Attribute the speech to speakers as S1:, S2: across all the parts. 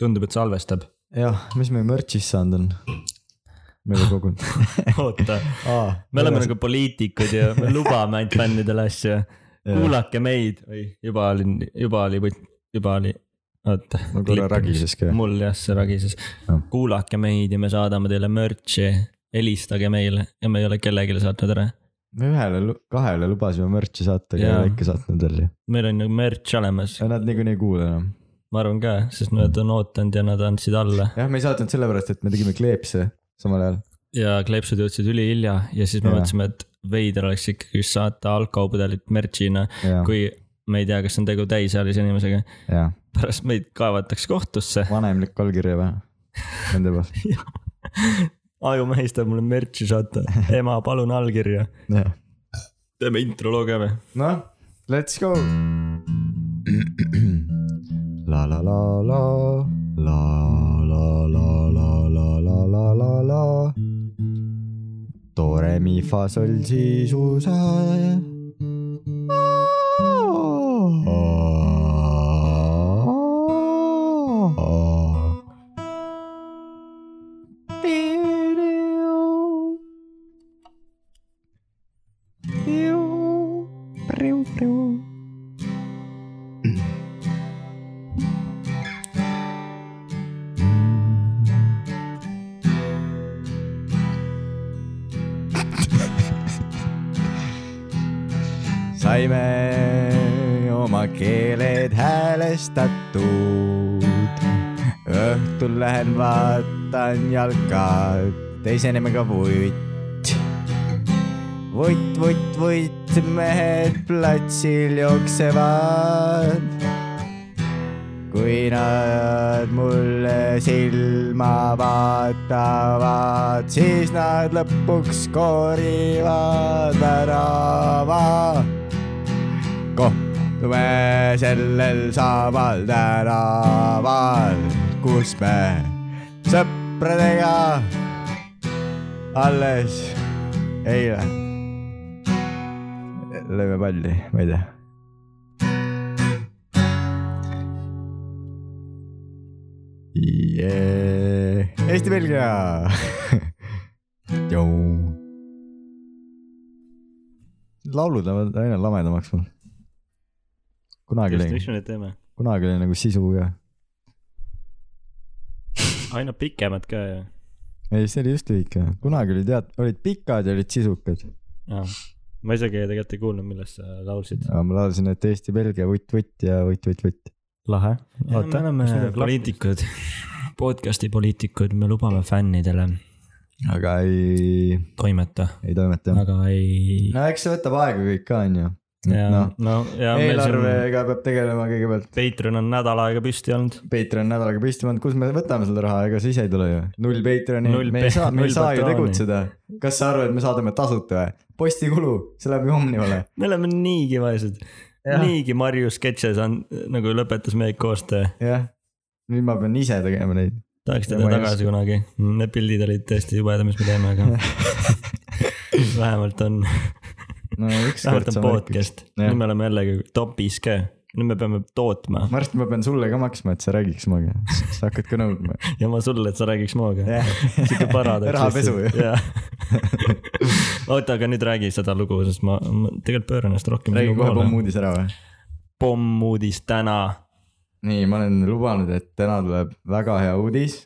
S1: tundub , et salvestab .
S2: jah , mis meil merch'is saanud on ? me ei ole kogunud .
S1: oota , me oleme nagu poliitikud ja me lubame ainult fännidele asju . kuulake meid , oi , juba olin , juba oli , juba oli , oota .
S2: Ma korra ragiseski, jah.
S1: mul jah , see ragises
S2: Jah. .
S1: kuulake meid ja me saadame teile merch'i , helistage meile ja me ei ole kellelegi saatnud ära .
S2: me ühele , kahele lubasime merch'i saata , aga ei
S1: Jaa.
S2: ole ikka saatnud veel ju .
S1: meil on ju merch olemas ,
S2: Nad niikuinii ei kuule enam .
S1: ma arvan ka , sest nad on ootanud ja nad andsid alla
S2: jah , me ei saatnud sellepärast , et me tegime kleepse samal ajal .
S1: ja kleepsud jõudsid ülihilja ja siis me
S2: Jaa.
S1: mõtlesime , et veider oleks ikkagi saata alkopudelit merch'ina ,
S2: ja ,
S1: kui me ei tea , kas on tegu täisealise inimesega .
S2: ja
S1: pärast meid kaevatakse kohtusse .
S2: vanemlik allkirja või ? Nende poolt ,
S1: ajumees tahab mulle merch'i saata , ema , palun allkirja .
S2: jah .
S1: teeme intro loo ka või ?
S2: noh , let's go . la la la la , la la la la la la la la la . Do re mi fa sol si su sa . Oh. saime oma keeled häälestatud . õhtul lähen vaatan jalka , teise nimega vutt . vutt , vutt , vutt , mehed platsil jooksevad . kui nad mulle silma vaatavad , siis nad lõpuks koorivad värava kohtume sellel samal tänaval , kus me sõpradega alles eile lõime palli , ma ei tea . Yeah. Eesti-Belgia laulud lähevad aina lamedamaks mul . kunagi
S1: just ,
S2: oli
S1: miks , me neid teeme ?
S2: kunagi oli nagu sisu ka .
S1: aina pikemad ka ju .
S2: ei , see oli just lühike , kunagi oli tead , olid pikad ja olid sisukad .
S1: ma isegi tegelikult ei kuulnud , millest sa laulsid .
S2: aga ma laulsin , et Eesti-Belgia vutt-vutt ja vutt-vutt-vutt .
S1: lahe .
S2: Oota,
S1: me oleme
S2: kas nüüd on
S1: poliitikud , podcast'i poliitikud , me lubame fännidele
S2: aga ei ,
S1: toimeta ,
S2: ei toimeta jah .
S1: aga ei .
S2: no eks see võtab aega kõik ka onju .
S1: ja
S2: noh ,
S1: no ja meil siin
S2: eelarvega peab tegelema kõigepealt .
S1: Patreon on nädal aega püsti olnud .
S2: Patreon nädalaga püsti pannud , kus me võtame selle raha , ega see ise ei tule ju . null Patreoni
S1: Null ,
S2: me ei
S1: pa-
S2: saa , me
S1: null
S2: ei saa ju
S1: patrooni.
S2: tegutseda . kas sa arvad , et me saadame tasuta või ? postikulu , see läheb ju Omnivale .
S1: me oleme niigi vaesed .
S2: Jah.
S1: niigi Marju sketšes on , nagu lõpetas meie koostöö .
S2: jah , nüüd ma pean ise tegema neid .
S1: tahaks
S2: Ja
S1: teda
S2: ma ei
S1: tagasi kunagi . Need pildid olid tõesti jubedad , mis me teeme , aga vähemalt on ,
S2: no ükskord
S1: vähemalt on . podcast .
S2: Jah.
S1: nüüd me oleme jällegi topis ka . nüüd me peame tootma
S2: varsti ma pean sulle ka maksma , et sa räägiks minuga , sa hakkad ka nõudma .
S1: ja ma sulle , et sa räägiks maaga . sihuke paradoks .
S2: rahapesu ju .
S1: oota , aga nüüd räägi seda lugu , sest ma, ma tegelikult pööran ennast rohkem .
S2: räägi kohe pommuudis ära või ?
S1: pommuudis täna
S2: nii , ma olen lubanud , et täna tuleb väga hea uudis .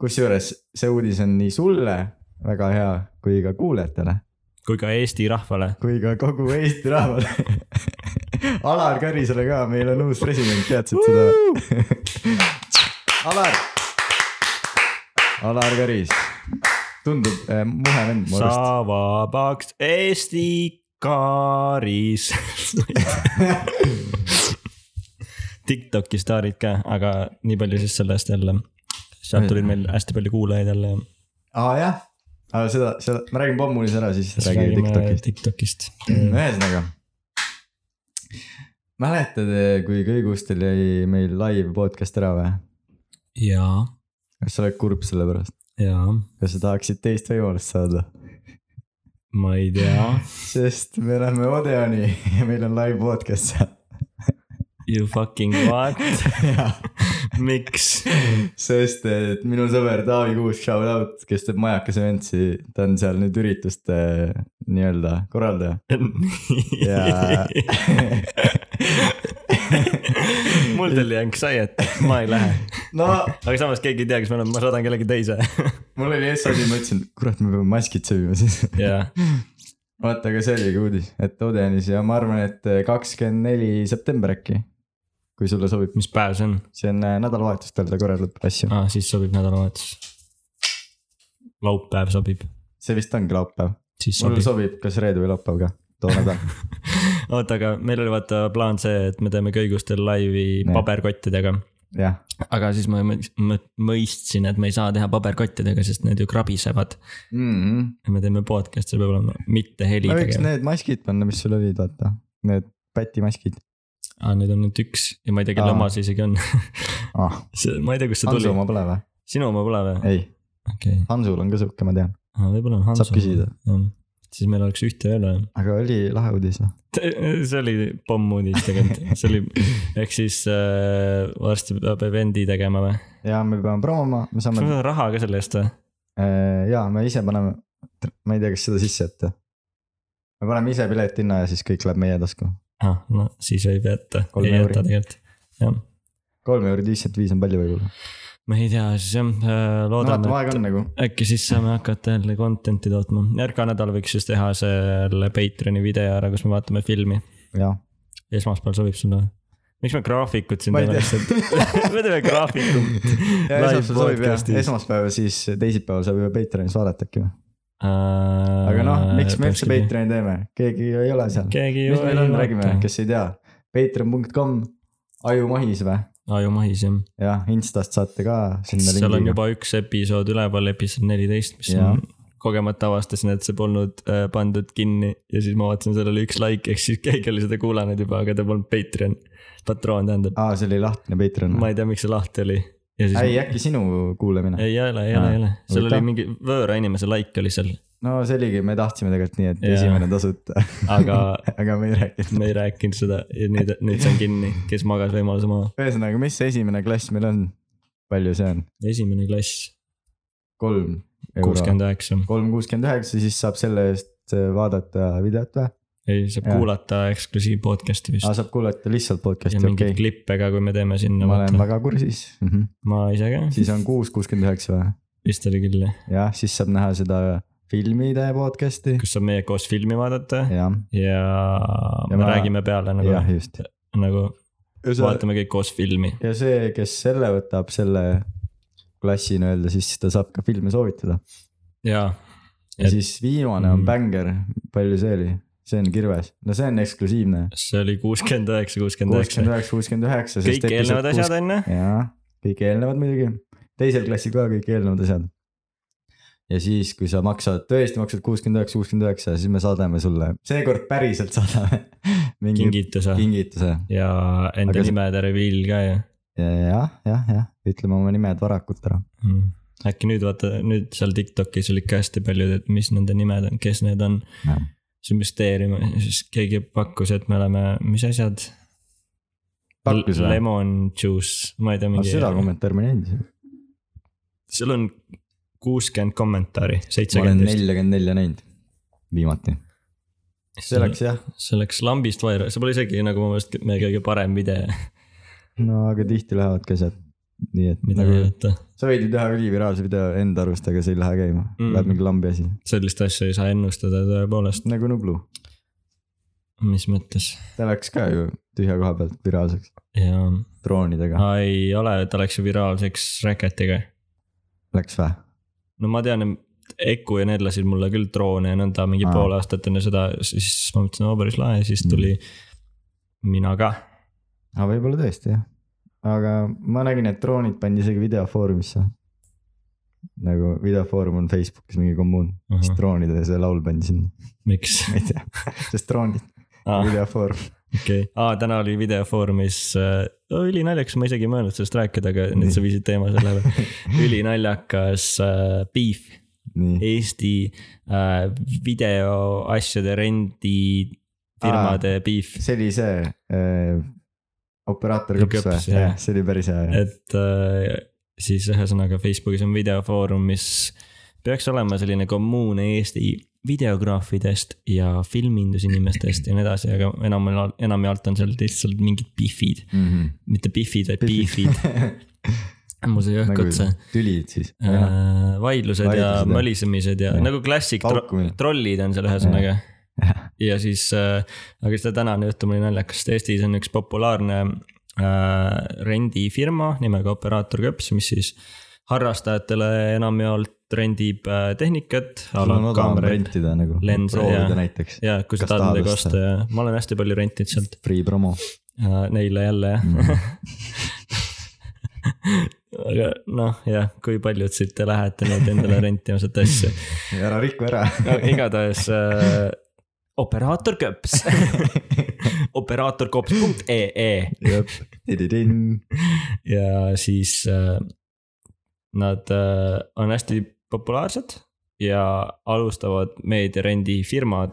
S2: kusjuures see uudis on nii sulle väga hea kui ka kuulajatele ,
S1: kui ka Eesti rahvale .
S2: kui ka kogu Eesti rahvale . Alar Karisele ka , meil on uus president , teadsid seda või ? Alar . Alar Karis , tundub eh, muhe vend mu arust .
S1: sa vabaks Eesti kaaris . Tiktoki staarid ka , aga nii palju siis sellest jälle . sealt tuli meil hästi palju kuulajaid jälle .
S2: aa jah , aga seda , seda , ma räägin pommulis ära , siis räägime Tiktokist . Mm.
S1: Tiktokist .
S2: ühesõnaga . mäletad , kui Kõigustel jäi meil live podcast ära või ?
S1: jaa ,
S2: kas sa oled kurb selle pärast ?
S1: jaa ,
S2: kas sa tahaksid teist võimalust saada ?
S1: ma ei tea .
S2: sest me oleme Odeoni ja meil on live podcast seal .
S1: You fucking what ? miks ?
S2: sest et minu sõber Taavi Kuusk , shout out , kes teeb majakese ventsi , ta on seal nüüd ürituste eh, nii-öelda korraldaja ja
S1: mul tuli anxiety , ma ei lähe ,
S2: no
S1: aga samas keegi ei tea , kes me oleme , ma saadan kellegi teise .
S2: mul oli ees asi , ma ütlesin , kurat , me peame maskid sõlmima siis .
S1: jaa ,
S2: vaata , aga see oligi uudis , et Odenis ja ma arvan , et eh, kakskümmend neli september äkki , kui sulle sobib ,
S1: mis päev see on
S2: see on äh, nädalavahetustel ta korraldab asju ,
S1: ah, ? siis sobib nädalavahetus . laupäev sobib ,
S2: see vist ongi laupäev ,
S1: siis
S2: mul
S1: sobib .
S2: sobib kas reede või laupäev ka , too nädal ,
S1: oota , aga meil oli vaata plaan see , et me teeme köigustel laivi
S2: Jah.
S1: paberkottidega .
S2: jah
S1: aga siis ma mõ- mõ- mõistsin , et me ei saa teha paberkottidega , sest need ju krabisevad .
S2: mm . -hmm.
S1: ja me teeme podcast'i , peab olema mitte
S2: ma võiks
S1: helidega .
S2: need maskid panna , mis sul olid , vaata , need pätimaskid
S1: aa , neid Ah, on nüüd üks ja ma ei tea , kelle
S2: Aa.
S1: oma see isegi on .
S2: ah, .
S1: ma ei tea , kust see
S2: Hansu
S1: tuli .
S2: oma pole või ?
S1: sinu oma pole või ?
S2: ei ,
S1: okei ,
S2: Hansul on ka sihuke , ma tean ,
S1: võib-olla on Hanso .
S2: saab küsida ,
S1: jah , siis meil oleks ühte veel vaja .
S2: aga oli lahe uudis noh. või ?
S1: see oli pommuudis tegelikult , see oli , ehk siis äh, varsti peab event'i tegema või ?
S2: ja me peame promoma , me
S1: kas me
S2: saame ,
S1: saame raha ka selle eest või ?
S2: ja me ise paneme , ma ei tea , kas seda sisse jätta . me paneme ise piletihinna ja siis kõik läheb meie tasku .
S1: ah , no siis võib jätta ,
S2: Kolm
S1: ei
S2: euri.
S1: jäta tegelikult , jah .
S2: kolm eurot viiskümmend viis on palju võib-olla .
S1: ma ei tea , siis jah ,
S2: no vaata ,
S1: loodame ,
S2: aeg on nagu ,
S1: et äkki siis saame hakata jälle content'i tootma . järgmine nädal võiks siis teha selle Patreon'i video ära , kus me vaatame filmi .
S2: jah .
S1: esmaspäeval sobib sulle või ? miks me graafikut siin
S2: ma
S1: teeme
S2: ei
S1: lihtsalt ?
S2: tea .
S1: me teeme graafiku .
S2: esmaspäeval sobib jah , esmaspäeval siis teisipäeval saab juba Patreonis vaadata äkki või ? aga noh , miks
S1: Äh,
S2: me üldse ? Patreoni teeme , keegi ju ei ole seal .
S1: keegi
S2: mis
S1: ju
S2: meil on , räägime , kes ei tea , patreon.com , ajumahis või ?
S1: ajumahis jah ,
S2: jah , Instast saate ka sinna
S1: seal on
S2: lingi .
S1: juba üks episood üleval , episood neliteist , mis
S2: Jaa.
S1: on kogemata avastasin , et see polnud äh, pandud kinni ja siis ma vaatasin , seal oli üks like , ehk siis keegi oli seda kuulanud juba , aga ta polnud Patreon , patroon tähendab .
S2: aa , see oli lahtine Patreon .
S1: ma ei tea , miks see lahti oli .
S2: ei ,
S1: ei ,
S2: äkki sinu kuulamine ?
S1: ei ole , ei ole , ei ole , seal oli
S2: Ah, Huvitav.
S1: mingi võõra inimese like oli seal ,
S2: no see oligi , me tahtsime tegelikult nii , et
S1: Jaa.
S2: esimene tasuta ,
S1: aga
S2: aga me ei rääkinud .
S1: me ei rääkinud seda ja nüüd , nüüd see on kinni , kes magas võimaluse maha .
S2: ühesõnaga , mis see esimene klass meil on ? palju see on ?
S1: esimene klass ,
S2: kolm euro .
S1: kuuskümmend üheksa ,
S2: kolm kuuskümmend üheksa , siis saab selle eest äh, vaadata videot või ?
S1: ei saab
S2: Jaa.
S1: kuulata eksklusiiv podcast'i vist
S2: aa , saab kuulata lihtsalt
S1: ja
S2: podcast'i ,
S1: mingeid
S2: okei .
S1: klippe ka , kui me teeme sinna .
S2: ma olen väga kursis mm . -hmm.
S1: ma ise ka ,
S2: siis on kuus kuuskümmend üheksa või ?
S1: vist oli küll jah ,
S2: jah , siis saab näha seda filmide podcast'i .
S1: kus saab meie koos filmi vaadata ja,
S2: jah ,
S1: ja me
S2: ma-
S1: räägime peale nagu ,
S2: jah just .
S1: nagu
S2: ja
S1: vaatame kõik koos filmi .
S2: see , kes selle võtab , selle klassi nii-öelda , siis ta saab ka filme soovitada .
S1: ja ,
S2: ja
S1: Et-
S2: siis viimane on
S1: Mm.
S2: Bänger , palju see oli ? see on kirves , no see on eksklusiivne .
S1: see oli kuuskümmend üheksa , kuuskümmend üheksa ,
S2: kuuskümmend üheksa , kuuskümmend üheksa .
S1: kõik eelnevad asjad . on ju ,
S2: jaa , kõik eelnevad muidugi , teisel klassil ka kõik eelnevad asjad ja siis , kui sa maksad , tõesti maksad kuuskümmend üheksa , kuuskümmend üheksa , siis me saadame sulle , seekord päriselt saadame mingi
S1: kingituse
S2: kingituse
S1: ja enda
S2: Aga see-
S1: nimede reveal ka ju
S2: Ja- jah , jah , jah , ütleme oma nimed varakult ära .
S1: mm. . äkki nüüd vaata , nüüd seal Tiktokis oli ikka hästi palju , et mis nende nimed on , kes need on
S2: Jah. .
S1: see müsteerium , siis keegi pakkus , et me oleme , mis asjad ?
S2: pakkus või ?
S1: Lemon juice , ma ei tea , mingi .
S2: seda kommentaari ma ei näinud isegi .
S1: seal on kuuskümmend kommentaari ,
S2: ma olen
S1: seitsekümmend vist .
S2: neljakümmend nelja näinud viimati . see läks jah ,
S1: see läks lambist vaira , see pole isegi nagu mu meelest meie kõige parem video ,
S2: no aga tihti lähevad ka sealt . nii et
S1: mida
S2: nagu
S1: näidata .
S2: sa võid ju teha üliviraalse video enda arust , aga see ei lähe käima
S1: Mm.
S2: mm. , läheb mingi lambi asi ,
S1: sellist asja ei saa ennustada tõepoolest ,
S2: nagu Nublu .
S1: mis mõttes
S2: ta läks ka ju tühja koha pealt viraalseks ,
S1: ja
S2: droonidega ,
S1: Aa, ei ole , ta läks ju viraalseks Racketiga .
S2: läks vä ?
S1: no ma tean , Eku ja need lasid mulle küll droone ja nõnda mingi
S2: Aa.
S1: pool aastat enne seda , siis ma mõtlesin , oo päris lahe , siis tuli mina ka .
S2: aga võib-olla tõesti jah . aga ma nägin , et droonid pandi isegi videofoorumisse . nagu videofoorum on Facebookis mingi kommuun . siis droonide see laul pandi sinna ,
S1: miks ?
S2: ma ei tea , sest droonid ,
S1: okei
S2: videofoor .
S1: okay. , täna oli videofoorumis äh, , ülinaljakas , ma isegi ei mõelnud sellest rääkida , aga nüüd sa viisid teema selle peale . ülinaljakas äh, beef
S2: nii ,
S1: Eesti äh, videoasjade rendifirmade beef .
S2: see oli see äh, operaator küps või
S1: Küps, ? jah.
S2: jah , see oli päris hea jah .
S1: et äh, siis ühesõnaga Facebookis on videofoorum , mis peaks olema selline kommuun Eesti videograafidest ja filmindusinimestest ja nii edasi , aga enam , enamjaolt on seal lihtsalt mingid pihvid ,
S2: Mhm.
S1: mitte pihvid , vaid
S2: Pihvid.
S1: pihvid . mul sai õhk
S2: nagu
S1: otsa .
S2: tülid siis .
S1: Äh, vaidlused ja
S2: Vaidlused, jah.
S1: mölisemised ja
S2: Jah.
S1: nagu klassik tro ,
S2: paukumine .
S1: trollid on seal ühesõnaga . ja siis , aga seda tänane juhtum oli naljakas , sest Eestis on üks populaarne äh, rendifirma nimega Operaator Köps , mis siis harrastajatele enamjaolt rendib äh, tehnikat .
S2: sul on odavam
S1: ja
S2: rentida nagu ,
S1: lense ja-
S2: proovida näiteks .
S1: kui sa
S2: Kas
S1: tahad
S2: tahad
S1: midagi
S2: osta?
S1: osta ja ma olen hästi palju rentinud sealt
S2: Free promo .
S1: äh, neile jälle jah
S2: Mhm.
S1: aga noh , jah , kui paljud siit te lähete nüüd endale rentima sealt asju ,
S2: ära riku ära .
S1: no, . igatahes äh, operaator köps , operaatorkops.ee ja siis äh, nad äh, on hästi populaarsed ja alustavad meediarendifirmad ,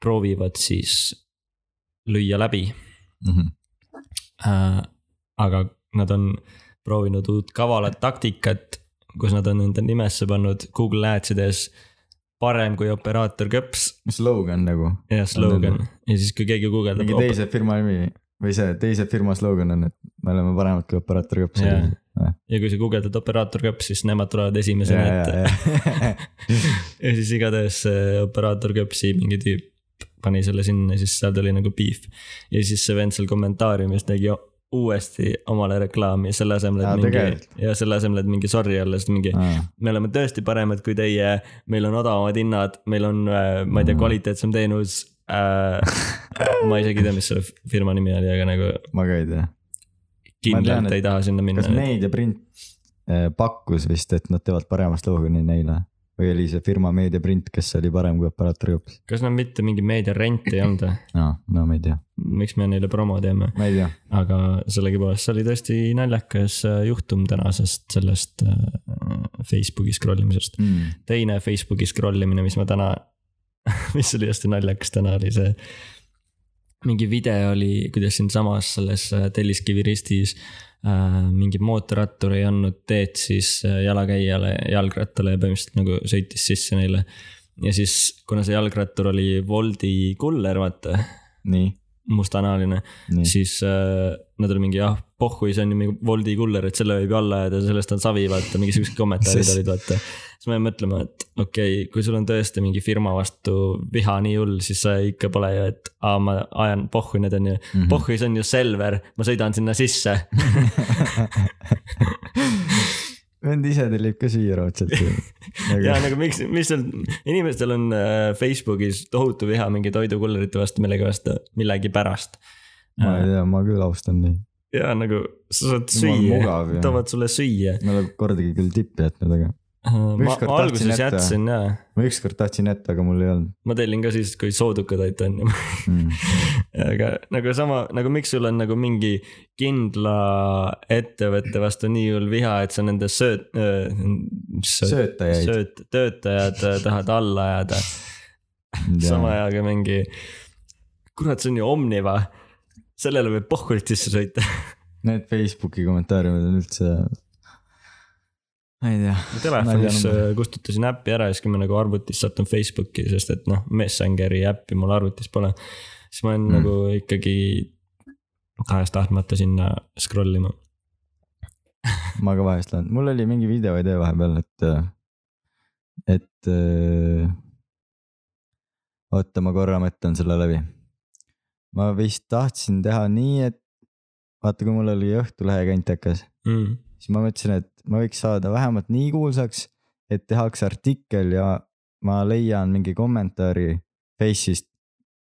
S1: proovivad siis lüüa läbi
S2: Mhm.
S1: äh, . aga nad on proovinud uut kavalat taktikat , kus nad on enda nimesse pannud Google Adsides parem kui operaator köps
S2: Slogan nagu ,
S1: ja slogan ja siis , kui keegi guugeldab
S2: mingi . teise firma nimi või see teise firma slogan on , et me oleme paremad kui operaator köps .
S1: Jaa.
S2: Ah,
S1: ja kui sa guugeldad operaator köps , siis nemad tulevad esimesena ette . ja siis igatahes see operaator köpsi mingi tüüp pani selle sinna , siis seal tuli nagu beef . ja siis see vend seal kommentaariumis tegi o- uuesti omale reklaami selle asemel ,
S2: Aa,
S1: et mingi
S2: tegelikult? ,
S1: ja selle asemel , et mingi sorry olla , siis mingi me oleme tõesti paremad kui teie , meil on odavamad hinnad , meil on , ma ei tea ,
S2: Mm.
S1: kvaliteetsem teenus äh, . ma isegi ei tea , mis selle firma nimi oli , aga nagu
S2: Ah. ma ka ei tea , tean,
S1: kindlalt
S2: et-
S1: ei taha sinna minna
S2: kas . meediaprint eh, pakkus vist , et nad teevad parema slogan'i neile või oli see firma meediaprint , kes oli parem kui operaator köps ?
S1: kas nad mitte mingi meediarent ei olnud või ?
S2: no, no ma ei tea ,
S1: miks me neile promo teeme ?
S2: ma ei tea ,
S1: aga sellegipoolest , see oli tõesti naljakas äh, juhtum tänasest sellest äh, Facebooki scroll imisest .
S2: Hmm.
S1: teine Facebooki scroll imine , mis ma täna , mis oli hästi naljakas täna , oli see . mingi video oli , kuidas siinsamas selles äh, Telliskivi ristis äh, mingi mootorrattur ei andnud teed siis äh, jalakäijale , jalgrattale ja põhimõtteliselt nagu sõitis sisse neile . ja siis , kuna see jalgrattur oli Woldi kuller , vaata ,
S2: nii ,
S1: mustanahaline ,
S2: nii ,
S1: siis äh, nad olid mingi jah , pohhui , see on ju mingi Woldi kuller , et selle võib ju alla jääda , sellest on savi , vaata , mingisugused kommentaarid
S2: Siis-
S1: olid , vaata . siis ma jäin mõtlema , et okei okay, , kui sul on tõesti mingi firma vastu viha nii hull , siis sa ikka pole ju , et aa , ma ajan pohhui , need on ju ,
S2: Mhm.
S1: pohhui , see on ju Selver , ma sõidan sinna sisse .
S2: vend ise tellib ka süüa raudselt .
S1: ja nagu miks , mis seal , inimestel on äh, Facebookis tohutu viha mingi toidukullerite vastu millegipärast , millegipärast .
S2: ma ei tea , ma küll austan neid ,
S1: ja nagu sa saad
S2: Jumal
S1: süüa
S2: mugav, , jah.
S1: toovad sulle süüa .
S2: ma ei ole kordagi küll tippi jätnud , aga
S1: ma,
S2: Ükskord
S1: ma
S2: tahtsin
S1: alguses
S2: jätta.
S1: jätsin jaa ,
S2: ma ükskord tahtsin jätta , aga mul ei olnud
S1: ma tellin ka siis , kui soodukad olid onju ,
S2: mm. .
S1: aga nagu sama , nagu miks sul on nagu mingi kindla ettevõtte vastu nii hull viha , et sa nende sööt- , sööt- ,
S2: söötajaid .
S1: sööt- , töötajad äh, tahad alla ajada , sama ajaga mingi , kurat , see on ju Omniva , sellele võib pohkurit sisse sõita .
S2: Need Facebooki kommentaariumid on üldse , ma ei tea .
S1: telefonis äh, kustutasin äppi ära ja siis kui ma nagu arvutis sattun Facebooki , sest et noh , Messengeri äppi mul arvutis pole . siis ma olen
S2: Mm.
S1: mm. nagu ikkagi tahes-tahtmata sinna scroll ima .
S2: ma ka vahest lähen , mul oli mingi videoidee vahepeal , et , et äh, oota , ma korra mõtlen selle läbi . ma vist tahtsin teha nii , et vaata , kui mul oli Õhtulehe kant hakkas ,
S1: Mm.
S2: siis ma mõtlesin , et ma võiks saada vähemalt nii kuulsaks , et tehakse artikkel ja ma leian mingi kommentaari Face'ist ,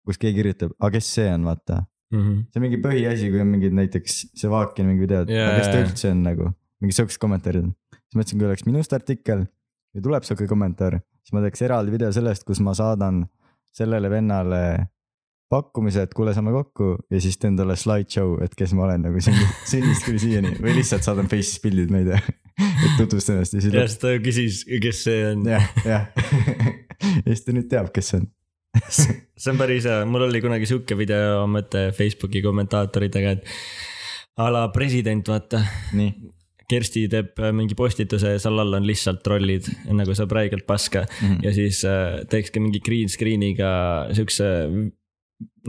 S2: kus keegi kirjutab , aga kes see on , vaata
S1: Mm -hmm.
S2: see on mingi põhiasi , kui on mingid näiteks Sevaki mingi videod yeah. ,
S1: Jaa.
S2: kes ta üldse on nagu , mingi siuksed kommentaarid on . siis mõtlesin , kui oleks minust artikkel ja tuleb siuke kommentaar , siis ma teeks eraldi video sellest , kus ma saadan sellele vennale pakkumise , et kuule , saame kokku ja siis teen talle slideshow , et kes ma olen nagu sünni- sünnist kuni siiani või lihtsalt saadan Face'is pildid , ma ei tea , et tutvusta ennast ja siis
S1: ja . siis ta küsis , kes see on .
S2: jah , jah . ja siis ta nüüd teab , kes see on .
S1: see on päris hea , mul oli kunagi sihuke video mõte Facebooki kommentaatoritega , et a la president , vaata .
S2: nii ,
S1: Kersti teeb äh, mingi postituse ja seal all on lihtsalt trollid , nagu saab räigelt paska
S2: Mhm.
S1: ja siis äh, teekski mingi green screen'iga siukse .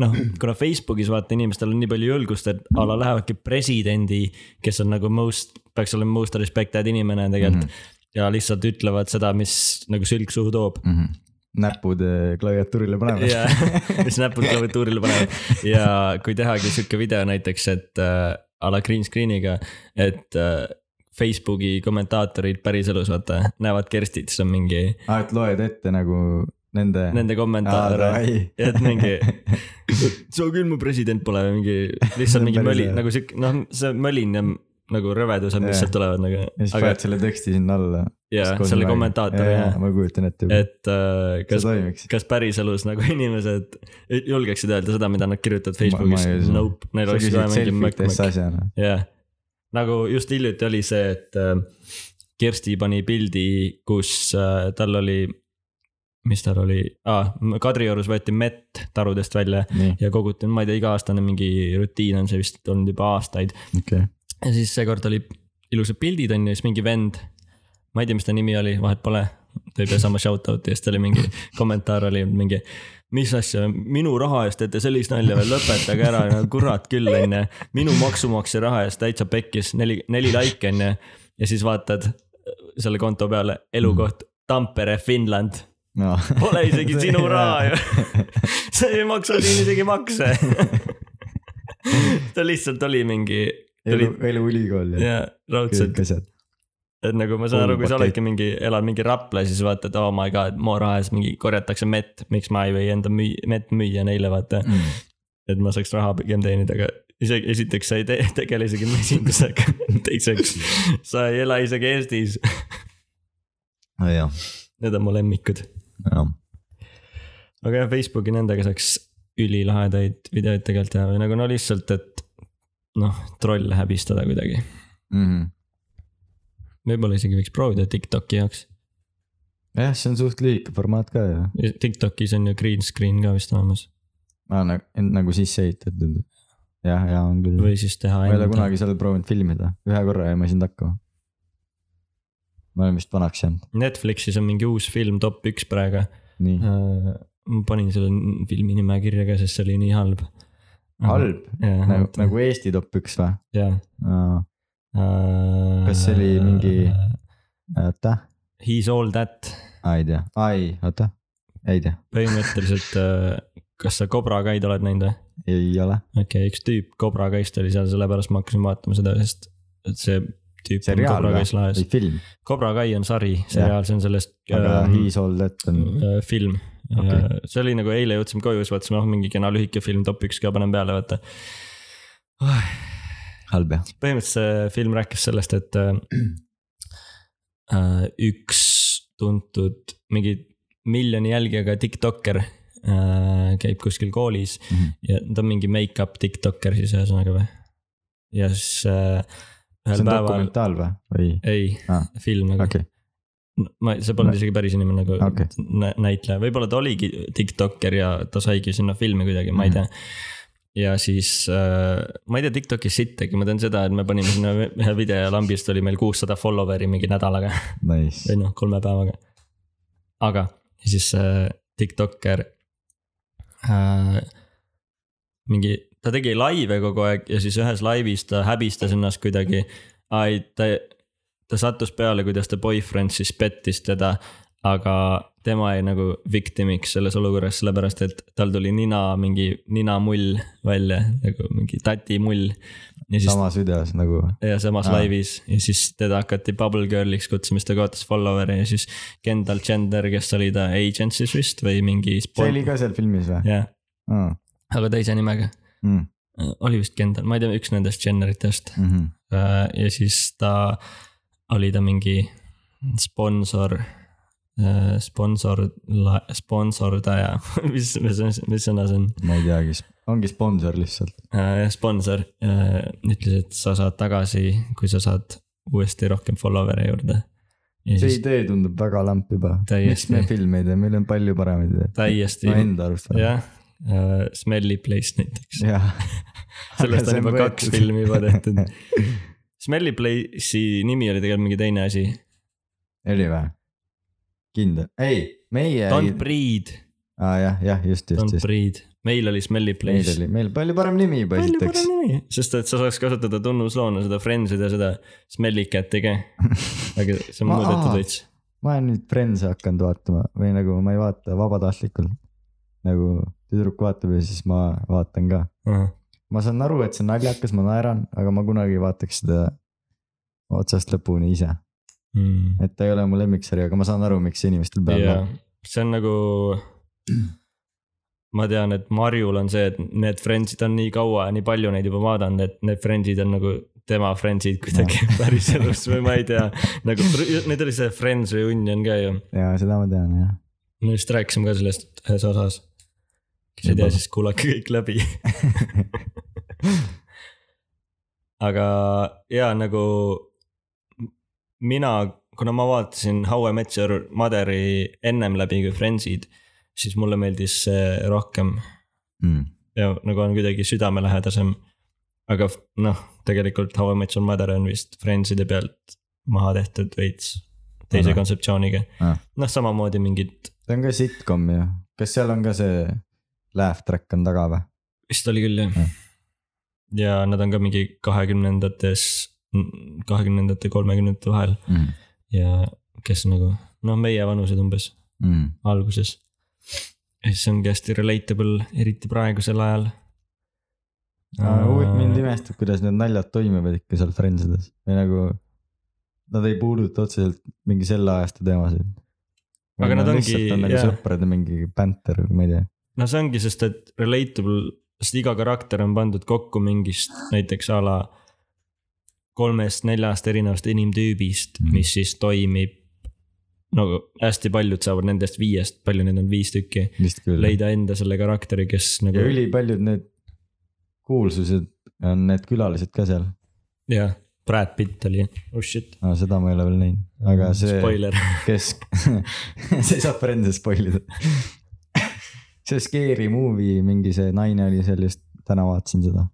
S1: noh , kuna Facebookis vaata inimestel on nii palju julgust , et a la lähevadki presidendi , kes on nagu most , peaks olema most respected inimene tegelikult mm . -hmm. ja lihtsalt ütlevad seda , mis nagu sülg suhu toob .
S2: näpud eh, klaviatuurile panevad
S1: ja mis näpud klaviatuurile panevad ja kui tehagi sihuke video näiteks , et äh, a la green screen'iga , et äh, Facebooki kommentaatorid päriselus vaata näevad Kerstit , siis on mingi
S2: aa , Ah, et loed ette nagu nende .
S1: nende kommentaare . et mingi , sa küll mu president pole või mingi ,
S2: See
S1: lihtsalt
S2: on
S1: mingi
S2: päris
S1: möli
S2: hea.
S1: nagu siuke , noh , see mölin ja nagu rõvedused , mis
S2: Jah.
S1: sealt tulevad nagu ,
S2: ja siis
S1: aga
S2: paned selle teksti sinna alla .
S1: ja selle kommentaatori ja ,
S2: ma kujutan ette ,
S1: et äh,
S2: see
S1: kas ,
S2: toimiks .
S1: kas päriselus nagu inimesed julgeksid öelda seda , mida nad kirjutavad
S2: Ma- ma
S1: Facebookis
S2: ei usu. ,
S1: nope , neil
S2: sa
S1: oleks
S2: küsid
S1: vaja mingi
S2: selfit
S1: mökk-mökk
S2: täitsa , asjana .
S1: jah . nagu just hiljuti oli see , et äh, Kersti pani pildi , kus äh, tal oli , mis tal oli ah, , Kadriorus võeti mett tarudest välja
S2: nii ,
S1: ja koguti , ma ei tea , iga-aastane mingi rutiin on see vist olnud juba aastaid .
S2: okei .
S1: ja siis seekord oli ilusad pildid on ju , siis mingi vend , ma ei tea , mis ta nimi oli , vahet pole , ta ei pea saama shout out'i ja siis tal oli mingi kommentaar oli mingi . mis asja , minu raha eest teete sellist nalja veel , lõpetage ära , kurat küll on ju , minu maksumaksja raha eest täitsa pekkis , neli , neli like on ju . ja siis vaatad selle konto peale , elukoht Tampere , Finland
S2: no. .
S1: Pole isegi sinu raha ju . sa ei maksa siin isegi makse . ta lihtsalt oli mingi , ta oli
S2: elu , eluülikool ja
S1: jaa ,
S2: kõik
S1: raudselt ,
S2: asjad .
S1: et nagu ma saan aru , kui sa
S2: Koolipakett.
S1: oledki mingi , elad mingi Rapla , siis vaatad , oh my god , Moorahes mingi korjatakse mett , miks ma ei või enda müü- , mett müüa neile , vaata .
S2: Mm.
S1: et ma saaks raha pigem teenida , aga isegi esiteks sa ei te- , tegele isegi mesindusega , teiseks sa ei ela isegi Eestis .
S2: nojah ,
S1: Need on mu lemmikud ,
S2: jah .
S1: aga jah , Facebooki nendega saaks ülilahedaid videoid tegelikult teha või nagu no lihtsalt , et noh , trolle häbistada kuidagi .
S2: Mhm.
S1: võib-olla isegi võiks proovida TikToki jaoks .
S2: jah , see on suht lühike formaat ka ju .
S1: TikTokis on ju green screen ka vist olemas
S2: aa , nagu , nagu sisse ehitatud . jah , ja on küll .
S1: või siis teha
S2: Mm. ma ei ole
S1: enda ,
S2: kunagi seal proovinud filmida , ühe korra jäin ma sind hakkama . ma olen vist vanaks jäänud ,
S1: Netflixis on mingi uus film top üks praegu .
S2: nii .
S1: ma panin selle n- filmi nime kirja ka , sest see oli nii halb .
S2: halb , nagu ,
S1: halb ?
S2: nagu Eesti top üks või ?
S1: jaa . Äh,
S2: Kas see oli mingi- oota ,
S1: He's all that ,
S2: aa ei tea , aa ei , oota , ei tea ,
S1: põhimõtteliselt äh, kas sa Cobra Kaid oled näinud või ?
S2: ei ole .
S1: okei okay, , üks tüüp Cobra Kaist oli seal , sellepärast ma hakkasin vaatama seda , sest et see tüüp on
S2: seriaal
S1: Cobra
S2: või
S1: Kais lahes
S2: või . film ,
S1: Cobra Kai on sari , seriaal , see on sellest
S2: aga
S1: äh,
S2: He's all that on ,
S1: Äh, film
S2: Mm-hmm. Okei.
S1: okay. . see oli nagu eile jõudsime koju , siis vaatasime , oh mingi kena lühike film , top üks ka panen peale , vaata .
S2: halb jah ,
S1: põhimõtteliselt see film rääkis sellest , et äh, üks tuntud mingi miljoni jälgijaga tiktokker äh, käib kuskil koolis
S2: Mhm.
S1: ja ta on mingi make-up tiktokker siis ühesõnaga või . ja siis äh,
S2: see
S1: ühel
S2: on
S1: päeval ,
S2: dokumentaal või , või ?
S1: ei
S2: Ah, ,
S1: film nagu
S2: okei ,
S1: No, ma , see polnud isegi päris inimene nagu
S2: Okei.
S1: okay. näitleja , võib-olla ta oligi tiktokker ja ta saigi sinna filmi kuidagi , ma ei tea . ja siis äh, ma ei tea TikTokis sittagi , ma tean seda , et me panime sinna ühe video ja lambist oli meil kuussada follower'i mingi nädalaga
S2: nice ,
S1: või noh , kolme päevaga . aga ja siis see tiktokker äh, . mingi , ta tegi laive kogu aeg ja siis ühes laivis ta häbistas ennast kuidagi . ai , ta , ta sattus peale , kuidas ta boyfriend siis pettis teda , aga tema jäi nagu victim'iks selles olukorras , sellepärast et tal tuli nina mingi ninamull välja nagu mingi tatimull . ja siis
S2: samas videos nagu ,
S1: ja samas
S2: Aa.
S1: laivis ja siis teda hakati Bubble Girl'iks kutsuma , siis ta kaotas follower'i ja siis Kendall Gender , kes oli ta agent siis vist või mingi .
S2: see oli ka seal filmis või ? Mm,
S1: jah , aga teise nimega , oli vist Kendall , ma ei tea , üks nendest Jenneritest
S2: mhm.
S1: Äh, ja siis ta oli ta mingi sponsor , sponsor , sponsordaja , mis , mis , mis sõna see on ?
S2: ma ei teagi , ongi sponsor lihtsalt ,
S1: Äh, sponsor äh, ütles , et sa saad tagasi , kui sa saad uuesti rohkem follower'e juurde . ja
S2: see
S1: siis
S2: idee tundub väga lamp juba , miks
S1: Täiesti.
S2: me filme ei tee , meil on palju paremaid ideid .
S1: täiesti
S2: ma , enda arust .
S1: jah , uh, Smelly Place näiteks .
S2: jah .
S1: sellest on juba kaks filmi juba tehtud . Smelly Place'i nimi oli tegelikult mingi teine asi .
S2: oli või ? kindel , ei , meie .
S1: Don't breed ,
S2: aa jah , jah , just , just ,
S1: don't
S2: just .
S1: breed . meil oli Smelly
S2: meil
S1: Place .
S2: oli , meil palju parem nimi juba
S1: palju
S2: esiteks
S1: parem . nimi , sest et sa saaks kasutada tunnusloona seda Friends'id ja seda Smelly Cat'i ka . aga see on
S2: Ma-
S1: muudetud
S2: aa.
S1: veits .
S2: ma olen nüüd Friends'e hakanud vaatama või nagu ma ei vaata vabatahtlikult . nagu tüdruk vaatab ja siis ma vaatan ka . ma saan aru , et see on naljakas , ma naeran , aga ma kunagi ei vaataks seda otsast lõpuni ise .
S1: Mm.
S2: et ta ei ole mu lemmiksari , aga ma saan aru , miks see inimestel peal noh.
S1: jaa
S2: on .,
S1: see on nagu . ma tean , et Marjul on see , et need Friends'id on nii kaua , nii palju neid juba vaadanud , et need Friends'id on nagu tema Friends'id kuidagi
S2: Jah.
S1: päriselus või ma ei tea . nagu , neil oli see Friends reunion ka ju ,
S2: ja seda ma tean jah .
S1: me vist rääkisime ka sellest ühes osas . kes ei tea , siis kuulake kõik läbi . aga ja nagu mina , kuna ma vaatasin How I Met Your Mother'i ennem läbi kui Friends'id , siis mulle meeldis see rohkem
S2: mm. .
S1: ja nagu on kuidagi südamelähedasem . aga f- noh , tegelikult How I Met Your Mother on vist Friends'ide pealt maha tehtud veits teise
S2: Aga.
S1: kontseptsiooniga
S2: Ah. .
S1: noh , samamoodi mingid ,
S2: see on ka sitcom ju , kas seal on ka see laugh track on taga või ?
S1: vist oli küll jah
S2: Ah. .
S1: ja nad on ka mingi kahekümnendates , kahekümnendate , kolmekümnendate vahel
S2: Mm.
S1: ja kes nagu noh , meie vanused umbes
S2: Mm.
S1: alguses . ja siis ongi hästi relatable , eriti praegusel ajal .
S2: huvitav , mind imestab , kuidas need naljad toimivad ikka seal Friends ides või nagu . Nad ei puuduta otseselt mingi selle ajastu teemasid .
S1: Aga nad ongi-
S2: on nagu
S1: jah.
S2: sõprade mingi bänter , ma ei tea .
S1: no see ongi , sest et relatable , sest iga karakter on pandud kokku mingist näiteks a la kolmest-neljast erinevast inimtüübist mm ,
S2: Mhm.
S1: -hmm. mis siis toimib . no hästi paljud saavad nendest viiest , palju neid on viis tükki ,
S2: vist küll . ja
S1: leida enda selle karakteri , kes nagu
S2: ülipaljud need kuulsused on need külalised ka seal .
S1: jah , Brad Pitt oli , oh shit ,
S2: no seda ma ei ole veel näinud , aga see ,
S1: spoiler ,
S2: kes , see saab Friends'e spoilida . see Scary Movie mingi see naine oli seal just , täna vaatasin seda .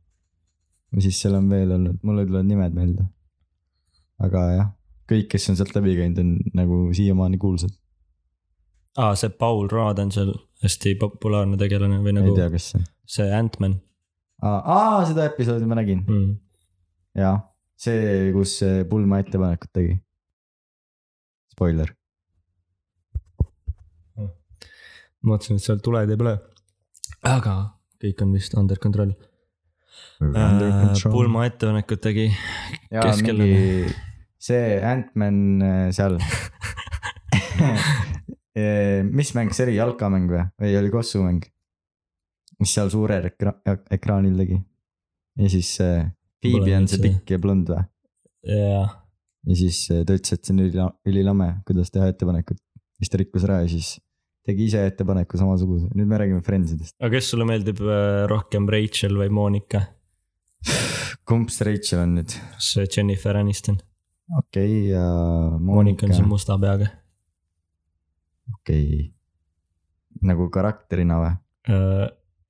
S2: või siis seal on veel olnud , mul ei tule nimed meelde . aga jah , kõik , kes on sealt läbi käinud , on nagu siiamaani kuulsad
S1: aa see Paul Raad on seal hästi populaarne tegelane või nagu
S2: nagu... , ei tea , kes see on .
S1: see Ant-Man
S2: aa, aa , seda episoodi ma nägin ,
S1: mm. .
S2: jaa . see , kus see pulma ettepanekut tegi . Spoiler ,
S1: ma mõtlesin , et seal tuled ei põle . aga kõik on vist under control .
S2: pulma .
S1: pulma ettepanekut tegi ,
S2: jaa ,
S1: keskel
S2: mingi see Ant-Man äh, seal Eh, mis mäng see oli , jalkamäng või , või oli kossumäng ? mis seal suurel ekra- , ekraanil tegi ? ja siis see Phoebe on
S1: üldse.
S2: see pikk ja blond või ?
S1: jaa .
S2: ja siis eh, ta ütles , et see on ülila- , ülilame , kuidas teha ettepanekut . siis ta rikkus ära ja siis tegi ise ettepaneku samasuguse , nüüd me räägime Friends idest .
S1: aga kes sulle meeldib äh, rohkem , Rachel või Monika ?
S2: kumb see Rachel on nüüd ?
S1: see Jennifer Aniston .
S2: okei okay, ja
S1: Monika
S2: Monika
S1: on see , musta peaga
S2: okei okay. . nagu karakterina või ?
S1: äh, .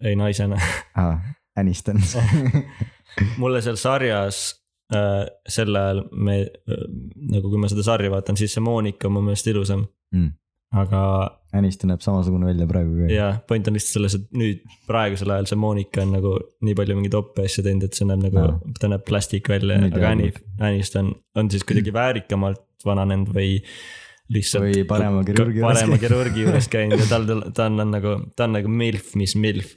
S1: ei , naisena .
S2: aa , Ah, Aniston .
S1: Oh. mulle seal sarjas äh, sel ajal me äh, , nagu kui ma seda sarja vaatan , siis see Monika on mu meelest ilusam
S2: Mm. .
S1: aga
S2: Aniston näeb samasugune välja praegu ka .
S1: jah , point on lihtsalt selles , et nüüd praegusel ajal see Monika on nagu nii palju mingeid oppe asju teinud , et see näeb nagu
S2: Jaa. ,
S1: ta näeb plastik välja ,
S2: Nüüd
S1: aga Annie
S2: jääb- ,
S1: Aniston on siis kuidagi väärikamalt vananenud või lihtsalt .
S2: või parema kirurgi
S1: parema . kirurgi juures käinud ja tal , ta on, on nagu , ta on nagu milf , mis milf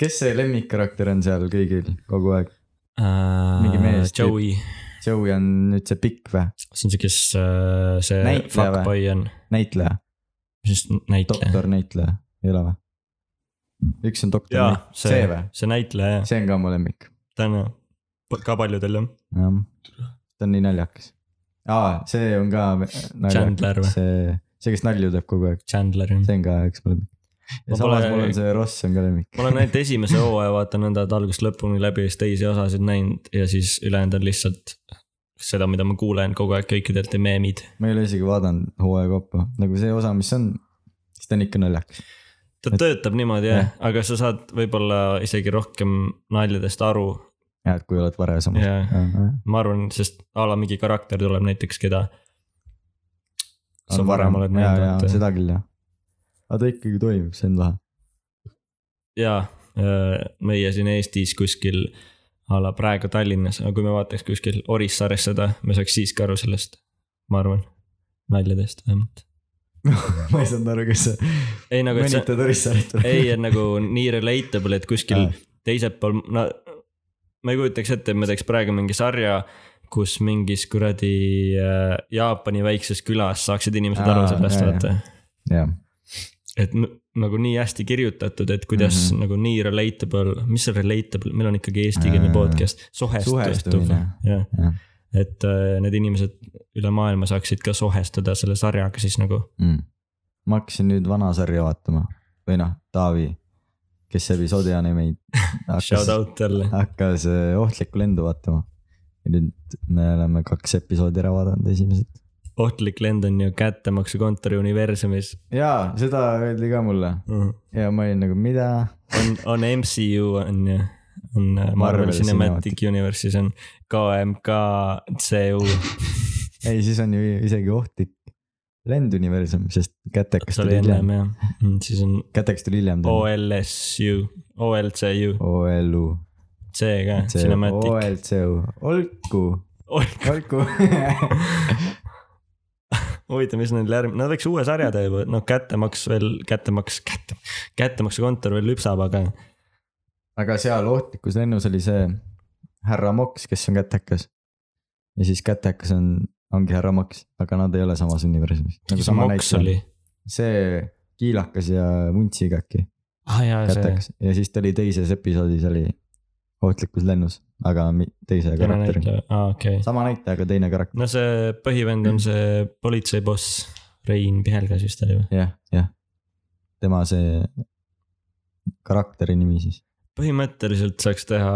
S2: kes see lemmikkarakter on seal kõigil kogu aeg ?
S1: uh,
S2: Mingi mees tüüp.
S1: Joey ,
S2: Joey on nüüd see pikk või ?
S1: see on see , kes uh, see
S2: Näitleja
S1: fuckboy on ,
S2: näitleja ,
S1: mis näitleja .
S2: doktor näitleja , ei ole või ? üks on doktor
S1: jaa ,
S2: näitleja , see
S1: see
S2: või ?,
S1: see näitleja jah ,
S2: see on ka mu lemmik ,
S1: ta on jah ka paljudel jah ,
S2: jah . ta on nii naljakas . aa , see on ka
S1: Chandler või?
S2: naljakas , see , see , kes nalju teeb kogu aeg ,
S1: Chandler jah .
S2: see on ka üks mu lemmik .
S1: Ma
S2: ja samas
S1: pole-
S2: mul on see Ross on ka lemmik .
S1: ma olen ainult esimese hooaja vaatan nõnda , et algusest lõpuni läbi ja siis teisi osasid näinud ja siis ülejäänud on lihtsalt seda , mida ma kuulen kogu aeg kõikidelt ja meemid .
S2: ma ei ole isegi vaadanud hooaja kaupa , nagu see osa , mis on , siis ta on ikka naljakas .
S1: ta töötab niimoodi jah, aga sa saad võib-olla isegi rohkem naljadest aru.
S2: jah, et kui oled varasemas
S1: Jah. ma arvan , sest a la mingi karakter tuleb näiteks , keda sa varem oled näinud , et
S2: seda küll jah . aga ta ikkagi toimib , see on lahe .
S1: jaa , meie siin Eestis kuskil a la praegu Tallinnas , aga kui me vaataks kuskil Orissaares seda , me saaks siiski aru sellest , ma arvan , naljadest vähemalt .
S2: ma ei saanud aru , kes see
S1: ei nagu , et see ,
S2: mõnitad Orissaaret või ?
S1: ei , et nagu nii relatable , et kuskil
S2: Aa.
S1: teisel pool , no ma ei kujutaks ette , et me teeks praegu mingi sarja , kus mingis kuradi äh, Jaapani väikses külas saaksid inimesed aru
S2: Aa,
S1: sellest ,
S2: jaa,
S1: vaata .
S2: jah ,
S1: et n- nagu nii hästi kirjutatud , et kuidas mm
S2: Mhm.
S1: -hmm. nagu nii relatable , mis see relatable , meil on ikkagi eestikeelne
S2: Äh,
S1: podcast , sohestuv ,
S2: suhestumine.
S1: jah .
S2: jah .
S1: et äh, need inimesed üle maailma saaksid ka sohestuda selle sarjaga siis nagu
S2: mm. . ma hakkasin nüüd vana sarja vaatama või noh , Taavi , kes episoodi animeid
S1: shout
S2: hakkas ,
S1: out jälle .
S2: hakkas eh, ohtlikku lendu vaatama . ja nüüd me oleme kaks episoodi ära vaadanud , esimesed .
S1: ohtlik lend on ju kättemaksukontori universumis
S2: jaa , seda öeldi ka mulle
S1: mm. .
S2: ja ma olin nagu , mida ?
S1: on , on MCU on ju , on äh, Marvel
S2: Marvel
S1: Cinematic
S2: Cinematic.
S1: Universe'is on KMK CU ,
S2: ei , siis on ju isegi ohtlik lenduniversum , sest kätekas
S1: see oli
S2: tuli hiljem ,
S1: ennem jah , siis on
S2: kätekas tuli hiljem .
S1: OLSU , OLCU ,
S2: OLU ,
S1: C ka ,
S2: see
S1: Cinematic .
S2: OLCU , olku , olku
S1: huvitav , mis neil järgmine , nad võiks uue sarja teha juba , noh , kättemaks veel , kättemaks , kätte , kättemaksukontor veel lüpsab , aga
S2: aga seal ohtlikus lennus oli see härra Moks , kes on kätekas . ja siis kätekas on , ongi härra Moks , aga nad ei ole samas universumis .
S1: mis see moks oli ?
S2: see kiilakas ja vuntsiga äkki ,
S1: ah jaa , see ,
S2: kätekas ja siis ta oli teises episoodis oli ohtlikus lennus , aga mi- teise
S1: teine
S2: karakteriga .
S1: näitleja , aa Ah, okei okay. .
S2: sama näitaja , aga teine karakter ,
S1: no see põhivend on see politseiboss Rein Pihelgas vist oli või ?
S2: jah , jah . tema see karakteri nimi siis ,
S1: põhimõtteliselt saaks teha ,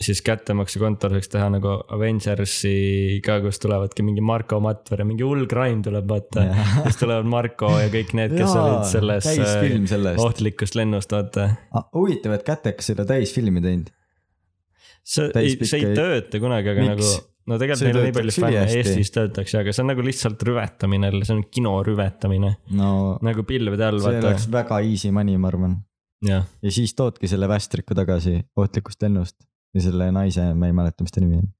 S1: siis kättemaksukontor saaks teha nagu Avengersi ka , kus tulevadki mingi Marko Matvere , mingi hull crime tuleb vaata .
S2: Jaa.
S1: siis tulevad Marko ja kõik need , kes
S2: Jaa,
S1: olid selles äh,
S2: täisfilm sellest ,
S1: ohtlikust lennust , vaata
S2: huvitav , et kätekas ei ole täisfilmi teinud ,
S1: see ei
S2: Täis ,
S1: see ei
S2: pikka-
S1: tööta kunagi , aga
S2: Miks?
S1: nagu , no tegelikult
S2: See
S1: neil on nii palju
S2: töötaks
S1: fänne ,
S2: ülihästi.
S1: Eestis töötakse , aga see on nagu lihtsalt rüvetamine , see on kino rüvetamine .
S2: no
S1: nagu pilvede all ,
S2: see
S1: vaata
S2: oleks . väga easy money , ma arvan .
S1: jah ,
S2: ja siis toodki selle västriku tagasi ohtlikust lennust ja selle naise , ma ei mäleta , mis ta nimi on .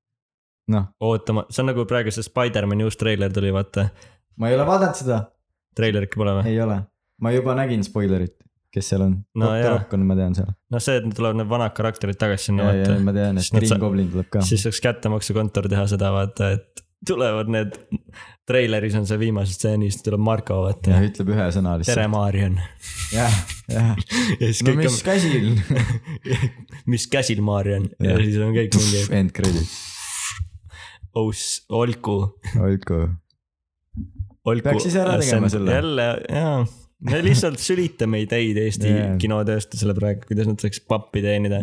S2: noh ,
S1: ootama , see on nagu praegu see Spider-man'i uus treiler tuli , vaata .
S2: ma ei ole vaadanud seda ,
S1: treiler ikka pole või ?
S2: ei ole . ma juba nägin spoilerit , kes seal on
S1: Ah. No
S2: no, .
S1: jaa.
S2: Doktor Rock on , ma tean seal .
S1: noh , see , et tulevad need vanad karakterid tagasi sinna ,
S2: ja , ja
S1: vaata .
S2: ma tean ,
S1: Siis
S2: et
S1: nad sa-
S2: Green Goblin tuleb ka .
S1: siis saaks kättemaksukontor teha seda , vaata , et tulevad need , treileris on see viimases stseenis , tuleb Marko ,
S2: ja
S1: vaata .
S2: ütleb ühe sõna
S1: tere ,
S2: lihtsalt .
S1: Marion .
S2: jah , jah .
S1: ja siis
S2: no
S1: kõik
S2: mis käsil ?
S1: on , mis käsil Marion ja
S2: Jah.
S1: siis on kõik mingi
S2: End credit ,
S1: aus , olku ,
S2: olgu .
S1: olku .
S2: Peaks ise ära tegema selle.
S1: jälle , jaa . me lihtsalt sülitame ideid Eesti
S2: Jaa.
S1: kinotööstusele praegu , kuidas nad saaks pappi teenida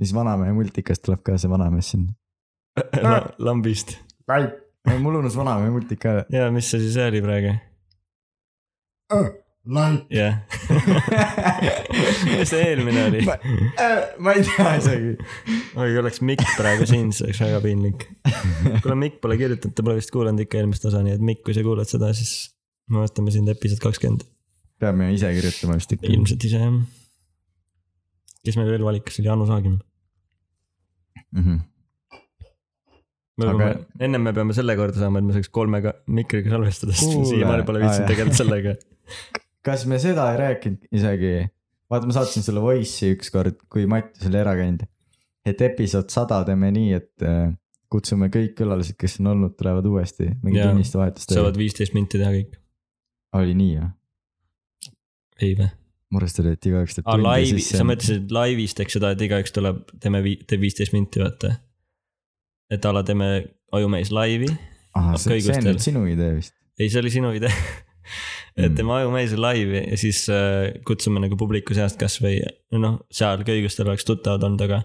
S2: siis vanamehe multikast tuleb ka see vanamees sinna .
S1: La- lambist .
S2: mul unus vanamehe multik ka .
S1: ja mis see siis oli praegu ?
S2: Lai- .
S1: jah , mis see eelmine oli ?
S2: Ma- Äh, ma ei tea isegi .
S1: oi , oleks Mikk praegu siin , siis oleks väga piinlik . kuule , Mikk pole kirjutanud , ta pole vist kuulanud ikka eelmist osa , nii et Mikk , kui sa kuulad seda , siis me vaatame sind episood kakskümmend ,
S2: peame ise kirjutama vist ikka .
S1: ilmselt ise jah . kes meil veel valikas oli , Anu Saagim .
S2: mm . -hmm.
S1: me
S2: Aga-
S1: peame aga... , ennem me peame selle korda saama , et me saaks kolme ka- mikriga salvestada , sest me
S2: Kuule.
S1: siiamaani pole
S2: Aa,
S1: viitsinud
S2: jah.
S1: tegeleda sellega .
S2: kas me seda ei rääkinud isegi , vaata , ma saatsin sulle Voice'i ükskord , kui Mati oli ära käinud . et episood sada teeme nii , et äh, kutsume kõik külalised , kes on olnud , tulevad uuesti , mingi
S1: Jaa.
S2: tunniste vahetust
S1: saavad viisteist minti teha kõik ,
S2: oli nii või ?
S1: ei või ?
S2: mu arust oli , et igaüks teeb
S1: aa ,
S2: tundi
S1: laivi ,
S2: sisse
S1: sa . mõtlesid , et laivis teeks seda , et igaüks tuleb , teeme vii- , teeb viisteist minti , vaata . et a la teeme Ajumees laivi .
S2: ahah ,
S1: hakka
S2: see see on
S1: õigustel.
S2: nüüd sinu idee vist .
S1: ei , see oli sinu idee . et
S2: Mm.
S1: teeme Ajumees laivi ja siis äh, kutsume nagu publiku seast kasvõi noh , seal köigustel oleks tuttavad olnud , aga .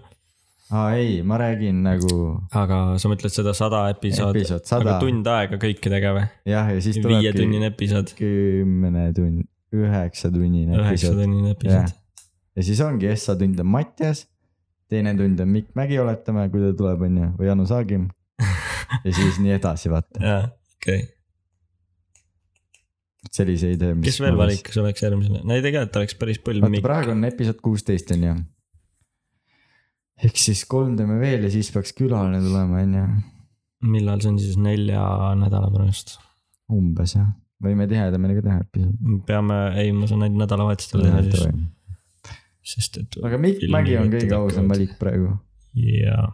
S2: aa ei , ma räägin nagu
S1: aga sa mõtled seda sada episoodi episood. ,
S2: episood
S1: aga
S2: sada ,
S1: tund aega kõikidega või ?
S2: jah , ja siis
S1: viietunnine
S2: tulebki
S1: episood .
S2: kümne tund , üheksatunnine episood .
S1: üheksatunnine episood .
S2: ja siis ongi Essa tund on Mattias , teine tund on Mikk Mägi , oletame , kui ta tuleb , onju , või Anu Saagim . ja siis nii edasi , vaata ,
S1: jaa , okei okay. .
S2: sellise idee .
S1: kes veel ? valikus oleks järgmisena ? no ei tegelikult oleks päris põlv
S2: vaata ,
S1: Mikk .
S2: praegu on episood kuusteist , onju . ehk siis kolm teeme veel ja siis peaks külaline tulema , onju ,
S1: millal see on siis nelja nädala pärast ?
S2: umbes jah , võime tihedamini ka teha episoodi .
S1: peame , ei , ma saan ainult nädalavahetustel teha siis , sest et
S2: aga Mikk Mägi on kõige ausam valik praegu ,
S1: jaa .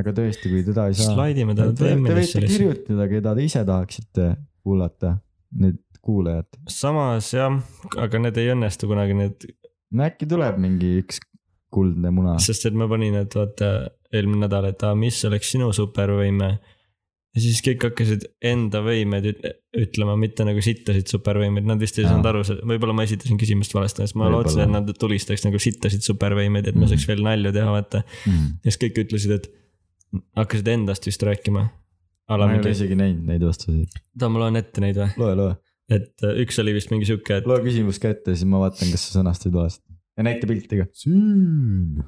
S2: aga tõesti , kui teda ei saa .
S1: slaidime ta
S2: Te, te võite
S1: teemidesse .
S2: kirjutada , keda te ise tahaksite kuulata , need kuulajad .
S1: samas jah , aga need ei õnnestu kunagi , need ,
S2: no äkki tuleb mingi üks kuldne muna .
S1: sest et ma panin , et vaata eelmine nädal , et aa , mis oleks sinu supervõime . ja siis kõik hakkasid enda võimeid üt- ütlema , mitte nagu sittasid supervõimeid , nad vist ei
S2: Aa.
S1: saanud aru , võib-olla ma esitasin küsimust valesti , sest ma
S2: Ah. Võib-olla. Mm.
S1: lootsin , et nad tulistaks nagu sittasid supervõimeid , et ma saaks veel nalju teha , vaata . ja siis kõik ütlesid , et hakkasid endast vist rääkima .
S2: ma ei ole isegi näinud neid vastuseid .
S1: tahad , ma loen ette neid või ?
S2: loe , loe ,
S1: et äh, üks oli vist mingi sihuke , et
S2: loe küsimus kätte , siis ma vaatan , kas sa sõnastasid valesti . ja näita pilti ka . süün .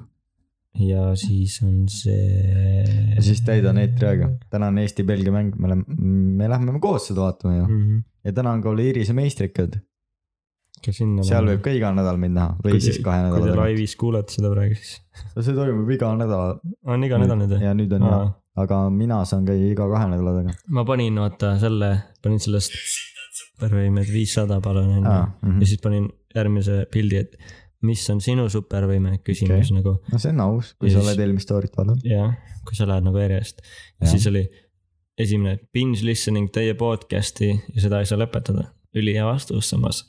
S1: ja siis on see .
S2: ja siis täidan eetri aega . täna on Eesti-Belgia mäng , me oleme , me lähme koos seda vaatama ju .
S1: -hmm.
S2: ja täna on ka Oliirise meistrikad .
S1: ka sinna .
S2: seal võib ka iga nädal meid näha või siis kahe nädala
S1: kui te
S2: tagant .
S1: laivis kuulete seda praegu , siis
S2: see toimub iga nädal
S1: on iga nädal nüüd või ?
S2: ja nüüd on jah , aga mina saan käia iga kahe nädala tagant .
S1: ma panin , vaata selle , panin sellest supervõimed viissada palun onju
S2: Aa, mhm.
S1: ja siis panin järgmise pildi , et mis on sinu supervõime küsimus okay.
S2: Okei.
S1: nagu
S2: no see on aus , kui
S1: Ja
S2: sa
S1: siis-
S2: oled eelmist story't vaadanud .
S1: jah , kui sa lähed nagu järjest .
S2: Jah.
S1: siis oli esimene binge listening teie podcast'i ja seda ei saa lõpetada , ülihea vastus samas ,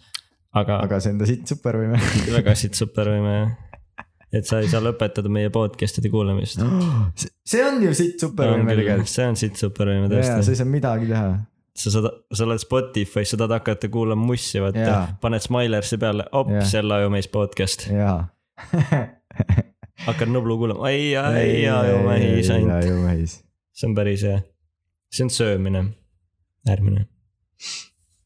S1: aga
S2: aga see on ta siit supervõime .
S1: väga siit supervõime jah , et sa ei saa lõpetada meie podcast'ide kuulamist .
S2: see on ju siit supervõime tegelikult .
S1: see on siit supervõime
S2: jaa , sa
S1: tõesti
S2: ei . saa midagi teha .
S1: sa saad , sa oled Spotify's , sa tahad hakata kuulama mussi , vaata
S2: Jaa. ,
S1: paned Smilers'i peale , op
S2: Jaa. ,
S1: sel ajumees podcast ,
S2: jaa .
S1: hakkad Nublu kuulama , ai , ai , ajumees
S2: jaa ,
S1: ainult ,
S2: jõumähis .
S1: see on päris hea . see on söömine , järgmine ,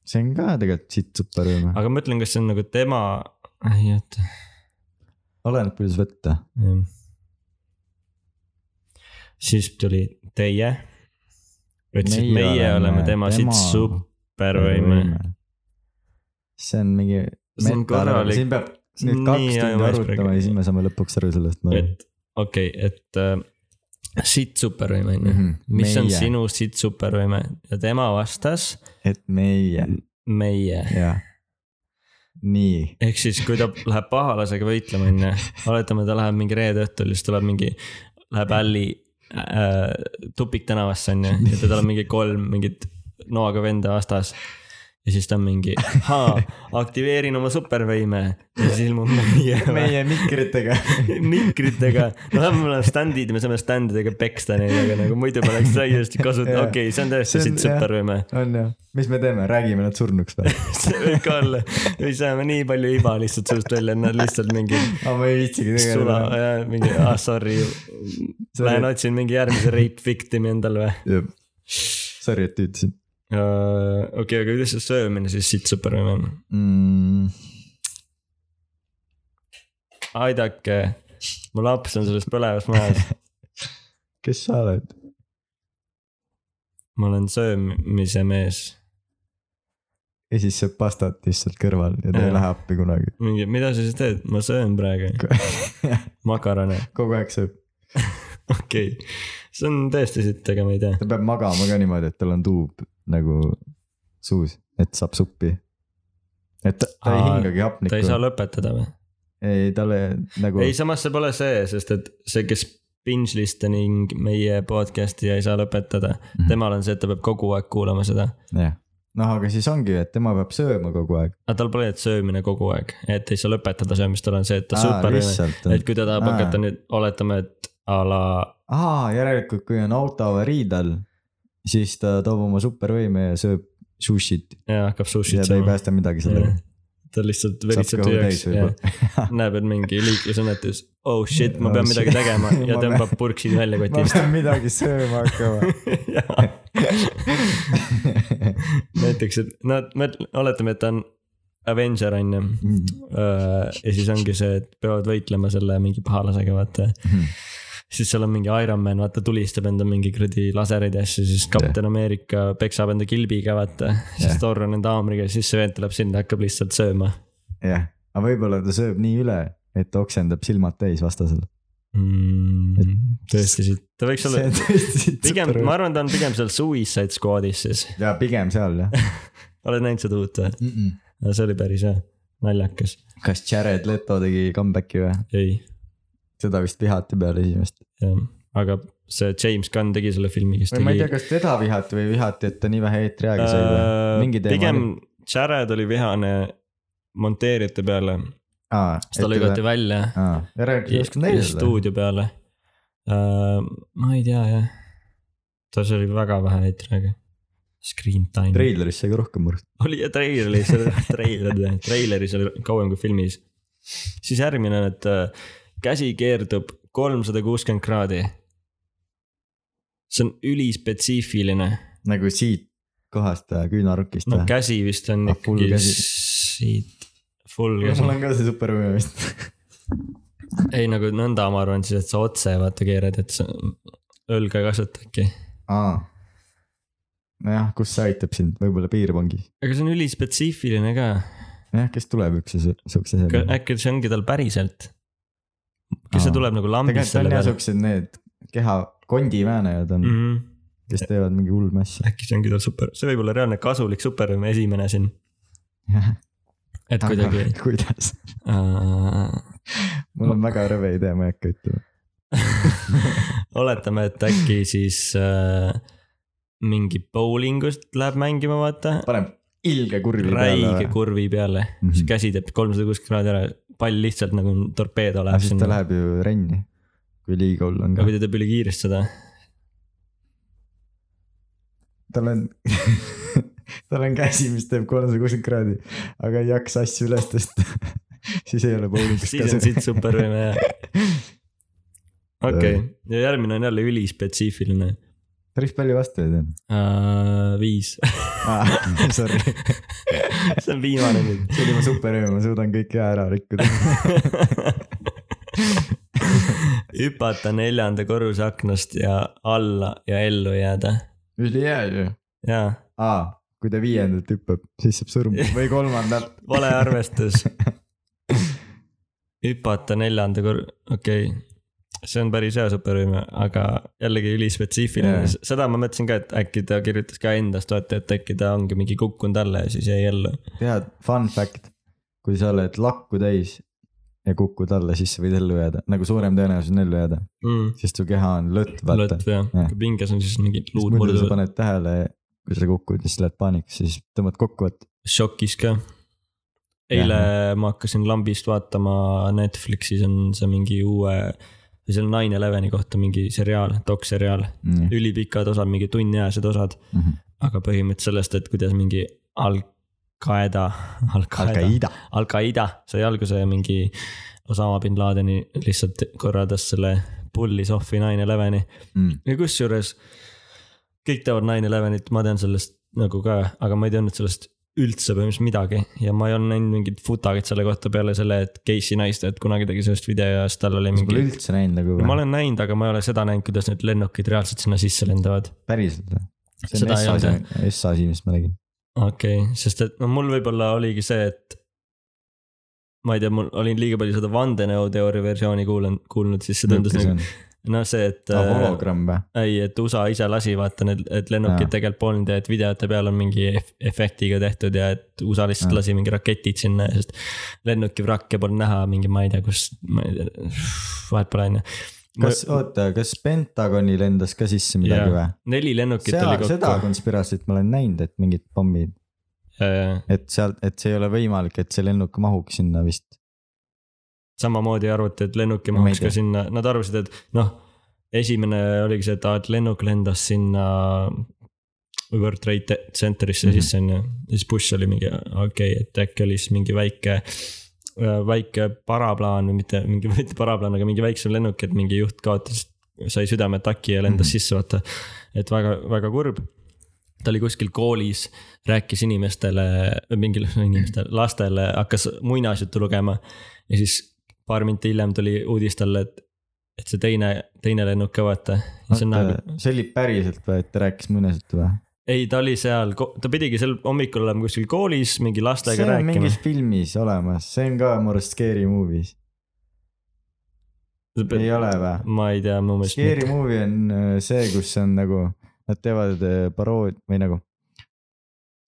S2: see on ka tegelikult siit supervõime .
S1: aga ma ütlen , kas see on nagu tema , ei oota ,
S2: oleneb , kuidas võtta .
S1: jah . siis tuli teie , ütlesid , meie oleme tema siit supervõime ,
S2: see on mingi .
S1: See on korralik-
S2: siin peab nüüd
S1: Nii
S2: kaks tundi
S1: ajumees
S2: arutama
S1: praegu.
S2: ja siis me saame lõpuks aru sellest .
S1: et okei okay, , et äh, siit supervõime on ju .
S2: Mhm.
S1: mis meie. on ? sinu siit supervõime ja tema vastas
S2: et meie ,
S1: meie .
S2: jah . nii
S1: ehk siis , kui ta läheb pahalasega võitlema , onju , oletame , ta läheb mingi reede õhtul , siis tuleb mingi , läheb Alli äh, tupiktänavasse , onju , ja teda on mingi kolm mingit noaga venda vastas . ja siis ta on mingi , ahaa , aktiveerin oma supervõime ja siis ilmub meie,
S2: meie mikritega .
S1: mikritega , no vähemalt meil on stand'id , me saame stand'idega peksta neid , aga nagu muidu poleks täiesti kasutu ,
S2: Jaa.
S1: okei okay, , see on
S2: See
S1: tõesti
S2: on-
S1: siit
S2: jah.
S1: supervõime .
S2: on ju , mis me teeme , räägime nad surnuks või ?
S1: see võib ka olla , me saame nii palju iba lihtsalt sellest välja , et nad lihtsalt mingi
S2: aga ma ei viitsigi
S1: sula
S2: tegeleda .
S1: ja mingi ah sorry , lähen otsin mingi järgmise rape victim'i endale või .
S2: Sorry , et ütlesin
S1: Äh, okei , aga kuidas see söömine siis siit supervõime on ?
S2: mm, .
S1: aidake , mu laps on selles põlevas majas ,
S2: kes sa oled ?
S1: ma olen söömise mees .
S2: ja siis sööb pastat lihtsalt kõrval ja ta
S1: Jaa.
S2: ei lähe appi kunagi .
S1: mingi , mida sa siis teed , ma söön praegu makarone ,
S2: kogu aeg sööb ,
S1: okei okay. . see on tõesti siit , aga ma ei tea ,
S2: ta peab magama ka niimoodi , et tal on tuub nagu suus , et saab suppi . et ta, ta ei
S1: Aa,
S2: hingagi
S1: ta ei saa
S2: hapnikku .
S1: lõpetada või ?
S2: ei , talle nagu
S1: ei , samas see pole see , sest et see , kes binge listening meie podcast'i ei saa lõpetada mm ,
S2: Mhm.
S1: -hmm. temal on see , et ta peab kogu aeg kuulama seda .
S2: jah , noh , aga siis ongi , et tema peab sööma kogu aeg .
S1: aga tal pole , et söömine kogu aeg , et ei saa lõpetada söömist , tal on see , et ta super , et kui ta tahab
S2: Aa.
S1: hakata nüüd , oletame , et a la ,
S2: aa , järelikult , kui on autoavarii tal , siis ta toob oma supervõime ja sööb sushit
S1: hakkab
S2: ja
S1: sushit
S2: ta ei
S1: sööma .
S2: päästa midagi sellega .
S1: ta lihtsalt
S2: saab
S1: veritseb
S2: kõhu täis
S1: tühjaks ja
S2: võib-olla .
S1: näeb , et mingi liiklusõnnetus , oh shit , ma
S2: Oh
S1: pean midagi
S2: shit.
S1: tegema ja
S2: Ma
S1: tõmbab
S2: pean-
S1: purksid välja
S2: ma
S1: kotist .
S2: pean midagi sööma hakkama .
S1: näiteks , et no mõtle , oletame , et ta on Avenger on ju .
S2: mm. .
S1: Äh, ja siis ongi see , et peavad võitlema selle mingi pahalasega , vaata .
S2: Mhm.
S1: siis seal on mingi Iron Man , vaata tulistab enda mingi kuradi lasereid ja asju , siis kapten Ameerika peksab enda kilbiga , vaata . siis
S2: Jah.
S1: Thor on enda haamriga ja siis see vend tuleb sinna , hakkab lihtsalt sööma
S2: jah , aga võib-olla ta sööb nii üle , et oksendab silmad täis vastasel .
S1: mm, . tõesti siit , ta võiks olla
S2: see , on tõesti siit
S1: pigem ,
S2: super
S1: ma . arvan , ta on pigem seal Suicide Squadis siis .
S2: ja pigem seal jah
S1: oled näinud seda uut või ?
S2: mm . -mm.
S1: see oli päris hea , naljakas .
S2: kas Jared Leto tegi comeback'i või ?
S1: ei ,
S2: seda vist vihati peale esimest .
S1: jah , aga see James Gunn tegi selle filmi , kes
S2: või ma ei tea ,
S1: tegi .
S2: kas teda vihati või vihati , et ta nii vähe eetriaega sai või ? mingi teema
S1: Äh, pigem
S2: oli.
S1: Jared oli vihane monteerijate peale ,
S2: aa ,
S1: siis ta lõigati välja
S2: aa , järelikult ei osanud
S1: ja
S2: näidata seda .
S1: stuudio peale uh, . ma ei tea jah , ta see oli väga vähe eetriga . Screen time .
S2: treileris sai ka rohkem murd .
S1: oli ja treileris , treiler , treileris oli kauem kui filmis . siis järgmine on , et äh, käsi keerdub kolmsada kuuskümmend kraadi . see on ülispetsiifiline ,
S2: nagu siit kohast äh, küünarukist
S1: no
S2: või ?
S1: käsi vist on
S2: Ah, full
S1: ikkagi
S2: käsi.
S1: siit , full
S2: mul
S1: käsi ,
S2: on ka see supervõime vist .
S1: ei nagu nõnda , ma arvan siis , et sa otse vaata keerad , et sa õlg ei kasvata äkki .
S2: aa . nojah , kus see aitab sind , võib-olla piirpangis .
S1: aga see on ülispetsiifiline ka,
S2: jah , kes tuleb üks siukse
S1: ka ,
S2: asjaga ?
S1: äkki see ongi tal päriselt . kas see
S2: Aa.
S1: tuleb nagu lambist
S2: tegelikult
S1: selle
S2: on jah
S1: peale ?
S2: siuksed need keha , kondiväänajad on ,
S1: Mm -hmm.
S2: kes teevad mingi ulme asju .
S1: äkki see ongi tal super , see võib olla reaalne kasulik superhõime esimene siin , et kuidagi äh, .
S2: kuidas ? mul on väga rõve idee , ma ei hakka ütlema .
S1: oletame , et äkki siis äh, mingi bowlingust läheb mängima , vaata .
S2: paneb ilge kurvi
S1: räige
S2: peale .
S1: kurvi peale mm ,
S2: Mhm.
S1: -hmm. käsi teeb kolmsada kuuskümmend kraadi ära , pall lihtsalt nagu torpeedo
S2: aga
S1: läheb
S2: siis ta
S1: sinna .
S2: läheb ju renni , kui liiga hull on
S1: aga
S2: ka .
S1: kui ta teeb üle kiiresti seda ,
S2: tal on , tal on käsi , mis teeb kolmsada kuuskümmend kraadi , aga ei jaksa asju üles tõsta . siis ei ole bowlingus
S1: siis on siit supervõime ja okei okay. , ja järgmine on jälle ülispetsiifiline
S2: päris palju vastajaid on
S1: uh, . viis ,
S2: ah, . Sorry ,
S1: see on viimane nüüd .
S2: see oli mu superhüve , ma suudan kõik hea ära rikkuda .
S1: hüpata neljanda korruse aknast ja alla ja ellu jääda .
S2: ülihea ju .
S1: jaa ,
S2: aa , kui ta viiendat hüppab , siis saab surma või kolmandat .
S1: vale arvestus . hüpata neljanda kor- , okei okay. , see on päris hea supervõime , aga jällegi ülispetsiifiline
S2: Jaa.
S1: yeah. , seda ma mõtlesin ka , et äkki ta kirjutas ka endast , vaata , et äkki ta ongi mingi kukkunud alla ja siis jäi ellu .
S2: tead , fun fact , kui sa oled lakku täis ja kukud alla , siis sa võid ellu jääda , nagu suurem tõenäosus on ellu jääda , sest su keha on lõtt , vaata .
S1: lõtv jah ,
S2: Jah.
S1: Mm. kui pinges on siis mingi luud
S2: muidu sa
S1: murduvad ,
S2: paned tähele , kui sa kukud ja siis lähed paanikasse , siis tõmbad kokku , et
S1: šokis ka . eile ma hakkasin lambist vaatama Netflixis on see mingi uue , või see on Nine Eleveni kohta mingi seriaal , dokseriaal .
S2: mm,
S1: ülipikad osad , mingi tunniajased osad ,
S2: Mhm.
S1: aga põhimõtteliselt sellest , et kuidas mingi Al-Qaeda , Al-Qaeda ,
S2: Al-Qaeda .
S1: Al-Qaeda sai alguse mingi Osama bin Ladeni lihtsalt korraldas selle pullis off'i Nine Eleveni
S2: Mm.
S1: ja kusjuures kõik teavad Nine Elevenit , ma tean sellest nagu ka , aga ma ei teadnud sellest üldse põhimõtteliselt midagi ja ma ei olnud näinud mingit footage'it selle kohta peale selle , et Casey Neistat kunagi tegi sellest video ja siis tal oli
S2: kas pole
S1: mingi .
S2: üldse näinud nagu
S1: ma
S2: või ?
S1: olen näinud , aga ma ei ole seda näinud , kuidas need lennukid reaalselt sinna sisse lendavad .
S2: päriselt või ? see on
S1: Seda ei
S2: S asi , S asi , mis ma nägin .
S1: okei okay, , sest et no mul võib-olla oligi see , et ma ei tea , mul olin liiga palju seda vandenõuteooria versiooni kuulanud , kuulnud , siis see tundus nagu , noh see , et .
S2: Ah, hologramm või ?
S1: ei , et USA ise lasi vaata need , et lennukid
S2: Jaa.
S1: tegelikult polnud ja et videote peal on mingi ef- efektiga tehtud ja et USA lihtsalt
S2: Jaa.
S1: lasi mingi raketid sinna , sest lennuki vrakke polnud näha , mingi ma ei tea , kus , ma ei tea , vahet pole on ju .
S2: kas , oota , kas Pentagoni lendas ka sisse midagi
S1: Jaa,
S2: või ?
S1: neli lennukit
S2: seal
S1: oli ,
S2: seda
S1: kokku .
S2: konspiratsioonit ma olen näinud , et mingid pommid , et sealt , et see ei ole võimalik , et see lennuk mahuks sinna vist .
S1: samamoodi arvati , et lennuki
S2: Ma ei
S1: mahuks
S2: tea.
S1: ka sinna , nad arvasid , et noh , esimene oligi see , et aa , et lennuk lendas sinna World Trade Centerisse mm
S2: Mhm.
S1: -hmm. sisse on ju . ja siis Bush oli mingi , okei okay, , et äkki oli siis mingi väike , väike paraplaan või mitte , mingi , mitte paraplaan , aga mingi väiksem lennuk , et mingi juht kaotas , sai südameataki ja lendas mm -hmm.
S2: Mhm.
S1: sisse , vaata . et väga , väga kurb . ta oli kuskil koolis , rääkis inimestele , mingile inimestele , lastele , hakkas muinasjuttu lugema . ja siis paar minti hiljem tuli uudis talle , et , et see teine , teine lennuke , vaata . see on nagu ,
S2: see oli päriselt või , et ta rääkis mõnesid või ?
S1: ei , ta oli seal , ta pidigi sel hommikul olema kuskil koolis mingi
S2: see
S1: lastega
S2: on
S1: rääkima
S2: mingis . filmis olemas , see on ka mu arust Scary Movie's , ei ole või ?
S1: ma ei tea , mu meelest
S2: Scary
S1: mitte.
S2: movie on äh, see , kus on nagu , nad teevad äh, parood või nagu .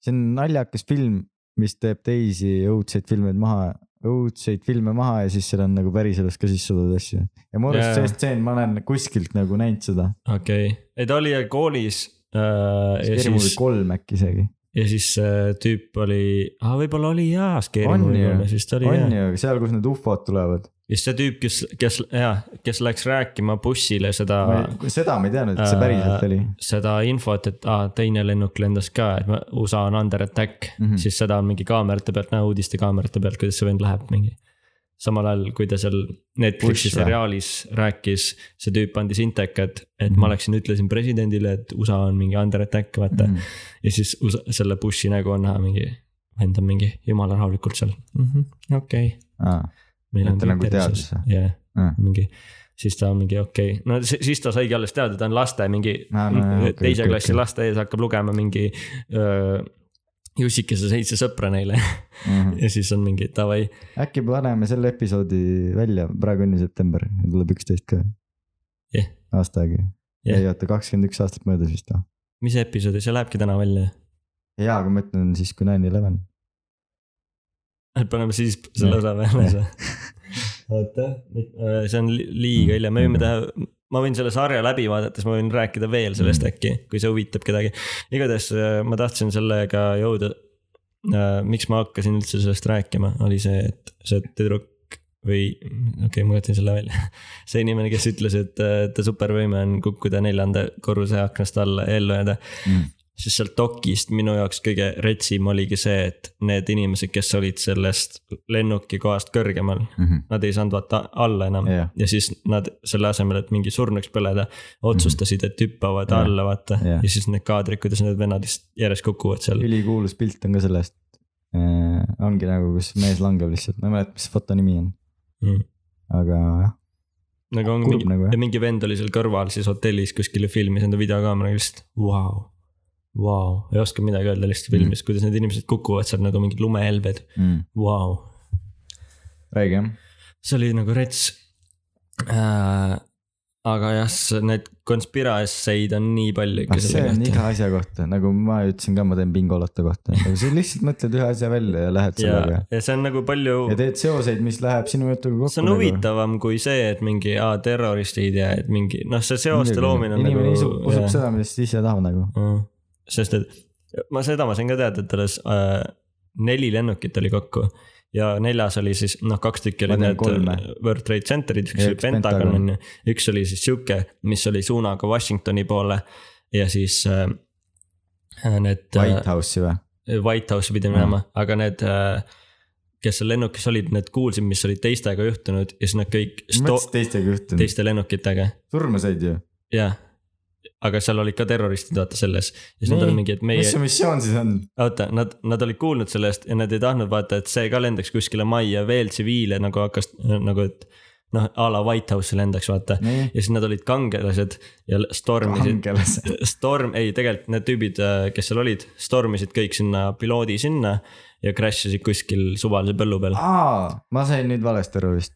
S2: see on naljakas film , mis teeb teisi õudseid filmeid maha , õudseid filme maha ja siis seal on nagu päriselus ka sisse toodud asju . ja mu arust
S1: Jaa.
S2: see stseen , ma olen kuskilt nagu näinud seda .
S1: okei okay. , ei ta oli koolis äh, . ja
S2: Scary
S1: siis
S2: movie , kolm äkki isegi .
S1: ja siis see tüüp oli , aa võib-olla oli jaa , Scary
S2: On ju,
S1: Movie , siis ta oli jaa
S2: on . ju , seal , kus need ufod tulevad .
S1: ja siis see tüüp , kes , kes ja kes läks rääkima bussile seda ,
S2: seda ma ei teadnud , et see
S1: Äh,
S2: päriselt oli .
S1: seda infot , et aa , teine lennuk lendas ka , et ma- USA on under attack mm ,
S2: Mhm.
S1: -hmm. siis seda on mingi kaamerate pealt , näe uudistekaamerate pealt , kuidas see vend läheb mingi . samal ajal , kui ta seal Netflixi
S2: Bush või?
S1: seriaalis rääkis , see tüüp andis intekad , et
S2: Mhm.
S1: ma läksin , ütlesin presidendile , et USA on mingi under attack , vaata mm .
S2: Mm.
S1: -hmm. ja siis USA, selle Bushi nägu on näha mingi , vend on mingi jumala rahulikult seal mm
S2: Mhm.
S1: -hmm. , okei okay. .
S2: Ah,
S1: meil
S2: Et
S1: on
S2: ta
S1: kõik
S2: nagu
S1: tervises.
S2: teadis,
S1: jah
S2: Ah. ,
S1: mingi , siis ta on mingi okei okay. , no si- siis ta saigi alles teada , ta on laste mingi
S2: Aa, no jaa, okei,
S1: teise
S2: okei,
S1: klassi
S2: okei.
S1: laste ees hakkab lugema mingi öö, Jussikese seitse sõpra neile
S2: mhm.
S1: ja siis on mingi davai ,
S2: äkki paneme selle episoodi välja , praegu on ju september ja tuleb üksteist ka
S1: Jah. .
S2: aasta aega .
S1: Jah.
S2: ei oota , kakskümmend üks aastat möödas vist või ?
S1: mis episoodi , see lähebki täna välja .
S2: jaa , aga ma ütlen siis , kui nine eleven .
S1: paneme siis selle osa peale . oota , see on li-
S2: Mm,
S1: liiga hilja , me võime teha , ma võin selle sarja läbi vaadates , ma võin rääkida veel sellest äkki , kui see huvitab kedagi . igatahes äh, ma tahtsin sellega jõuda . miks ma hakkasin üldse sellest rääkima , oli see , et see tüdruk või okei okay, , ma jätan selle välja . see inimene , kes ütles , et äh, ta supervõime on kukkuda neljanda korruse aknast alla ja ellu jääda siis sealt dokist minu jaoks kõige retsim oligi see , et need inimesed , kes olid sellest lennuki kohast kõrgemal , nad ei saanud vaata alla enam
S2: Jah.
S1: ja siis nad selle asemel , et mingi surnuks põleda , otsustasid , et hüppavad
S2: Jah.
S1: alla , vaata
S2: Jah.
S1: ja siis need kaadrid , kuidas need vennad lihtsalt järjest kukuvad seal .
S2: ülikuulus pilt on ka sellest . ongi nagu , kus mees langeb lihtsalt , ma ei mäleta , mis foto nimi on ,
S1: Mm.
S2: aga jah .
S1: nagu on
S2: Kurb
S1: mingi
S2: nagu, jah.
S1: ja mingi vend oli seal kõrval siis hotellis kuskil ja filmis enda videokaameraga lihtsalt , vau . Vau , ei oska midagi öelda lihtsalt
S2: Mm.
S1: filmis , kuidas need inimesed kukuvad seal nagu mingid lumehelbed , vau
S2: räägi jah .
S1: see oli nagu rets äh, . aga jah , neid konspiraesseid on nii palju ikka
S2: Ah, see on iga . asja kohta , nagu ma ütlesin ka , ma teen bingoloto kohta , sa lihtsalt mõtled ühe asja välja ja lähed
S1: ja ,
S2: sellega .
S1: ja see on nagu palju ,
S2: ja teed seoseid , mis läheb sinu jutuga kokku . nagu.
S1: see on huvitavam kui see , et mingi aa, terroristid ja et mingi noh , see seoste
S2: Muidugi.
S1: loomine on
S2: inimene
S1: nagu .
S2: isub , usub seda , millest ta ise tahab nagu .
S1: seda . sest et ma seda ma sain ka teada , et alles äh, neli lennukit oli kokku ja neljas oli siis noh , kaks tükki
S2: Ma
S1: olid
S2: tean
S1: need
S2: kolme.
S1: World Trade Centerid , üks
S2: Ja
S1: oli
S2: üks
S1: Pentagon
S2: Pentagon.
S1: on ju , üks oli siis sihuke , mis oli suunaga Washingtoni poole ja siis äh, need äh,
S2: White Mm. House'i või ?
S1: White House'i pidi minema , aga need äh, kes seal lennukis olid , need kuulsid , mis oli teistega juhtunud ja siis nad kõik
S2: mis
S1: sto-
S2: mõttes teistega juhtunud ?
S1: teiste lennukitega
S2: surma said ju .
S1: jah , aga seal olid ka terroristid , vaata selles . ja siis nad
S2: Nii.
S1: olid mingi , et meie
S2: mis , su missioon siis on ?
S1: oota , nad , nad olid kuulnud sellest ja nad ei tahtnud vaata , et see ka lendaks kuskile majja , veel tsiviile nagu hakkas nagu , et noh , a la White House'i lendaks , vaata .
S2: nii ,
S1: ja siis nad olid kangelased ja stormisid ,
S2: kangelased .
S1: storm , ei tegelikult need tüübid , kes seal olid , stormisid kõik sinna piloodi sinna ja crash isid kuskil suvalise põllu
S2: Ah,
S1: peal .
S2: aa , ma sain nüüd valesti aru vist .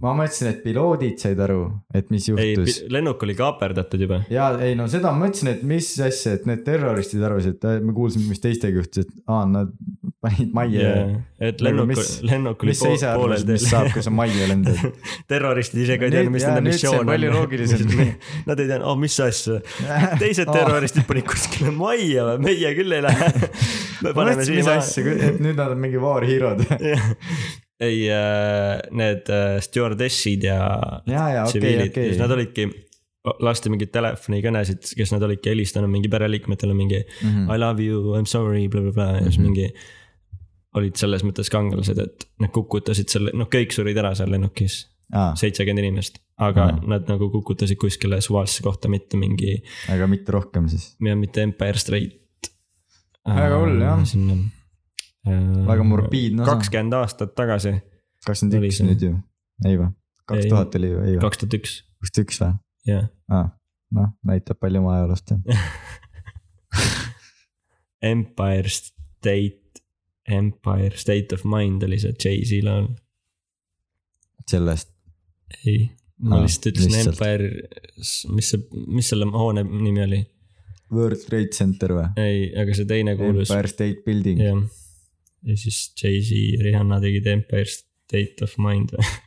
S2: ma mõtlesin , et piloodid said aru , et mis
S1: ei ,
S2: juhtus .
S1: lennuk oli kaaperdatud juba .
S2: ja ei no seda ma mõtlesin , et mis asja , et need terroristid arvasid , me kuulsime , mis teistega juhtus , et aa , nad panid majja yeah. .
S1: et
S2: Nagu
S1: lennuk
S2: mis- ,
S1: lennuk oli
S2: mis sa ise
S1: pool- poolel
S2: arvasid , mis saab , kui sa majja lendad ?
S1: terroristid ise ka ei
S2: Nüüd-
S1: teadnud , mis
S2: jaa,
S1: nende
S2: nüüd see on
S1: missioon on .
S2: palju loogilisem. .
S1: Nad ei teadnud , oh mis asja , teised terroristid panid kuskile majja või , meie küll ei lähe . me
S2: ma
S1: paneme siia
S2: mõtlesin , mis
S1: maha .
S2: asja , et nüüd nad on mingi war hero'd .
S1: ei , need äh, stjuardessid ja
S2: ja , ja okei ,
S1: tsiviilid ,
S2: okei .
S1: nad olidki , lasti mingeid telefonikõnesid , kes nad olidki helistanud mingi pereliikmetele mingi I love you , I m sorry , blablabla ja siis
S2: Mhm.
S1: mingi . olid selles mõttes kangelased , et nad kukutasid selle , noh kõik surid ära seal lennukis
S2: aa ,
S1: seitsekümmend inimest , aga
S2: Aa.
S1: nad nagu kukutasid kuskile suvalisse kohta , mitte mingi ,
S2: aga mitte rohkem siis .
S1: mitte Empire State .
S2: Väga hull, jah.
S1: sinna .
S2: väga
S1: Mm,
S2: morbiidne osa .
S1: kakskümmend aastat tagasi ,
S2: kakskümmend
S1: oli
S2: üks
S1: see.
S2: nüüd ju , ei vä ? kaks
S1: Ei.
S2: tuhat oli ju , ei vä ?
S1: kaks tuhat üks ,
S2: kakskümmend üks vä ?
S1: jah .
S2: noh , näitab palju ma ajaloost tean .
S1: Empire State , Empire State of Mind oli see Jay-Z laul .
S2: sellest ,
S1: ei , ma
S2: Aa,
S1: lihtsalt ütlesin
S2: Noh, lihtsalt.
S1: Empire , mis see , mis selle hoone nimi oli ?
S2: World Trade Center vä ?
S1: ei , aga see teine kuulus ,
S2: Empire State Building .
S1: jah . ja siis Jay-Z ja Rihanna tegid Empire State of Mind või ?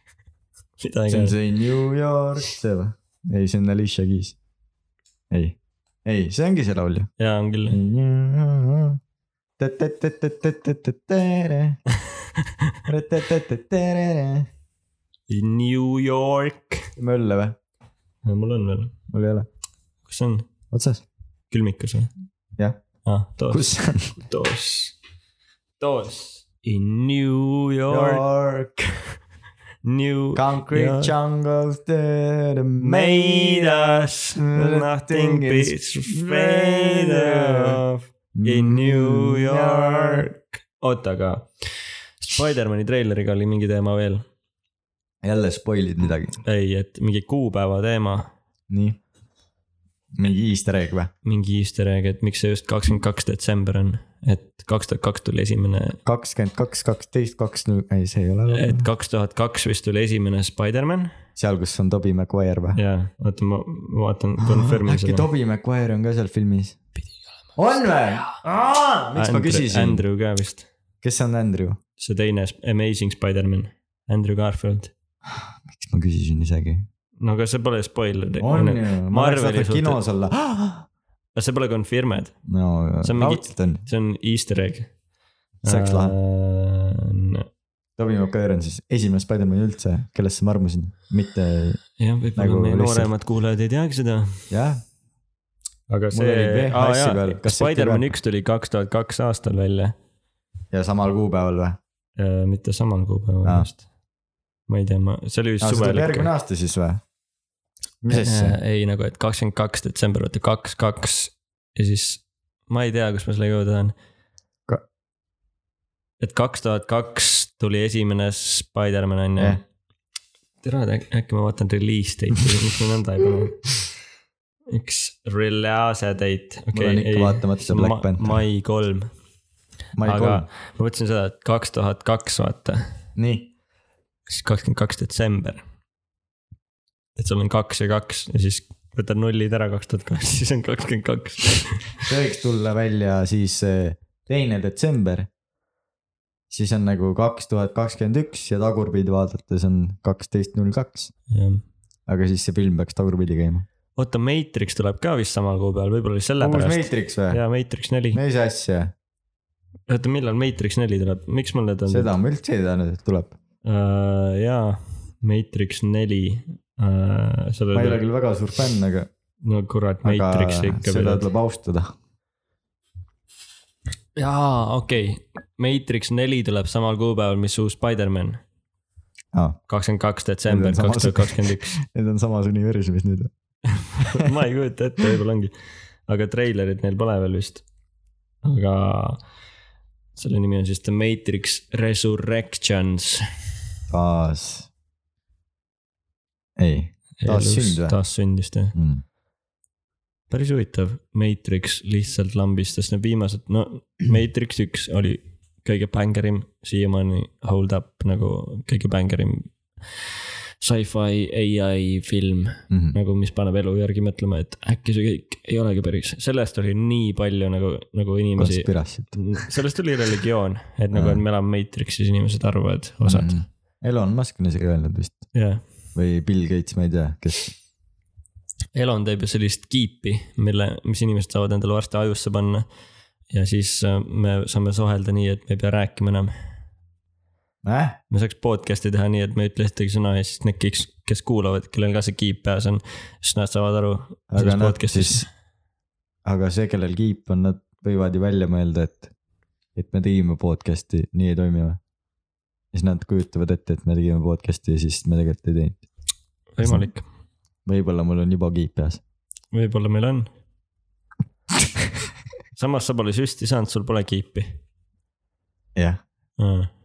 S1: mida
S2: see on
S1: iganes ,
S2: see New York , see vä ? ei , see on Alicia Keys . ei , ei , see ongi see laul ju .
S1: jaa on küll . New York ,
S2: mölle vä ?
S1: mul on veel ,
S2: mul ei ole .
S1: kus see on ,
S2: otsas ?
S1: külmikus või ?
S2: Jah.
S1: ah, . toos ,
S2: kus see on ?
S1: toos , toos . In New York ,
S2: York ,
S1: New
S2: concrete
S1: York.
S2: jungles that are
S1: made
S2: made of
S1: us nothing is made of in New York . oota , aga Spider-man'i treileriga oli mingi teema veel ,
S2: jälle spoilid midagi .
S1: ei , et mingi kuupäeva teema ,
S2: nii . mingi easter egg vä ?
S1: mingi easter egg , et miks see just kakskümmend kaks detsember on , et kaks tuhat kaks tuli esimene ,
S2: kakskümmend kaks , kaksteist , kaks , null , ei , see ei ole .
S1: et kaks tuhat kaks vist tuli esimene Spider-man
S2: seal , kus on Toby Maguire vä ?
S1: ja oota , ma vaatan , confirm'i
S2: äkki
S1: seda .
S2: Toby Maguire on ka seal filmis ? on või ? miks ma küsisin ?
S1: Andrew ka vist ,
S2: kes on Andrew ?
S1: see teine Sp- Amazing Spider-man , Andrew Garfield
S2: miks ma küsisin isegi ?
S1: no aga see pole spoiler .
S2: on
S1: aga
S2: ju , ma oleks
S1: Marveli
S2: tahtnud
S1: suhtes-
S2: kinos olla .
S1: see pole confirmed ,
S2: no
S1: See on mingi-
S2: raudselt on ,
S1: see on easter egg . Äh,
S2: see oleks lahe .
S1: lahe .
S2: Toby Maguire on siis esimene Spider-man üldse , kellesse ma armusin , mitte
S1: jah , võib-olla
S2: Nagu
S1: nagu meie
S2: lihtsalt-
S1: nooremad kuulajad ei teagi seda .
S2: jah ,
S1: aga
S2: Mul oli
S1: see ,
S2: VHS-i
S1: aa jaa
S2: peal , kasseti
S1: Spider-man
S2: peal.
S1: üks tuli kaks tuhat kaks aastal välja ,
S2: ja samal kuupäeval või ?
S1: Äh, mitte samal kuupäeval
S2: Aa.
S1: vist . ma ei tea , ma , see oli vist
S2: see
S1: suvel
S2: tuleb järgmine
S1: ikka .
S2: aasta siis või ? mis asja ?
S1: ei nagu , et kakskümmend kaks detsember , vaata kaks , kaks ja siis ma ei tea , kus ma sellega jõuda tahan
S2: Ka- .
S1: et kaks tuhat kaks tuli esimene Spider-man on ju
S2: Jah.
S1: tere , äkki ma vaatan release date'i , miks ma nõnda ei pane . üks release date , okei .
S2: on ikka vaatamata see Black Panther.
S1: mai kolm ,
S2: ma ei
S1: aga
S2: kuulnud ,
S1: ma mõtlesin seda , et kaks tuhat kaks , vaata ,
S2: nii ,
S1: siis kakskümmend kaks detsember . et sul on kaks ja kaks ja siis võtad nullid ära kaks tuhat kaks , siis on kakskümmend kaks .
S2: see võiks tulla välja siis eh, teine detsember . siis on nagu kaks tuhat kakskümmend üks ja tagurpidi vaadates on kaksteist null kaks , aga siis see film peaks tagurpidi käima .
S1: oota , Matrix tuleb ka vist samal kuupäeval , võib-olla oli
S2: uus
S1: sellepärast .
S2: Matrix või ?
S1: jaa , Matrix neli ,
S2: mis asja ,
S1: oota millal Matrix neli tuleb , miks mulle ta .
S2: seda ma üldse ei teadnud , et tuleb .
S1: uh, . jaa , Matrix neli uh, .
S2: ma ei ole
S1: sellele ,
S2: küll väga suur fänn , aga ,
S1: no kurat ,
S2: aga
S1: Matrixi ikka
S2: seda
S1: pead .
S2: tuleb austada .
S1: jaa , okei okay. , Matrix neli tuleb samal kuupäeval , mis uus Spider-man ,
S2: Need
S1: kakskümmend kaks detsember
S2: Need on
S1: kaks
S2: samas-
S1: tuhat kakskümmend üks .
S2: on samas universumis nüüd .
S1: ma ei kujuta ette , võib-olla ongi , aga treilerit neil pole veel vist . aga selle nimi on siis The Matrix Resurrections .
S2: taas . ei Taassünd või?
S1: taassündist jah .
S2: mm. ,
S1: päris huvitav , Matrix lihtsalt lambistas need viimased , no Matrix üks oli kõige bängerim , siiamaani hold up nagu kõige bängerim sci-fi ai film ,
S2: Mm -hmm.
S1: nagu mis paneb elu järgi mõtlema , et äkki see kõik ei olegi päris , sellest oli nii palju nagu , nagu inimesi ,
S2: konspiratsioon .
S1: sellest oli religioon , et nagu ,
S2: Jaa.
S1: et me elame Matrixis , inimesed arvavad , osad ,
S2: mm. . Elon Musk on isegi öelnud vist
S1: jah .
S2: või Bill Gates , ma ei tea , kes
S1: Elon teeb ju sellist kiipi , mille , mis inimesed saavad endale varsti ajusse panna . ja siis äh, me saame suhelda nii , et me ei pea rääkima enam .
S2: äh? .
S1: me saaks podcast'i teha nii , et me ei ütle ühtegi sõna ja siis need , kes , kes kuulavad , kellel ka see kiip peas on , siis nad saavad aru .
S2: aga nad siis , aga see , kellel kiip on , nad võivad ju välja mõelda , et , et me tegime podcast'i , nii ei toimi või ? siis nad kujutavad ette , et me tegime podcast'i ja siis me tegelikult ei teinud .
S1: võimalik ,
S2: võib-olla mul on juba kiip peas .
S1: võib-olla meil on . samas sa pole süsti saanud , sul pole kiipi .
S2: jah ,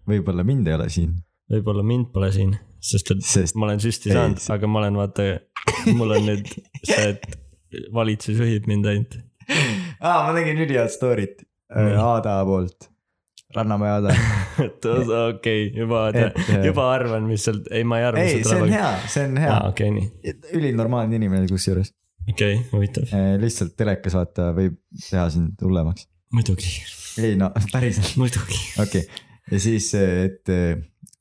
S2: võib-olla mind ei ole siin ,
S1: võib-olla mind pole siin , sest et
S2: sest
S1: ma olen süsti
S2: Ei,
S1: saanud ,
S2: see-
S1: aga ma olen vaata , mul on nüüd see , et valitsus juhib mind ainult .
S2: aa , ma nägin ülihead story't
S1: Nii.
S2: äh, Aada poolt , Rannamäe Aada .
S1: et osa- okei , juba ,
S2: Et, äh,
S1: juba arvan , mis sealt , ei , ma ei arva .
S2: ei , see on hea , see on hea ,
S1: okei , nii ,
S2: ülinormaalne inimene kusjuures ,
S1: okei , huvitav ,
S2: lihtsalt telekas vaata võib teha sind hullemaks .
S1: muidugi ,
S2: ei no päriselt ,
S1: muidugi .
S2: okei okay. , ja siis , et äh,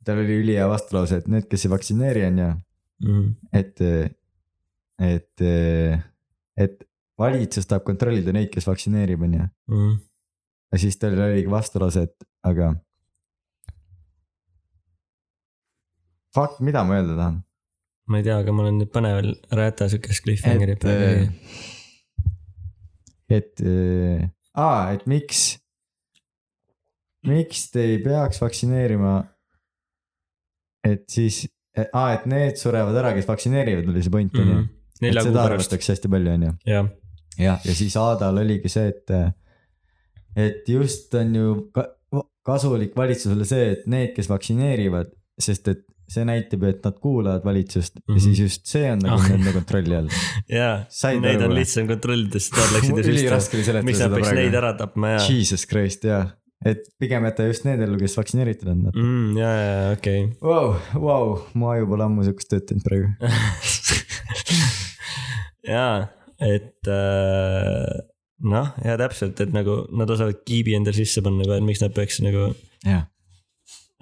S2: tal oli ülihea vastulause , et need , kes ei vaktsineeri , on ju , Mm, et , et , et valitsus tahab kontrollida neid , kes vaktsineerib , on ju ja siis tal oli vastulause , et aga . Fuck , mida ma öelda tahan ?
S1: ma ei tea , aga ma olen nüüd põneval rääta siukest cliffhangeri
S2: et , äh,
S1: peal .
S2: et , aa , et miks , miks te ei peaks vaktsineerima ? et siis , aa , et need surevad ära , kes vaktsineerivad , oli see point on ju .
S1: Mhm. Mm. nelja
S2: et
S1: kuu
S2: seda
S1: pärast ,
S2: arvatakse hästi palju , on ju .
S1: jah ,
S2: jah , ja siis Aadal oligi see , et , et just on ju ka, kasulik valitsusele see , et need , kes vaktsineerivad , sest et see näitab , et nad kuulavad valitsust mm -hmm.
S1: Mhm.
S2: ja siis just see on nagu
S1: Ah.
S2: nende kontrolli all .
S1: jaa
S2: Said ,
S1: neid
S2: aru
S1: on
S2: või?
S1: lihtsam kontrollida , sest nad läksid ju süsti .
S2: üliraske oli seletada
S1: miks nad
S2: seda
S1: peaks neid
S2: praegu .
S1: ära tapma ja ,
S2: Jesus Christ , jah , et pigem jäta just need ellu , kes vaktsineeritud on .
S1: ja , ja , okei .
S2: Vau , vau , mu aju pole ammu sihukest tööd teinud praegu .
S1: jaa , et äh, noh , ja täpselt , et nagu nad osavad kiibi endale sisse panna ka , et miks nad peaks nagu
S2: jah ,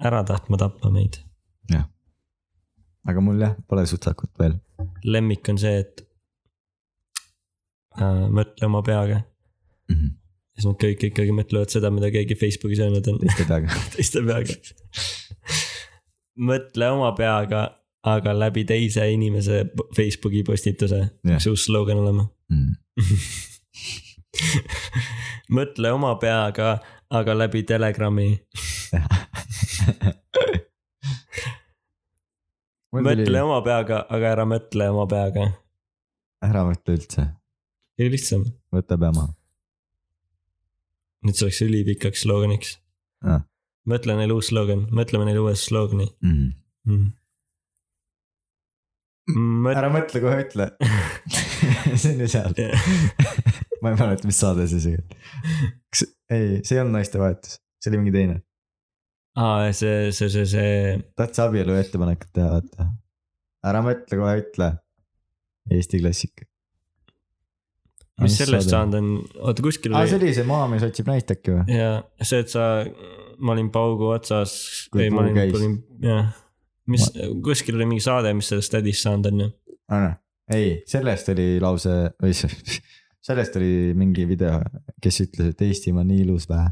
S1: ära tahtma tappa meid .
S2: aga mul jah , pole sutsakut veel .
S1: lemmik on see , et äh, mõtle oma peaga . Mhm. siis nad kõik ikkagi mõtlevad seda , mida keegi Facebookis öelnud on
S2: teiste peaga .
S1: teiste peaga . mõtle oma peaga , aga läbi teise inimese po- Facebooki postituse
S2: Jah.
S1: peaks uus slogan olema . mõtle oma peaga , aga läbi Telegrami . mõtle oma peaga , aga ära mõtle oma peaga .
S2: ära mõtle üldse ,
S1: kõige lihtsam .
S2: võta pea maha .
S1: nüüd see oleks ülipikaks sloganiks
S2: Ah. .
S1: mõtle neile uus slogan , mõtleme neile uue slogani
S2: mm. .
S1: mm. .
S2: ära mõtle , kohe ütle . see on ju seal , ma ei mäleta , mis saade see isegi . kas , ei , see ei olnud naistevahetus , see oli mingi teine .
S1: aa , see , see , see , see ,
S2: tahtsin abielu ettepanekut teha , vaata . ära mõtle , kohe ütle . Eesti klassika .
S1: mis sellest ? saanud on , oota kuskil
S2: aa , Ah, see
S1: oli
S2: oli see Maamees otsib naist äkki või ?
S1: ja see , et sa , ma olin paugu otsas ,
S2: Kui
S1: ei ma
S2: puu
S1: olin ,
S2: käis.
S1: olin jah , mis kuskil oli mingi saade , mis sellest tädist saanud on ju .
S2: Ah, noh. ei , sellest oli lause , või see , sellest oli mingi video , kes ütles , et Eestimaa on nii ilus vä .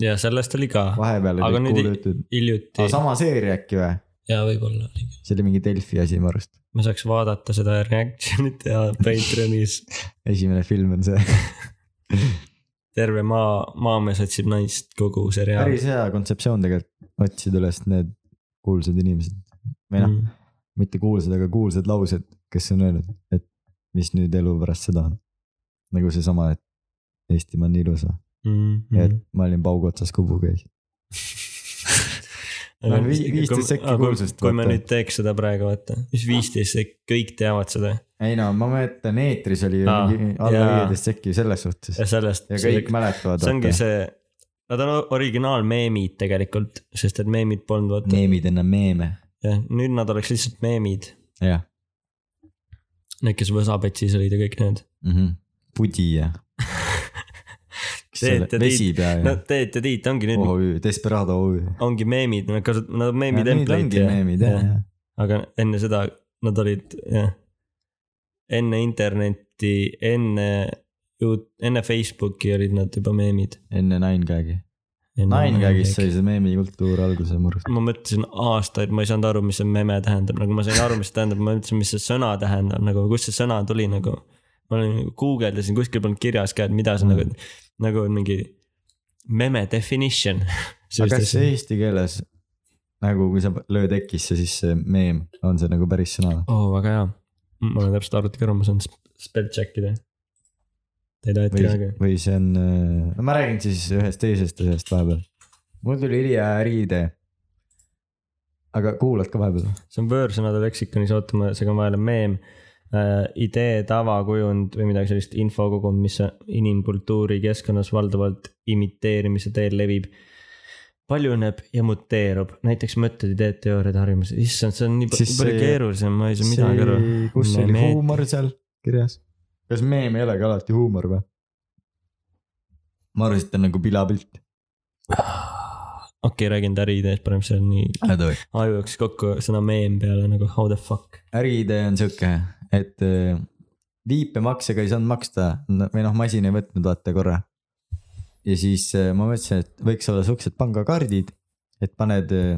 S1: ja sellest oli ka
S2: vahepeal
S1: Aga
S2: olid
S1: nüüd ei-
S2: kuulujutud .
S1: hiljuti
S2: aa , sama seeria äkki või ?
S1: ja võib-olla oli .
S2: see oli mingi Delfi asi mu arust .
S1: ma saaks vaadata seda reaction'it ja Patreonis
S2: esimene film on see .
S1: terve maa , maamees otsib naist kogu seriaal .
S2: päris hea kontseptsioon tegelikult , otsid üles need kuulsad inimesed või noh ,
S1: Mm.
S2: mitte kuulsad , aga kuulsad laused , kes on öelnud , et mis nüüd elu pärast seda on . nagu seesama , et Eestimaa on ilus või ,
S1: Mm.
S2: et ma olin paugu otsas kubu käis .
S1: Aga
S2: No vi-
S1: kui-
S2: 15 sekki
S1: aga kui-
S2: kuulsust,
S1: kui me
S2: vaata.
S1: nüüd teeks seda praegu , vaata , mis viisteist sekki , kõik teavad seda
S2: ei no ma mäletan , eetris oli ju
S1: Aa,
S2: mingi alla
S1: jaa.
S2: viieteist sekki selles suhtes
S1: ja sellest .
S2: ja kõik mäletavad .
S1: see ongi see , nad on o- originaalmeemid tegelikult , sest et meemid polnud vaata ,
S2: meemid enne meeme .
S1: jah , nüüd nad oleks lihtsalt meemid .
S2: jah
S1: Need , kes Võsapetsis olid ja kõik need .
S2: mm -hmm. , pudi ja .
S1: Teet ja
S2: vesi pea ja
S1: no Teet ja Tiit ongi nüüd ,
S2: OÜ , Oh, Desperado OÜ .
S1: ongi meemid , nad kasutavad , nad on Oh, meemi template'i ja ,
S2: meemid jah , jah .
S1: aga enne seda nad olid , jah . enne internetti , enne , enne Facebooki olid nad juba meemid .
S2: enne Ninegagi . Ninegagist sai see meemikultuur alguse mu arust .
S1: ma mõtlesin aastaid , ma ei saanud aru , mis see meme tähendab , nagu ma sain aru , mis see tähendab , ma mõtlesin , mis see sõna tähendab nagu , kust see sõna tuli nagu . ma olin nagu guugeldasin , kuskil polnud kirjas ka , et mida see mm. nagu , nagu mingi meme definition .
S2: aga kas eesti keeles nagu kui sa lööd ekisse , siis see meem on see nagu päris sõna .
S1: oo , Oh, väga hea . ma olen täpselt arvutiga aru , ma saan sp- spell check ida . Te ei taheti
S2: või
S1: ka , aga .
S2: või see on , no ma räägin siis ühest teisest asjast vahepeal . mul tuli ülihea riide . aga kuulad ka vahepeal ?
S1: see on võõrsõnade leksikonis , oota , ma segan vahele , meem äh, . idee , tava , kujund või midagi sellist , infokogum , mis inimkultuuri keskkonnas valdavalt imiteerimise teel levib . paljuneb ja muteerub , näiteks mõtted , ideed , teooriad , harjumused , issand , see on nii pa-
S2: Siis
S1: palju
S2: see-
S1: keerulisem , ma ei saa midagi aru .
S2: kus
S1: Mulle
S2: oli
S1: meeldib.
S2: huumor seal kirjas ? kas meem ei olegi alati huumor või ? ma arvasin , et ta on nagu pilapilt .
S1: okei okay, , räägin äriideest parem , see on nii ,
S2: ära tohi .
S1: aju jooksis kokku sõna meem peale nagu how the fuck .
S2: äriidee on sihuke , et äh, viipemaksega ei saanud maksta no- või noh , masin ei võtnud vaata korra . ja siis äh, ma mõtlesin , et võiks olla siuksed pangakaardid , et paned äh,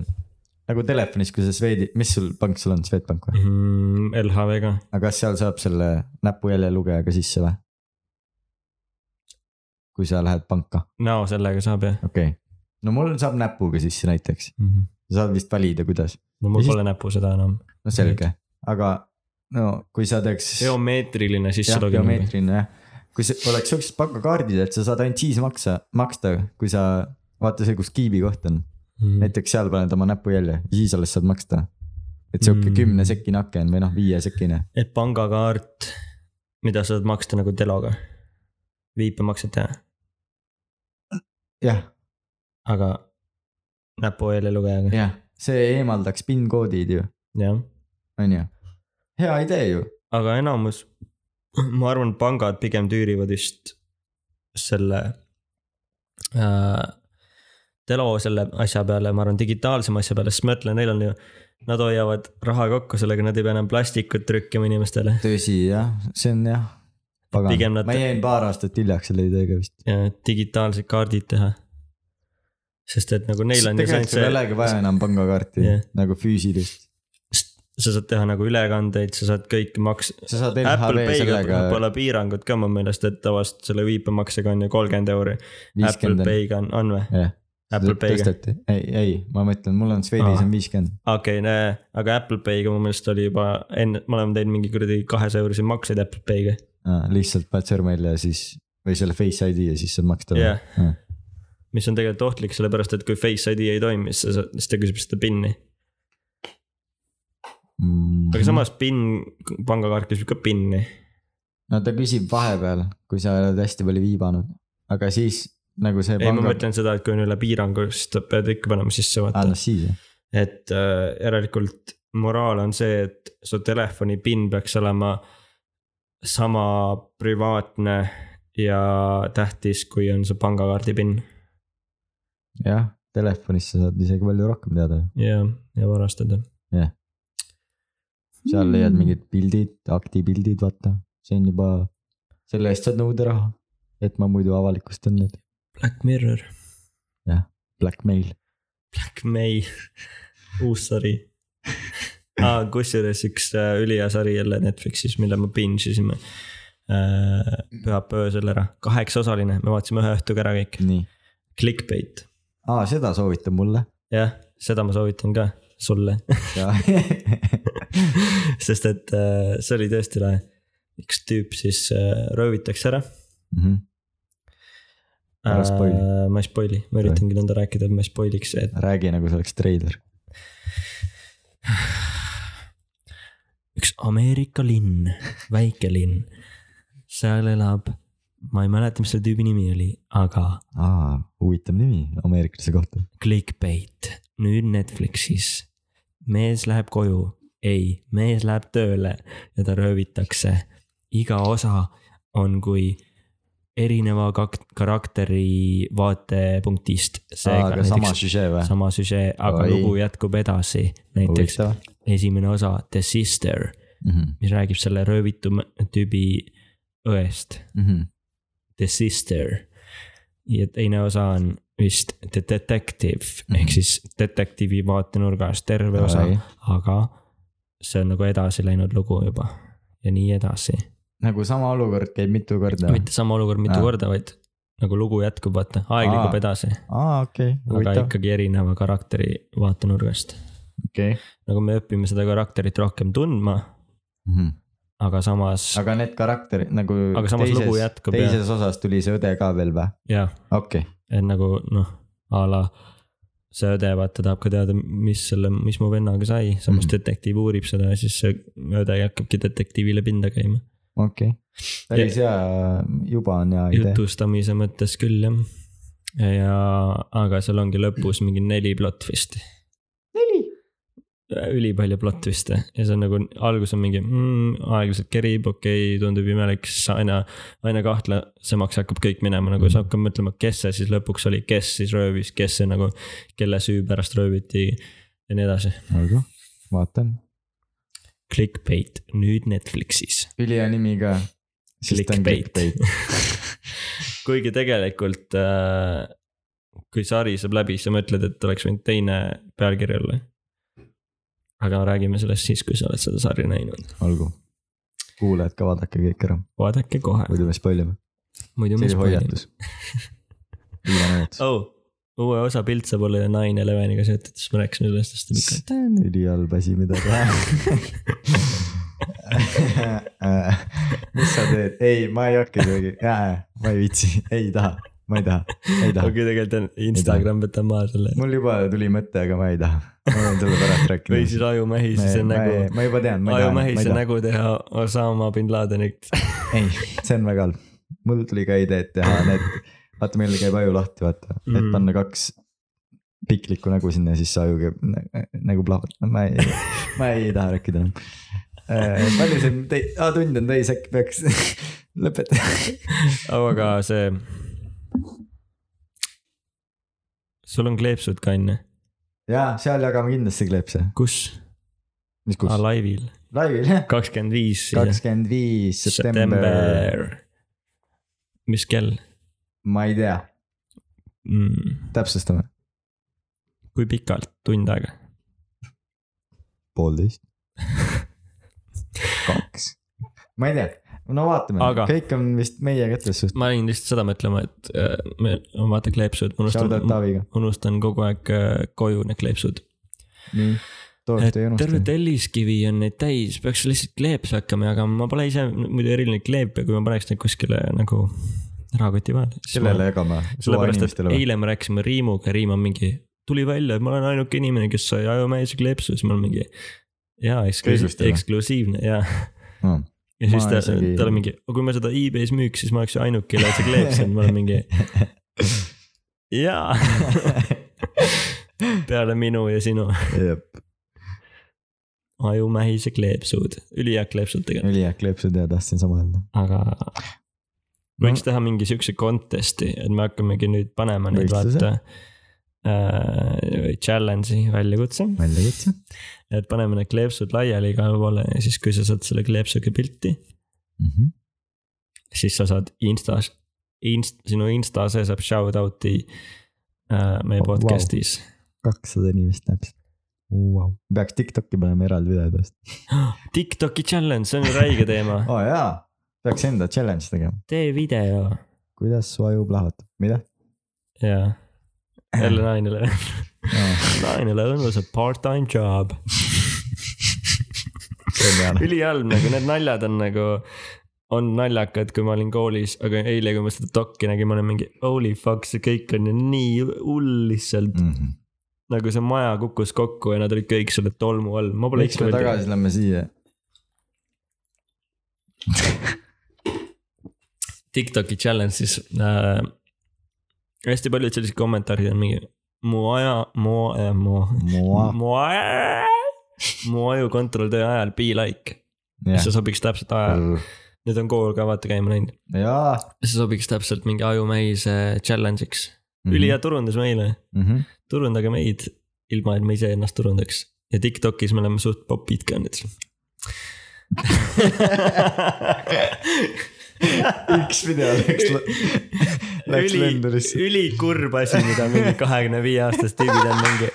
S2: nagu telefonis , kui sa Swedi , mis sul pank sul on , Swedbank või ?
S1: Mhm, LHV-ga ,
S2: aga kas seal saab selle näpujälje lugejaga sisse või ? kui sa lähed panka ,
S1: näo sellega saab jah
S2: okei okay. . no mul saab näpuga sisse näiteks ,
S1: mm . -hmm.
S2: saad vist valida , kuidas ,
S1: no mul
S2: Mhm. Ja siis-
S1: pole näpu seda enam .
S2: no selge , aga no kui sa teeks .
S1: geomeetriline
S2: jah ,
S1: sisselogimine .
S2: biomeetriline jah . kui see oleks siuksed pangakaardid , et sa saad ainult siis maksa , maksta , kui sa vaata see , kus kiibi koht on ,
S1: Mm.
S2: näiteks seal paned oma näpujälje , siis alles saad maksta . et sihuke
S1: Mm.
S2: kümne sekine aken või noh , viie sekine ,
S1: et pangakaart , mida saad maksta nagu teloga , viipemakset teha ,
S2: jah ,
S1: aga näpueele lugejaga ,
S2: jah , see eemaldaks PIN koodid ju ,
S1: jah .
S2: on ju , hea idee ju ,
S1: aga enamus , ma arvan , pangad pigem tüürivad just selle äh, telo selle asja peale , ma arvan , digitaalsema asja peale , sest ma ütlen , neil on ju , nad hoiavad raha kokku sellega , nad ei pea enam plastikut trükkima inimestele .
S2: tõsi jah , see on jah .
S1: Pigem
S2: pagan
S1: nad- ,
S2: ma jäin paar aastat hiljaks selle ideega vist .
S1: ja digitaalsed kaardid teha . sest et nagu neil on ju see
S2: tegelikult sul ei olegi
S1: ainult
S2: vaja
S1: see ,
S2: enam pangakaarti
S1: Jah.
S2: nagu füüsilist ,
S1: sa saad teha nagu ülekandeid , sa saad kõiki maks- .
S2: sa saad
S1: Apple
S2: LHV
S1: Pay'ga
S2: sellega
S1: pole piirangut ka mu meelest , et tavaliselt selle viipemaksega on ju kolmkümmend euri . Apple
S2: viiskümmend .
S1: Pay'ga on , on või ?
S2: jah ,
S1: Apple Pay'ga ,
S2: tõsteti , ei , ei , ma mõtlen , mul on Swedis
S1: Aa.
S2: on viiskümmend ,
S1: okei , aga Apple Pay'ga mu meelest oli juba enne , me oleme teinud mingi kuradi kahesaja euroseid makseid Apple Pay'ga .
S2: lihtsalt paned sõrme välja ja siis või selle Face ID ja siis saad maksta
S1: jah
S2: Aa. ,
S1: mis on tegelikult ohtlik , sellepärast et kui Face ID ei toimi , siis sa saad , siis ta küsib seda PIN-i .
S2: mm.
S1: aga . samas PIN , pangakaart küsib ka PIN-i .
S2: no ta küsib vahepeal , kui sa oled hästi palju viibanud , aga siis nagu see .
S1: ei , ma . mõtlen seda , et kui on üle piirangu , siis ta pead ikka panema sisse vaata
S2: aa , Ah, no . siis jah ,
S1: et äh, järelikult moraal on see , et su telefoni PIN peaks olema sama privaatne ja tähtis , kui on su pangakaardi PIN
S2: jah , telefonis sa saad isegi palju rohkem teada ,
S1: ja , ja varastada .
S2: Jah. .
S1: Hmm.
S2: seal leiad . mingid pildid , aktipildid , vaata , see on juba , selle eest saad nõuda raha , et ma muidu avalikustan need ,
S1: Black Mirror ,
S2: blackmail .
S1: Black May , uus sari ah, . kusjuures üks äh, ülihea sari jälle Netflixis , mille me binge isime äh, pühapäeva öösel ära , kaheksaosaline , me vaatasime ühe õhtuga ära kõik ,
S2: nii ,
S1: Clickbait
S2: aa , seda soovita mulle
S1: jah , seda ma soovitan ka sulle ,
S2: ja
S1: sest et äh, see oli tõesti lahe . üks tüüp siis äh, röövitakse ära .
S2: mm . -hmm. Ära spoili.
S1: Äh, ma ei spoil'i , ma üritangi nõnda rääkida , et ma ei spoil'iks , et
S2: räägi nagu see oleks treiler .
S1: üks Ameerika linn , väike linn . seal elab , ma ei mäleta , mis selle tüübi nimi oli , aga
S2: aa , huvitav nimi ameeriklase kohta .
S1: clickbait , nüüd Netflixis . mees läheb koju , ei , mees läheb tööle ja ta röövitakse . iga osa on kui erineva kak- , karakteri vaatepunktist .
S2: aga sama süžee või ?
S1: sama süžee , aga
S2: Oi.
S1: Oi. lugu jätkub edasi . näiteks
S2: huvitav
S1: esimene osa The Sister ,
S2: mm . -hmm.
S1: mis räägib selle röövitu m- tüübi õest ,
S2: Mm -hmm.
S1: The Sister . ja teine osa on vist The Detective mm -hmm.
S2: Mhm.
S1: ehk siis detektiivi vaatenurgas terve osa , aga see on nagu edasi läinud lugu juba ja nii edasi .
S2: nagu sama olukord käib mitu korda .
S1: mitte sama olukord mitu
S2: Aa.
S1: korda , vaid nagu lugu jätkub , vaata , aeg
S2: Aa.
S1: liigub edasi ,
S2: aa , okei ,
S1: aga
S2: huvitav .
S1: ikkagi erineva karakteri vaatenurgast .
S2: okei .
S1: nagu me õpime seda karakterit rohkem tundma , aga samas aga...
S2: Mhm. aga need karakterid nagu .
S1: Aga samas lugu jätkub, jah.
S2: teises osas tuli see õde ka veel või ?
S1: jah ,
S2: okei okay. ,
S1: et nagu noh , a la see õde vaata tahab ka teada , mis selle , mis mu vennaga sai , samas
S2: Mhm.
S1: detektiiv uurib seda ja siis see õde hakkabki detektiivile pinda käima .
S2: okei okay. . päris hea , juba on hea idee .
S1: jutustamise mõttes küll jah . ja , aga seal ongi lõpus mingi neli plot twist'i .
S2: neli .
S1: ülipalju plot twist'e ja see on nagu algus on mingi mm, aeglaselt kerib , okei okay, , tundub imelik , siis aina , aina kahtlasemaks hakkab kõik minema , nagu
S2: Mhm.
S1: sa hakkad mõtlema , kes see siis lõpuks oli , kes siis röövis , kes see nagu , kelle süü pärast rööviti ja nii edasi .
S2: olgu , vaatan .
S1: Clickbait nüüd Netflixis .
S2: ülihea nimi ka . siis ta on
S1: Clickbait.
S2: clickbait .
S1: kuigi tegelikult äh, kui sari saab läbi , siis sa mõtled , et oleks võinud teine pealkiri olla . aga räägime sellest siis , kui sa oled seda sari näinud .
S2: olgu . kuulajad ka vaadake kõik ära ,
S1: vaadake kohe ,
S2: muidu me spoilime .
S1: muidu me
S2: see oli
S1: spoilime .
S2: hoiatus . viimane hoiatus .
S1: oh, . uue osa pilt saab olla Nine Eleveniga seotud , siis ma rääkisin sellest hästi pikalt .
S2: see on ülihalb asi , mida teha . mis sa teed , ei , ma ei hakka kuidagi , ma ei viitsi , ei taha , ma ei taha , ei taha okay. .
S1: okei , tegelikult on Instagram , võtab maha selle
S2: mul juba tuli mõte , aga ma ei taha , ma võin sulle pärast rääkida .
S1: või siis ajumähi , siis on
S2: ma,
S1: nägu
S2: ei- , ma juba tean , ma ei taha , ma
S1: ajumähi ,
S2: ei
S1: see
S2: taha ,
S1: nägu teha Osama bin Ladenit .
S2: ei , see on väga halb . mul tuli ka idee , et teha need , vaata meil käib aju lahti , vaata , et
S1: Mhm.
S2: panna kaks piklikku nägu sinna ja siis see aju käib nä- nägu plahvatama , ma ei , ma ei taha rääkida enam . palju see tei- , aa tund on täis , äkki peaks lõpetama .
S1: aga see . sul on kleepsud ka onju ?
S2: jaa , seal jagame kindlasti kleepse ,
S1: kus ?
S2: mis
S1: aa ,
S2: kus ,
S1: laivil .
S2: laivil jah ,
S1: kakskümmend viis .
S2: kakskümmend viis september ,
S1: september . mis kell
S2: ma ei tea ,
S1: mm. ?
S2: täpsustame ,
S1: kui pikalt , tund aega ?
S2: poolteist , kaks , ma ei tea , no vaatame
S1: Aga-
S2: Aga... , kõik on vist meie kätes suht- ,
S1: ma olin lihtsalt seda mõtlema , et äh, me , vaata kleepsud ,
S2: shout out
S1: unustan ,
S2: Taaviga .
S1: unustan kogu aeg äh, koju need kleepsud .
S2: nii , tootja ei
S1: terve
S2: unusta .
S1: telliskivi on neid täis , peaks lihtsalt kleepse hakkama jagama , ma pole ise muidu eriline kleep ja kui ma paneks neid kuskile nagu rahakoti vahele .
S2: kellele jagama ?
S1: sellepärast , et eile me rääkisime Riimuga , Riim on mingi , tuli välja , et ma olen ainuke inimene , kes sai ajumäise kleepsu , siis ma olen mingi . jaa ,
S2: Kõigustele.
S1: eksklusiivne ja ,
S2: no. .
S1: ja siis
S2: Ma
S1: ta ,
S2: isegi-
S1: tal on mingi , kui ma seda e-base müüks , siis ma oleks ju ainuke , kellel see kleeps on , ma olen mingi . jaa , peale minu ja sinu
S2: jep ,
S1: ajumähise kleepsud , ülihead kleepsud tegelikult ,
S2: ülihea kleepsud ja tahtsin sama öelda .
S1: aga . võiks teha mingi siukse contest'i , et me hakkamegi nüüd panema neid
S2: Võistluse?
S1: vaata . Challenge'i väljakutse
S2: väljakutse .
S1: et paneme need kleepsud laiali igale poole ja siis , kui sa saad selle kleepsuga pilti ,
S2: Mhm.
S1: siis sa saad Instas , inst- , sinu Insta see saab shout out'i äh, meie
S2: Oh, wow.
S1: podcast'is
S2: kakssada inimest näeb seda wow. . peaks Tiktoki panema eraldi video tõesti .
S1: wow. . Tiktoki challenge , see on ju räige teema .
S2: aa oh, jaa , peaks enda challenge tegema .
S1: tee video
S2: kuidas su aju plahvatab , mida ?
S1: ja jälle nainele , nainele õnnus a part-time job .
S2: geniaalne .
S1: ülihalb nagu need naljad on nagu , on naljakad , kui ma olin koolis , aga eile , kui ma seda dokki nägin , ma olin mingi holy fuck , see kõik on ju nii hull lihtsalt .
S2: Mhm.
S1: nagu see maja kukkus kokku ja nad olid kõik selle tolmu all , ma pole
S2: miks me tagasi lähme siia ?
S1: Tiktoki challenge'is äh, . hästi paljud sellised kommentaarid on mingi mu aja , mu äh, , mu ,
S2: Moa ,
S1: mu aja , mu aju kontrolltöö ajal be like ,
S2: jah
S1: see . sobiks täpselt ajal , nüüd on kool ka vaata käima läinud ,
S2: jaa .
S1: see sobiks täpselt mingi ajumähise challenge'iks ,
S2: Mhm.
S1: ülihea turundus meile ,
S2: turundus .
S1: turundage meid , ilma et me ise ennast turundaks ja Tiktokis me oleme suht popid ka nüüd
S2: üks video läks , läks
S1: üli ,
S2: lendurisse .
S1: ülikurb asi , mida mingi kahekümne viie aastased tüübid on mingi .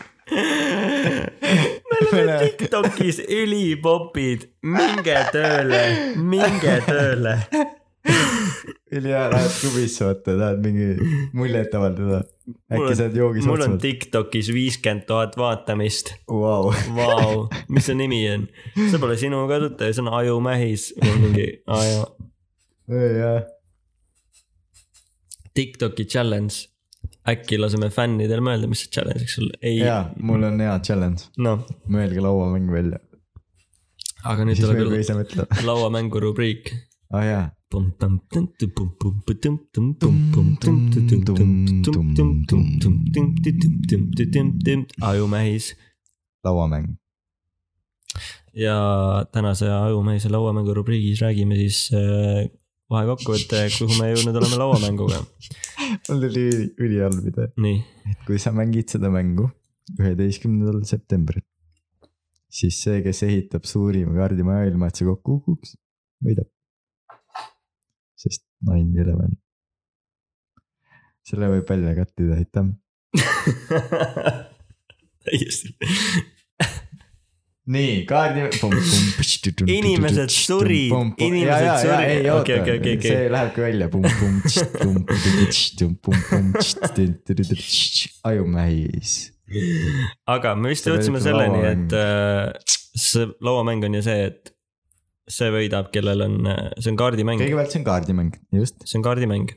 S1: me oleme Tiktokis ülipopid , minge tööle , minge tööle .
S2: ülihea , lähed klubisse , vaata , tahad mingi muljet avaldada .
S1: Mul on-
S2: äkki saad joogis
S1: mul on
S2: otsa .
S1: Tiktokis viiskümmend tuhat vaatamist ,
S2: Vau ,
S1: vau , mis su nimi on ? see pole sinu kasutaja , see on Ajumähis või mingi aju .
S2: jah .
S1: Tiktoki challenge , äkki laseme fännidel mõelda , mis see challenge võiks olla , ei ,
S2: jaa , mul on hea challenge ,
S1: noh ,
S2: mõelge lauamäng välja .
S1: aga nüüd
S2: siis
S1: tuleb
S2: võib
S1: jälle
S2: ise mõtleda .
S1: lauamängu rubriik .
S2: aa jaa .
S1: ajumähis
S2: lauamäng ,
S1: ja tänase Ajumehise lauamängu rubriigis räägime siis äh, vahekokkuvõte , kuhu me jõudnud oleme lauamänguga .
S2: mul tuli üli- ülihalb idee .
S1: nii ,
S2: kui sa mängid seda mängu üheteistkümnendal septembril , siis see , kes ehitab suurima kaardimaja ilma , et see kokku kukuks , võidab . sest nine eleven . selle võib välja kattida , aitäh .
S1: täiesti .
S2: nii , kaardi .
S1: Inimesed surid, inimesed surid.
S2: ei
S1: Okei,
S2: oota
S1: okei, , okei, okei.
S2: see lähebki välja . ajumähis .
S1: aga me vist
S2: See
S1: jõudsime
S2: oli
S1: selleni ,
S2: lauamäng.
S1: et äh, see lauamäng on ju see , et see võidab , kellel on , see on kaardimäng ,
S2: kõigepealt see on kaardimäng , just .
S1: see on kaardimäng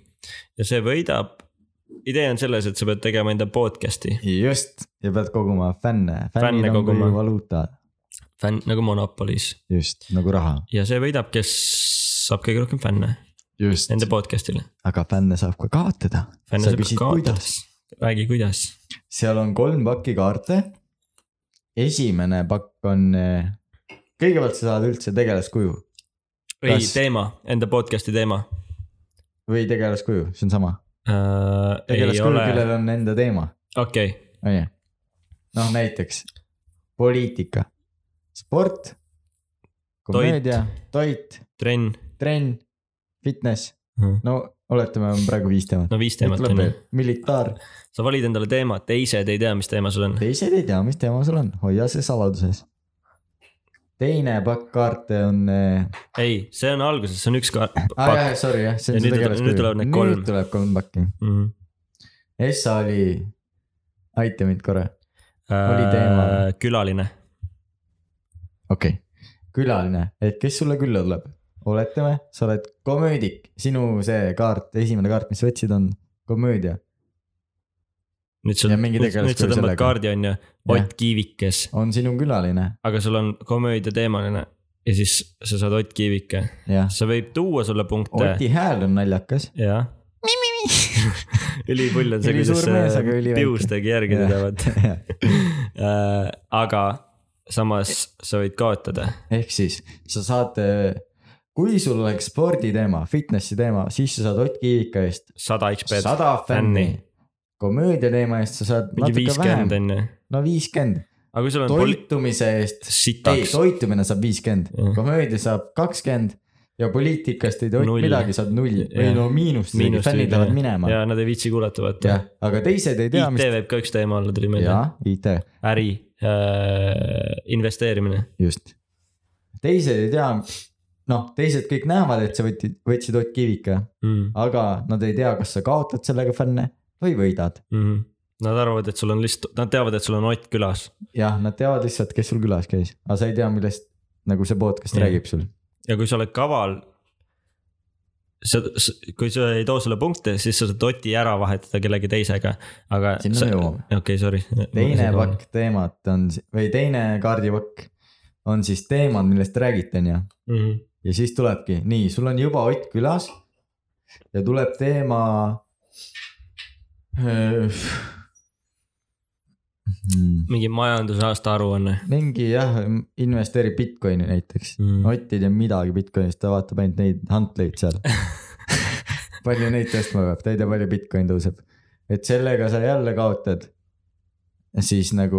S1: ja see võidab . idee on selles , et sa pead tegema enda podcast'i ,
S2: just , ja pead koguma fänne .
S1: Fänne
S2: fänne
S1: koguma.
S2: koguma . valuuta ,
S1: fänn nagu Monopolis
S2: just nagu raha .
S1: ja see võidab , kes saab kõige rohkem fänne
S2: just ,
S1: enda podcast'ile .
S2: aga fänne saab ka kaotada .
S1: fänne saab ka kaotada ,. räägi kuidas .
S2: seal on kolm pakki kaarte . esimene pakk on , kõigepealt sa saad üldse tegelaskuju
S1: ei
S2: Kas- ,
S1: teema , enda podcast'i teema
S2: või tegelaskuju , see on sama .
S1: uh, . ei
S2: tegelaskuju ,
S1: ole ,
S2: kellel on enda teema ,
S1: okei ,
S2: on ju . noh , näiteks poliitika , sport , komöödia , toit ,
S1: trenn ,
S2: trenn , fitness , no oletame , on praegu viis teemat .
S1: no viis teemat on ju .
S2: militaar ,
S1: sa valid endale teema , teised ei tea , mis teema sul on .
S2: teised ei tea , mis teema sul on , hoia see saladuses . teine pakk kaarte on äh... ,
S1: ei , see on alguses , see on üks ka- .
S2: ah, jah , sorry jah , see
S1: Ja
S2: on see
S1: nüüd-
S2: tegelaskuju .
S1: nüüd tulevad need kolm.
S2: nüüd tuleb kolm pakki ,
S1: Mm.
S2: Essa oli , aita mind korra ,
S1: Oli
S2: teema.
S1: Äh, külaline ,
S2: okei okay. . külaline , et kes sulle külla tuleb , oletame , sa oled komöödik , sinu see kaart , esimene kaart , mis sa võtsid , on komöödia ,
S1: nüüd sa ,
S2: Ja mingi
S1: nüüd nüüd
S2: tegelaskuju
S1: sa tõmbad
S2: sellega.
S1: kaardi , on ju , Ott Kiivikes ,
S2: on sinu külaline ,
S1: aga sul on komöödiateemaline ja siis sa saad Ott Kiivike ,
S2: jah .
S1: see võib tuua sulle punkte ,
S2: Oti hääl on naljakas ,
S1: jah . ülipull on see ,
S2: Ülisuur
S1: kuidas
S2: mees, aga
S1: see
S2: üliväike.
S1: pius tegi järgi
S2: Jah.
S1: tulevad . aga samas sa võid kaotada ,
S2: ehk siis sa saad , kui sul oleks sporditeema , fitnessi teema , siis sa saad Ott Kiivika eest
S1: sada XP-d ,
S2: sada fänni
S1: fänni. .
S2: komöödia teema eest sa saad
S1: mingi
S2: natuke vähem
S1: viiskümmend , on ju .
S2: no viiskümmend .
S1: aga kui sul on pol- ,
S2: toitumise eest , ei
S1: sitaks ,
S2: toitumine saab viiskümmend
S1: Jah. ,
S2: komöödia saab kakskümmend ja poliitikast ei tohi
S1: Null.
S2: midagi , saad null või
S1: Jah.
S2: no miinust ,
S1: Miinust
S2: fännid
S1: võib-
S2: lähevad minema .
S1: ja nad ei viitsi kuulata , vaata
S2: jah , aga teised ei tea ,
S1: IT
S2: mis ,
S1: võib ka üks teema olla , tuli meelde
S2: jaa ,, IT ,
S1: äri äh, , investeerimine ,
S2: just . teised ei tea , noh , teised kõik näevad , et sa võtsid , võtsid Ott Kiivika
S1: Mm,
S2: aga nad ei tea , kas sa kaotad sellega fänne või võidad .
S1: mhm. Nad arvavad , et sul on lihtsalt , nad teavad , et sul on Ott külas
S2: jah , nad teavad lihtsalt , kes sul külas käis , aga sa ei tea , millest nagu see podcast
S1: Jah.
S2: räägib sul .
S1: ja kui sa oled kaval . sa , kui see ei too sulle punkte , siis sa saad Oti ära vahetada kellegi teisega , aga .
S2: Sinna me jõuame.
S1: okei okay, , sorry .
S2: teine . pakk teemat on si- või teine kaardipakk on siis teemad , millest räägite , onju .
S1: Mhm.
S2: ja siis tulebki , nii , sul on juba Ott külas ja tuleb teema .
S1: mingi majandusaasta aruanne
S2: mingi jah , investeeri Bitcoini näiteks .
S1: mm. .
S2: Ott ei tea midagi Bitcoinist , ta vaatab ainult neid huntleid seal . palju neid tõstma peab , ta ei tea , palju Bitcoin tõuseb . et sellega sa jälle kaotad . siis nagu ,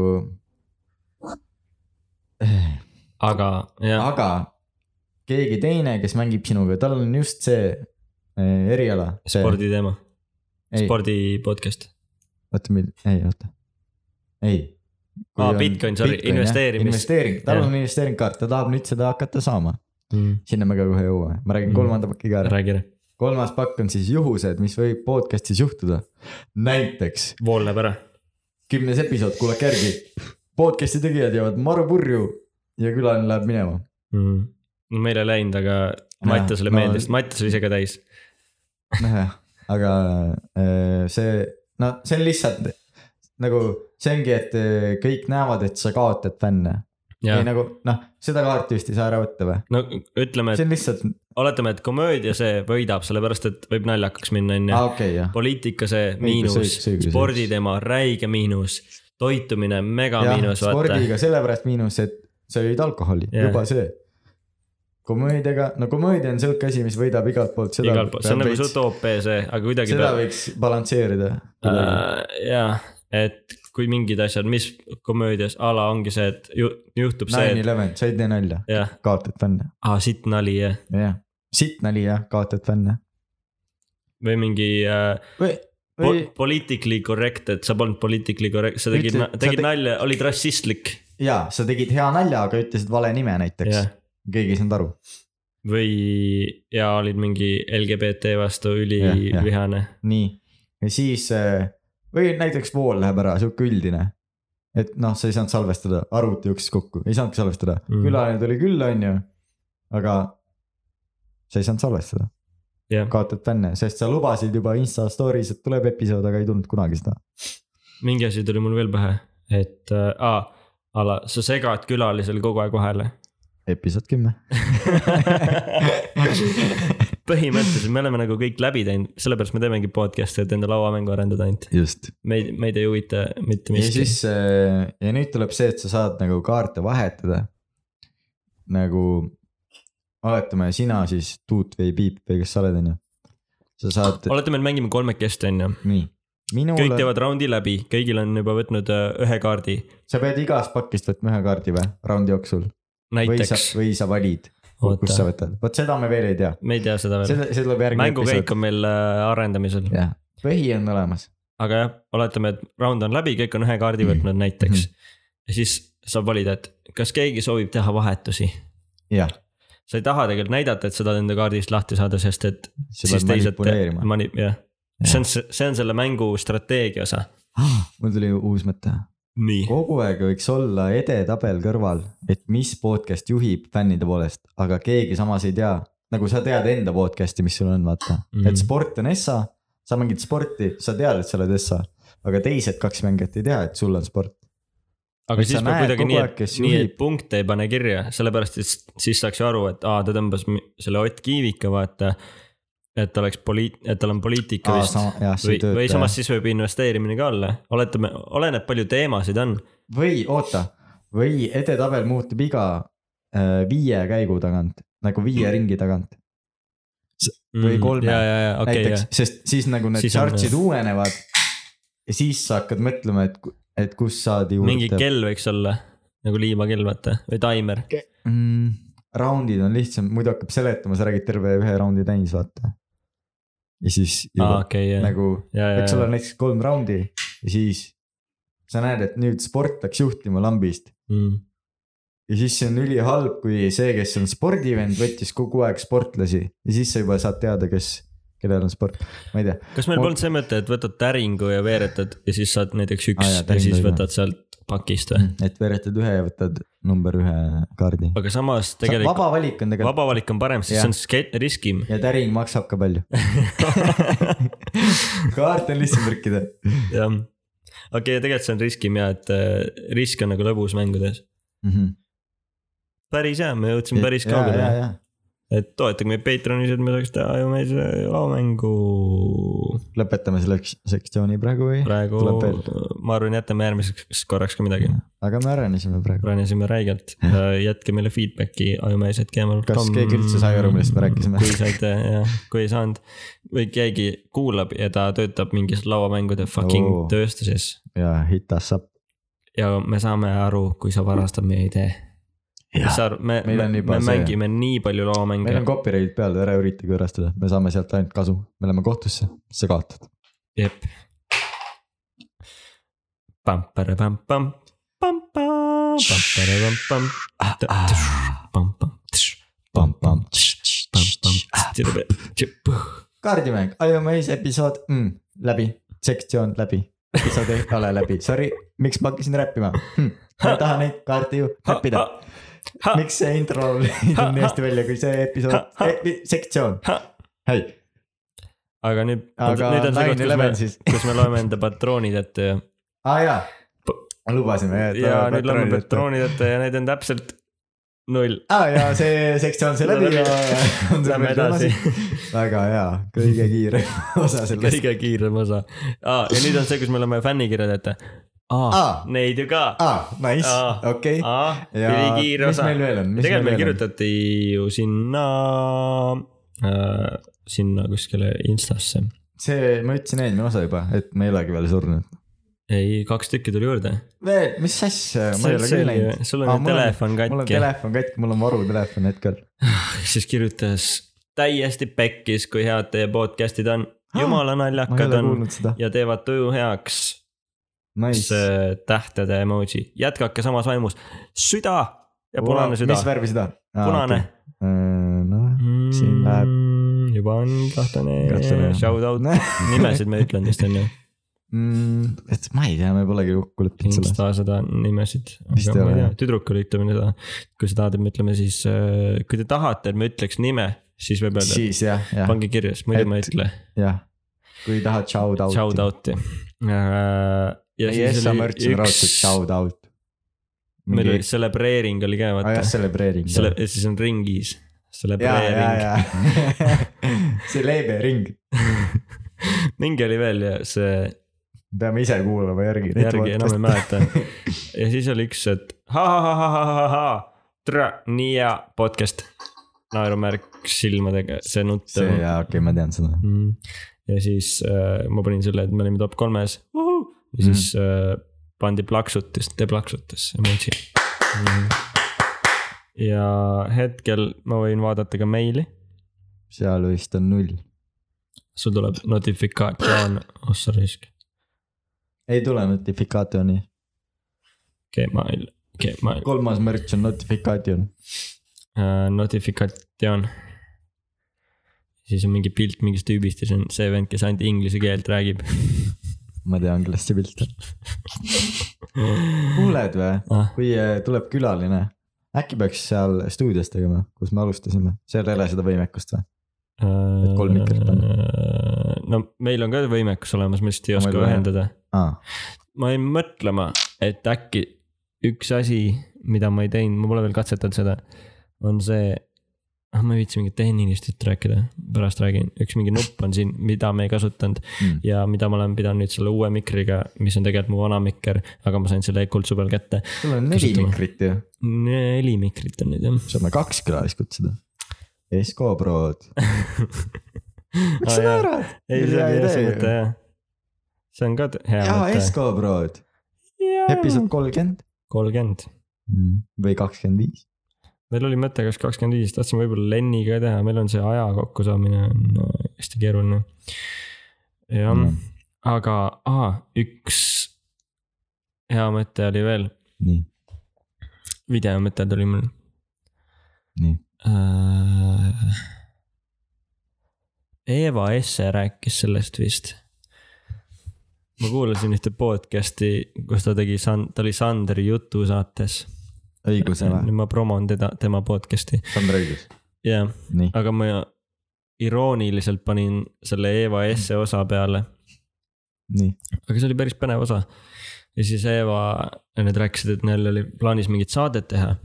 S1: aga jah ,
S2: aga keegi teine , kes mängib sinuga , tal on just see eh, eriala .
S1: sporditeema ,
S2: ei ,
S1: spordi podcast .
S2: oota , ei oota , ei .
S1: Aa, Bitcoin, sorry, investeerimis-
S2: investeering , tal
S1: jah.
S2: on investeering ka , ta tahab nüüd seda hakata saama ,
S1: Mm.
S2: sinna me ka kohe jõuame , ma räägin
S1: Mm.
S2: kolmanda pakki ka ära .
S1: räägi ära .
S2: kolmas pakk on siis juhused , mis võib podcast'is juhtuda . näiteks
S1: vool läheb ära .
S2: kümnes episood , kuulake järgi . podcast'i tegijad jäävad maru purju ja külaline läheb minema .
S1: no meil Mhm. ei läinud , aga Mattiasele
S2: no-
S1: meeldis , Mattias oli ise ka täis .
S2: nojah , aga äh, see , no see on lihtsalt nagu see ongi , et äh, kõik näevad , et sa kaotad fänne .
S1: ja
S2: ei nagu noh , seda kaarti vist ei saa ära võtta või ?
S1: no ütleme ,
S2: see
S1: et
S2: on lihtsalt ,
S1: oletame , et komöödia see võidab , sellepärast et võib naljakaks minna , onju
S2: aa . okei jah .
S1: poliitika see
S2: õigus,
S1: miinus
S2: õigus, , õigus.
S1: spordi teema räige miinus , toitumine mega ja,
S2: jah ,
S1: miinus , vaata .
S2: spordiga sellepärast miinus , et sa jõid alkoholi ,
S1: Jah.
S2: juba see . komöödiaga , no komöödia on sihuke asi , mis võidab igalt poolt seda .
S1: igalt poolt , see on nagu Zootopia see , aga kuidagi
S2: seda
S1: peab ,
S2: võiks balansseerida .
S1: Äh, jaa , et kui mingid asjad , mis komöödias a la ongi see , et ju, juhtub
S2: Nine
S1: see , et
S2: Eleven , sa ei tee nalja ,
S1: jah ,
S2: kaotad fänne ,
S1: aa sitt nali jah ,
S2: jah . sitt nali jah , kaotad fänne .
S1: või mingi äh,
S2: või ,
S1: po
S2: või
S1: politically correct , et sa polnud politically correct , sa tegid
S2: Ütle- , sa
S1: tegid
S2: te-
S1: nalja , olid rassistlik ,
S2: jaa , sa tegid hea nalja , aga ütlesid vale nime näiteks
S1: jah .
S2: keegi ei saanud aru .
S1: või , ja olid mingi LGBT vastu
S2: Jah, jah.
S1: ülivihane ,
S2: nii , ja siis äh, või näiteks vool läheb ära , sihuke üldine . et noh , sa ei saanud salvestada , arvuti jooksis kokku , ei saanudki salvestada
S1: Mm.
S2: mm. , külaline tuli külla , on ju . aga sa ei saanud salvestada ,
S1: jah .
S2: kaotad fänne , sest sa lubasid juba insta story's , et tuleb episood , aga ei tulnud kunagi seda .
S1: mingi asi tuli mul veel pähe , et äh, aa, a la sa segad külalisel kogu aeg vahele .
S2: episood kümme .
S1: põhimõtteliselt me oleme nagu kõik läbi teinud , sellepärast me teemegi podcast'i , et enda lauamängu arendada ainult .
S2: just .
S1: meid , meid ei huvita mitte
S2: ja
S1: miski .
S2: siis äh, ja nüüd tuleb see , et sa saad nagu kaarte vahetada . nagu oletame , sina siis Tuut või Piip või kes sa oled , on ju . sa saad ,
S1: oletame , et mängime kolmekesti , on ju .
S2: nii . minul
S1: kõik
S2: on ,
S1: teevad raundi läbi , kõigil on juba võtnud äh, ühe kaardi ,
S2: sa pead igast pakist võtma ühe kaardi või , raundi jooksul . või sa ,
S1: näiteks .
S2: või sa valid , kus sa
S1: oota ,
S2: võtad , vot seda me veel ei tea .
S1: me ei tea seda veel .
S2: seda , see tuleb järgmine
S1: mängukäik . on meil äh, arendamisel ,
S2: jah , põhi on olemas ,
S1: aga jah , oletame , et raund on läbi , kõik on ühe kaardi
S2: Mhm.
S1: võtnud näiteks . ja siis saab valida , et kas keegi soovib teha vahetusi
S2: jah .
S1: sa ei taha tegelikult näidata , et sa tahad enda kaardist lahti saada , sest et
S2: sa
S1: siis
S2: pead
S1: teised ,
S2: manipuleerima .
S1: mani- , jah .
S2: Jah.
S1: see on , see on selle mängu strateegia osa .
S2: mul tuli uus mõte
S1: nii .
S2: kogu aeg võiks olla edetabel kõrval , et mis podcast juhib fännide poolest , aga keegi samas ei tea . nagu sa tead enda podcast'i , mis sul on , vaata mm ,
S1: Mhm.
S2: -hmm. et sport on Essa , sa mängid sporti , sa tead , et sa oled Essa . aga teised kaks mängijat ei tea , et sul on sport .
S1: aga
S2: Et
S1: siis
S2: sa
S1: peab
S2: näed
S1: kuidagi
S2: kogu
S1: nii ,
S2: aeg,
S1: et
S2: kes ,
S1: nii , et
S2: juhib.
S1: punkte ei pane kirja , sellepärast et s- siis saaks ju aru , et aa , ta tõmbas mi- selle Ott Kiivika , vaata . et oleks poliit- , et tal on poliitika vist . või , või samas siis võib investeerimine ka olla , oletame , oleneb , palju teemasid on .
S2: või oota , või edetabel muutub iga äh, viie käigu tagant , nagu
S1: Mm.
S2: viie ringi tagant Või kolme.
S1: ja , ja , ja ,
S2: okay, ,
S1: okei ,
S2: näiteks
S1: jah
S2: yeah. , sest siis nagu need
S1: Siis on-
S2: chart'id uuenevad . ja siis sa hakkad mõtlema , et , et kus saad juurde .
S1: mingi kell võiks olla , nagu liivakell , vaata , või taimer .
S2: mm, . raundid on lihtsam , muidu hakkab seletama , sa räägid terve ühe raundi täis , vaata . ja siis
S1: aa ,
S2: juba,
S1: Ah, okei , jah .
S2: nagu ,
S1: ja , ja ,
S2: eks
S1: ja
S2: ole ,, näiteks kolm raundi ja siis sa näed , et nüüd sport läks juhtima lambist .
S1: Mm.
S2: ja siis see on ülihalb , kui see , kes on spordivend , võttis kogu aeg sportlasi ja siis sa juba saad teada , kes , kellel on sport , ma ei tea .
S1: kas meil
S2: Ma-
S1: polnud see mõte , et võtad täringu ja veeretad ja siis saad näiteks üks
S2: Aa,
S1: ah,
S2: jaa,
S1: ja, ja
S2: täringu
S1: siis
S2: ka.
S1: võtad sealt pakist või ?
S2: et veeretad ühe ja võtad number ühe kaardi .
S1: aga samas tegelikult
S2: Mm. vaba valik on
S1: vaba,
S2: tegelikult
S1: vaba valik on parem , sest
S2: Jah.
S1: see on ske- riskim
S2: ja täring maksab ka palju . kaart on lihtsam trükkida .
S1: jah . okei , tegelikult see on riskim ja et äh, risk on nagu lõbus mängudes . päris hea , me jõudsime Mhm. päris kaugele ,
S2: kaugele .
S1: et toetage meid Patreonis , et me saaks teha ju äh, meil see laomängu .
S2: lõpetame selle üks- sektsiooni praegu või ?
S1: praegu
S2: Tuleb veel.
S1: ma arvan , jätame järgmiseks korraks ka midagi .
S2: aga me arenesime praegu .
S1: ranesime räigelt , jätke meile feedback'i ajumees.gmail .
S2: Kas keegi üldse sai aru, millest me rääkisime?
S1: kui saite jah , kui ei saanud või keegi kuulab ja ta töötab mingis lauamängude fucking
S2: Oo.
S1: oh. tööstuses
S2: ja hit us up .
S1: ja me saame aru , kui sa varastad meie idee . sa arvad , me ,
S2: Meil
S1: me,
S2: on juba
S1: me
S2: see-
S1: mängime nii palju
S2: meil
S1: lauamänge
S2: on copyright peal , ära üritage võõrastada , me saame sealt ainult kasu , me läheme kohtusse , sa kaotad .
S1: jep . Pam-pam-pam-pam , pam-pam , pam-pam-pam ,
S2: Ah,
S1: pam-pam , pam-pam .
S2: pamm-pamm .
S1: Pam-pam.
S2: kaardimäng , Iron-Maze episood mm, , läbi , sektsioon läbi , episood ei ole läbi , sorry , miks ma hakkasin räppima hm, ? ma ei taha neid kaarte ju räppida . miks see intro ei tulnud hästi välja , kui see episood Eh,
S1: Ha, ,
S2: sektsioon , ei ,
S1: aga nüüd ,
S2: aga
S1: nüüd on see koht , kus
S2: nine
S1: me
S2: eleven , siis ,
S1: kus me loeme enda patroonid ette ja ,
S2: aa jaa , lubasime .
S1: ja nüüd loeme patroonid ette ja neid on täpselt null .
S2: aa ja Ah, see sektsioon sai läbi ja .
S1: Lähme edasi .
S2: väga hea , kõige kiirem osa sellest .
S1: kõige kiirem osa . aa , ja nüüd on see , kus me loeme fännikirjad ette . aa ,
S2: aa ,
S1: neid ju ka .
S2: aa , Ah, nice ,
S1: Aa.
S2: okei .
S1: aa ,
S2: ja
S1: Ah. ülikiire
S2: mis
S1: osa .
S2: meil veel on , mis
S1: tegelikult meil
S2: meil veel on ?
S1: kirjutati ju sinna äh, , sinna kuskile Instasse .
S2: see , ma ütlesin eelmine osa juba , et me ei olegi veel surnud .
S1: ei , kaks tükki tuli juurde .
S2: veel , mis asja , ma ei ole küll näinud .
S1: sul on
S2: Aa,
S1: ju
S2: mul on-
S1: telefon
S2: mul on
S1: katki .
S2: telefon katki , mul on varutelefon hetkel .
S1: siis kirjutas täiesti pekkis , kui head teie podcast'id on ,
S2: Ah,
S1: jumala
S2: ma ei
S1: naljakad
S2: ole
S1: on
S2: kuulnud seda .
S1: ja teevad tuju heaks
S2: Nice .
S1: see tähtede emoji , jätkake samas vaimus , süda ja punane süda
S2: mis , värvi seda ?
S1: punane .
S2: noh , siin läheb- .
S1: juba on kahtlane
S2: Kahtlane. ,
S1: shout out , nimesid ma ei ütlenud vist onju ,
S2: Mm, et ma ei tea , me polegi kokku leppinud selles .
S1: Insta seda nimesid
S2: Vist ei ole, jah. .
S1: tüdrukule ütleme seda , kui sa tahad , et me ütleme siis , kui te tahate , et me ütleks nime , siis võib öelda ,
S2: siis jah , jah ,
S1: pange kirja , sest muidu ma ei
S2: Et-
S1: ütle .
S2: jah . kui tahad shout out'i .
S1: Shout out'i . Äh, ja
S2: ei ,
S1: siis
S2: Essa merch
S1: oli
S2: on raudselt
S1: üks ,
S2: shout out .
S1: meil oli celebreering oli ka
S2: aa jah ,
S1: vaata ,
S2: celebreering .
S1: selle , siis on ringis .
S2: ja , ja ,
S1: Celebreering ,
S2: ja see leebe ring ,
S1: mingi oli veel ja see
S2: peame ise kuulama järgi .
S1: järgi enam ei mäleta . ja siis oli üks , et ha-ha-ha-ha-ha-ha-ha , tra- , nii hea podcast . naerumärk silmadega , see
S2: see
S1: nuttav .
S2: jaa , okei , ma tean seda .
S1: ja siis äh, ma panin selle , et me olime top kolmes . ja siis äh, pandi plaksutis , te plaksutas emoji . ja hetkel ma võin vaadata ka meili ,
S2: seal vist on null .
S1: sul tuleb notifikatsioon , oh sa raisk .
S2: ei tule notifikatsiooni .
S1: okei okay, , ma , okei okay, , ma
S2: kolmas merch on notifikatsioon .
S1: äh, , notifikatsioon . siis on mingi pilt mingist tüübist ja see on see vend , kes ainult inglise keelt räägib .
S2: ma tean , kellest see pilt on . kuuled või ?
S1: Ah,
S2: kui äh, tuleb külaline , äkki peaks seal stuudios tegema , kus me alustasime , seal ei ole seda võimekust või ?
S1: äh,
S2: kolm mikrit on.
S1: no meil on ka võimekus olemas , me lihtsalt ei
S2: Aga
S1: oska
S2: meil ei ole.
S1: ühendada .
S2: aa ,
S1: ma jäin mõtlema , et äkki üks asi , mida ma ei teinud , ma pole veel katsetanud seda , on see . ah , ma ei viitsi mingit tehnilist juttu rääkida , pärast räägin , üks mingi nupp on siin , mida me ei kasutanud
S2: Mm.
S1: ja mida ma olen pidanud nüüd selle uue mikriga , mis on tegelikult mu vana mikker , aga ma sain selle kuldsu peal kätte .
S2: sul on neli
S1: Kasutame.
S2: mikrit ju ,
S1: neli mikrit on nüüd jah .
S2: saame kaks külalist kutsuda . Esko Prod , miks sa naerad ?
S1: ei , see on hea mõte jah . see on ka t- hea
S2: jaa ,
S1: mõte .
S2: Esko Prod , episood kolmkümmend
S1: kolmkümmend ,
S2: Hmm. või kakskümmend viis .
S1: meil oli mõte , kas kakskümmend viis , tahtsime võib-olla Lenni ka teha , meil on see aja kokkusaamine on äh, hästi keeruline . jah
S2: Mm.
S1: mm. , aga aha, üks hea mõte oli veel ,
S2: nii ,
S1: video mõte tuli mul
S2: nii ,
S1: äh, . Eva Esse rääkis sellest vist . ma kuulasin ühte podcast'i , kus ta tegi , ta oli Sandri jutusaates .
S2: õiguse või ?
S1: ma promon teda , tema podcast'i ,
S2: Sander õigus .
S1: jah
S2: nii ,
S1: aga ma irooniliselt panin selle Eva esse osa peale ,
S2: nii ,
S1: aga see oli päris põnev osa . ja siis Eva , nad rääkisid , et neil oli plaanis mingit saadet teha ,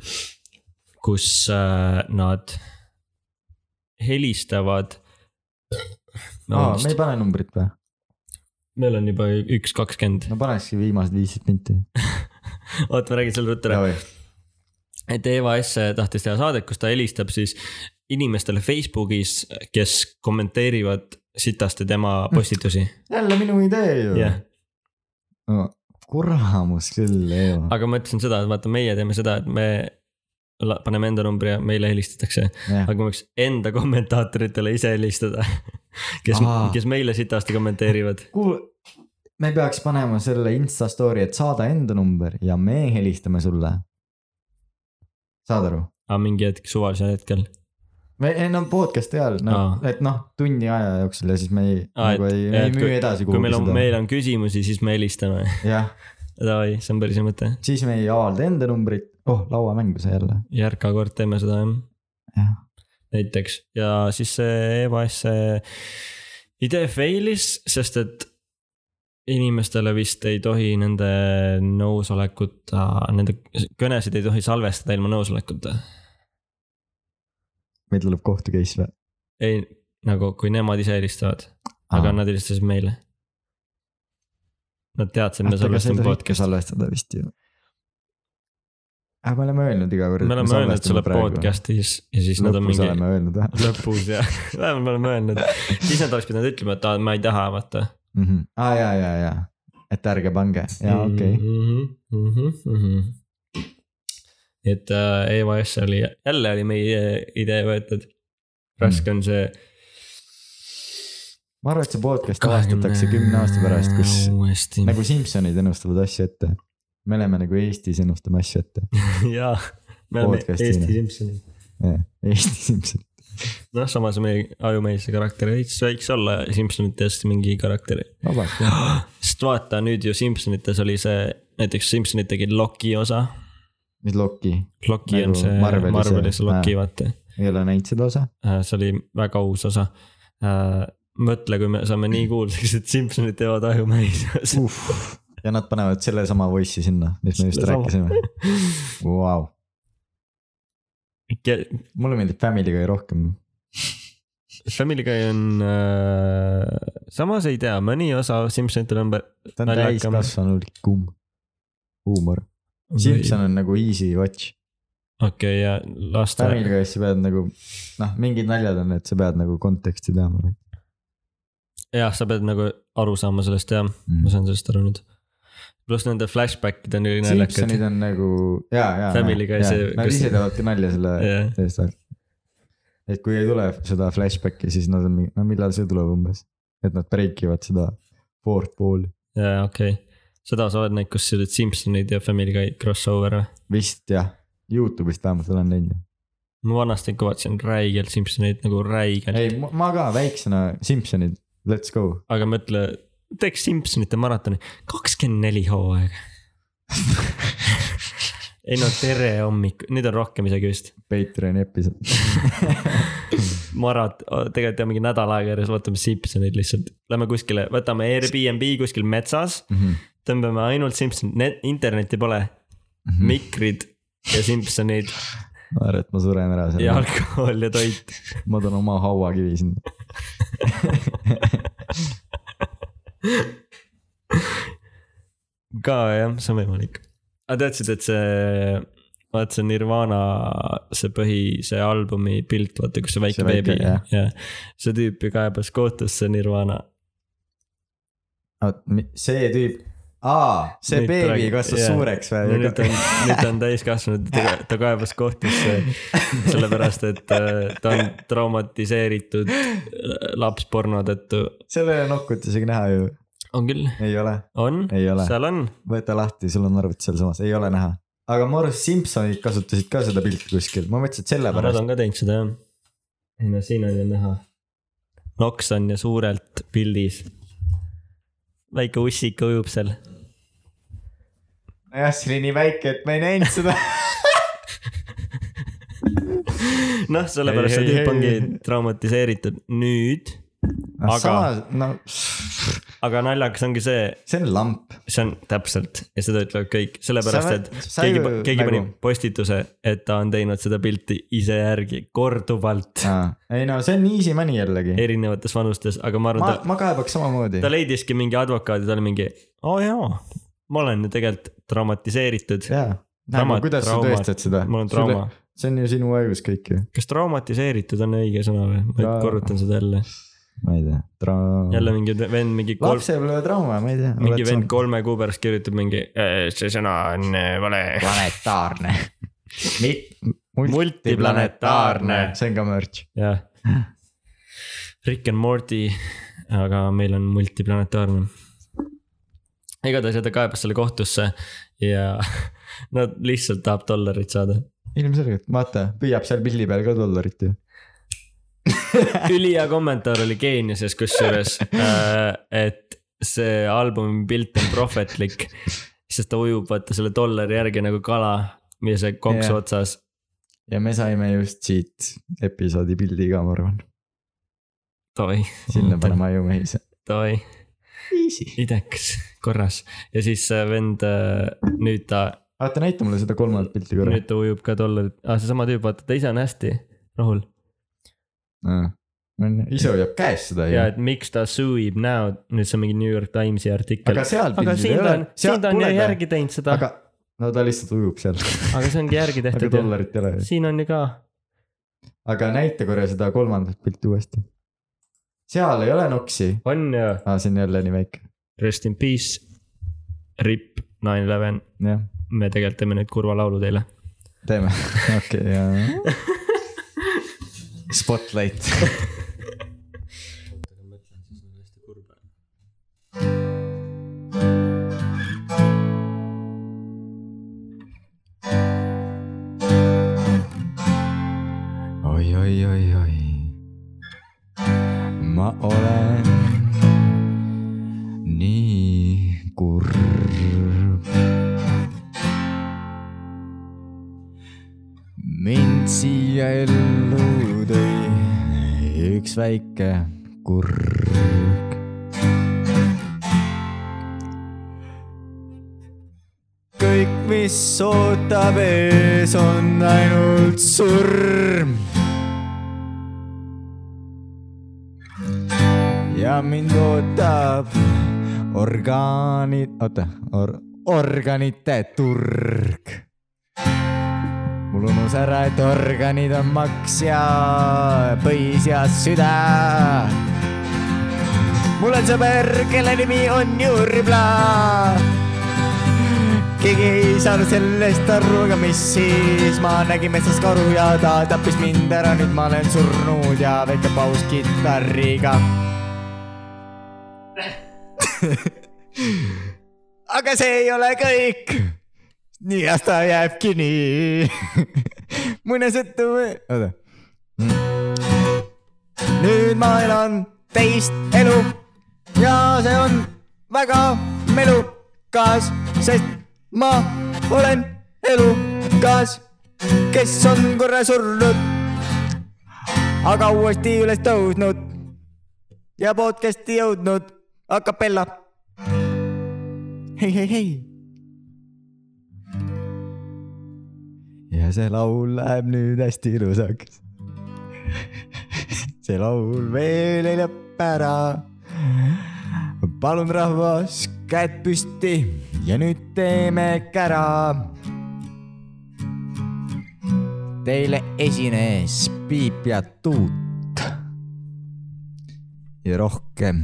S1: kus äh, nad helistavad .
S2: aa , me ei pane numbrit või ?
S1: meil on juba üks kakskümmend ,
S2: no panekski viimased viisteist minti .
S1: oota , ma räägin selle ruttu ära . et Eva Esse tahtis teha saadet , kus ta helistab siis inimestele Facebookis , kes kommenteerivad sitaste tema postitusi ,
S2: jälle minu idee ju
S1: jah .
S2: No, kuramus küll , Eeva .
S1: aga ma ütlesin seda , et vaata , meie teeme seda , et me la- paneme enda numbri ja meile helistatakse , aga me võiks enda kommentaatoritele ise helistada . kes
S2: Aa. ,
S1: kes meile sitasti kommenteerivad .
S2: kuul- , me peaks panema selle insta story , et saada enda number ja me helistame sulle . saad aru ?
S1: aga mingi hetk suvalisel hetkel .
S2: me , ei no podcast'i ajal , no
S1: Aa.
S2: et noh , tunni aja jooksul ja siis me ei ,
S1: Aa,
S2: nagu
S1: et-
S2: ei ,
S1: jah,
S2: ei
S1: et
S2: müü
S1: kui-
S2: edasi
S1: kui meil on ,
S2: kuhugi
S1: meil on küsimusi , siis me helistame .
S2: seda . jah ,
S1: Davai , see on päris hea mõte .
S2: siis me ei avalda enda numbrit , oh lauamäng sai jälle ,
S1: järgmine kord teeme seda jah .
S2: jah .
S1: näiteks ja siis see EVAS see idee fail'is , sest et inimestele vist ei tohi nende nõusolekuta , nende kõnesid ei tohi salvestada ilma nõusolekuta .
S2: meil tuleb kohtu case või ?
S1: ei , nagu kui nemad ise helistavad , aga . nad helistasid meile . Nad teadsid , me salvestame podcast'i .
S2: salvestada vist ju . aga me oleme öelnud iga kord .
S1: me oleme öelnud sulle . podcast'is ja siis nad on
S2: lõpus
S1: mingi
S2: oleme öelnud või
S1: lõpus ja vähemalt me oleme öelnud , siis nad oleks pidanud ütlema , et aa, ma ei taha , vaata
S2: mm ? -hmm. aa ja , ja , ja , et ärge pange , jaa
S1: Mm.
S2: okei okay. .
S1: Mhm, okay. . mhm. et äh, EYS oli , jälle oli meie idee võetud . raske
S2: Mm.
S1: on see .
S2: ma arvan , et see podcast avastatakse kümne aasta pärast , kus
S1: uuesti
S2: nagu Simsonid ennustavad asju ette . me oleme nagu Eestis ennustame asju ette .
S1: jaa , me oleme
S2: podcast'ina.
S1: Eesti Simsonid .
S2: Eesti Simson ,
S1: noh , samas meie ajumeelse karakteri võiks , võiks olla Simsonitest mingi karakter .
S2: vabalt jah .
S1: sest vaata nüüd ju Simsonites oli see , näiteks Simsonid tegid Loki osa .
S2: mis Loki ,
S1: Loki nagu on
S2: Nagu
S1: see
S2: Marveli see-
S1: Marvelis Loki ,
S2: aa.
S1: vaata
S2: ei ole näinud seda osa ?
S1: Äh, see oli väga uus osa . mõtle , kui me saame nii kuulsaks , et Simsonid teevad ajumäis .
S2: ja nad panevad sellesama voice'i sinna , mis me just
S1: Sellesama.
S2: rääkisime . Vau , mulle meeldib Family Guy rohkem .
S1: Family Guy on äh, , samas ei tea , mõni osa Simsonitel on .
S2: ta on
S1: Naljakam.
S2: täiskasvanud kumm , huumor . Simson on nagu easy watch .
S1: okei , ja laste ,
S2: Family Guy's sa pead nagu , noh , mingid naljad on , et sa pead nagu konteksti teadma .
S1: jah , sa pead nagu aru saama sellest jah , ma saan sellest aru nüüd . pluss nende flashback'id on ju naljakad .
S2: Simsonid on nagu , ja , ja .
S1: Family Guy see-
S2: Nad
S1: kus-
S2: ise teevadki nalja selle
S1: Jah.
S2: eest vahel . et kui ei tule seda flashback'i , siis nad on mingi , no millal see tuleb umbes , et nad break ivad seda fourth wall'i .
S1: jaa , okei okay. seda sa oled näinud , kus sa olid Simsonid ja Family Guy crossover või ?
S2: vist jah , Youtube'ist vähemalt olen näinud .
S1: ma vanasti kõvatsen räigelt Simsoneid nagu räigelt .
S2: ei , ma ka väiksena Simsonid , let's go .
S1: aga mõtle , teeks Simsonite maratoni , kakskümmend neli hooaega . ei no tere hommik , neid on rohkem isegi vist .
S2: Patreon'i episood .
S1: Marat- , tegelikult teeme mingi nädal aega järjest , vaatame Simsoneid lihtsalt . Lähme kuskile , võtame Airbnb kuskil metsas , tõmbame ainult Simsonid , internetti pole ,
S2: Mhm.
S1: mikrid ja Simsonid
S2: ma arvan , et ma suren ära
S1: ja
S2: seal ,
S1: alkohol ja toit .
S2: ma toon oma hauakivi sinna .
S1: ka jah , see on võimalik . aga teadsid , et see , vaat see Nirvana , see põhi , see albumi pilt , vaata kus see väike
S2: See väike,
S1: beebi
S2: jah. ,
S1: jah . see tüüp ju kaebas kohtusse Nirvana .
S2: see tüüp , aa , see
S1: Nüüd
S2: beebi
S1: praegu-
S2: kasvas
S1: jaa.
S2: suureks
S1: no
S2: või
S1: nüüd ? on , nüüd ta on täiskasvanud , ta kaebas kohtusse sellepärast , et äh, ta on traumatiseeritud lapsporno tõttu .
S2: seal ei ole nokkut isegi näha ju ,
S1: on küll ,
S2: ei ole ,
S1: on ,
S2: ei ole ,
S1: seal on ,
S2: võta lahti , sul on arvuti sealsamas , ei ole näha . aga ma arvan , Simsonid kasutasid ka seda pilti kuskil , ma mõtlesin , et
S1: nad
S2: sellepärast .
S1: on ka teinud seda jah . ei no siin on ju näha . noks on ju suurelt pildis . väike ussik ujub seal .
S2: nojah , see oli nii väike , et ma ei näinud seda .
S1: noh , sellepärast
S2: Ei,
S1: see
S2: ei,
S1: tüüp
S2: ei,
S1: ongi
S2: ei.
S1: traumatiseeritud nüüd , Aga-
S2: aga samas , no
S1: aga naljakas ongi see ,
S2: see on lamp .
S1: see on täpselt ja seda ütlevad kõik , sellepärast
S2: Sa-
S1: et
S2: sa
S1: keegi
S2: ju ,
S1: keegi pani
S2: nagu-
S1: postituse , et ta on teinud seda pilti ise järgi korduvalt
S2: ei no see on easy money jällegi .
S1: erinevates vanustes , aga ma arvan ,
S2: ma
S1: ta ,
S2: ma kaebaks samamoodi
S1: ta . leidiski mingi advokaadi , ta oli mingi , oo jaa , ma olen ju tegelikult traumatiseeritud ,
S2: jaa .
S1: Traumad,
S2: kuidas sa
S1: traumad.
S2: tõestad seda ?
S1: mul on trauma .
S2: see on ju sinu ajus kõik ju .
S1: kas traumatiseeritud on õige sõna või ? ma
S2: Trauma.
S1: nüüd korrutan seda jälle ,
S2: ma ei tea ,
S1: jälle
S2: trauma .
S1: mingi vend mingi kolm ,
S2: lapsepõlve trauma , ma ei tea .
S1: mingi vend . kolme kuu pärast kirjutab mingi , see sõna on äh, vale .
S2: planetaarne .
S1: Multiplanetaarne.
S2: see on ka merch .
S1: jah , Rick and Morty , aga meil on multiplanetaarne . igatahes ja ta kaebas selle kohtusse ja no lihtsalt tahab dollarit saada .
S2: ilmselgelt , vaata , püüab seal pilli peal ka dollarit ju .
S1: ülihea kommentaar oli geeniuses kusjuures äh, , et see albumi pilt on prohvetlik , sest ta ujub vaata selle dollari järgi nagu kala , mida see konksu
S2: Jah.
S1: yeah. otsas .
S2: ja me saime just siit episoodi pildi ka , ma arvan ,
S1: Toi ,
S2: sinna paneme ajumehise .
S1: toi , idekas , korras ja siis äh, vend äh, nüüd ta ,
S2: vaata , näita mulle seda kolmandat pilti korra
S1: nüüd ta ujub ka dollarit , aa seesama tüüp , vaata ta ise on hästi rahul
S2: nüüd... . ise hoiab käes seda
S1: ja
S2: ju .
S1: et miks ta suib näo , nüüd see on mingi New York Timesi artikkel
S2: aga . seal
S1: aga
S2: pildil
S1: siin
S2: ei
S1: ta
S2: ole
S1: on ,. siin ta on ju järgi teinud seda ,
S2: aga no ta lihtsalt ujub seal ,
S1: aga see ongi järgi
S2: aga
S1: tehtud ju .
S2: dollarit ei ole .
S1: siin on ju ka ,
S2: aga näita korra seda kolmandat pilti uuesti . seal ei ole noksi .
S1: on ju .
S2: aa , see on jälle nii väike ,
S1: Rest in peace , RIP , nine eleven ,
S2: jah ,
S1: me tegelikult teeme nüüd kurva laulu teile .
S2: teeme , okei , jaa . Spotlight . oi , oi , oi , oi . ma olen nii kurb . mind siia ellu tõi üks väike kurg . kõik , mis ootab ees , on ainult surm . ja mind ootab orgaanid , oota , or- , organite turg mul unus ära , et organid on maks ja põis ja süda . mul on sõber , kelle nimi on Jürgla . keegi ei saanud sellest aru , aga mis siis , ma nägin metsas karu ja ta tappis mind ära , nüüd ma olen surnud ja väike paus kitarriga . aga see ei ole kõik nii las ta jääbki nii . muinasjutume , oota . nüüd ma elan teist elu ja see on väga melukas , sest ma olen elukas , kes on korra surnud , aga uuesti üles tõusnud ja podcast'i jõudnud a capella . hei , hei , hei ja see laul läheb nüüd hästi ilusaks . see laul veel ei lõpe ära . palun , rahvas , käed püsti ja nüüd teeme kära . Teile esines Piip ja Tuut . ja rohkem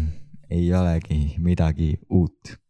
S2: ei olegi midagi uut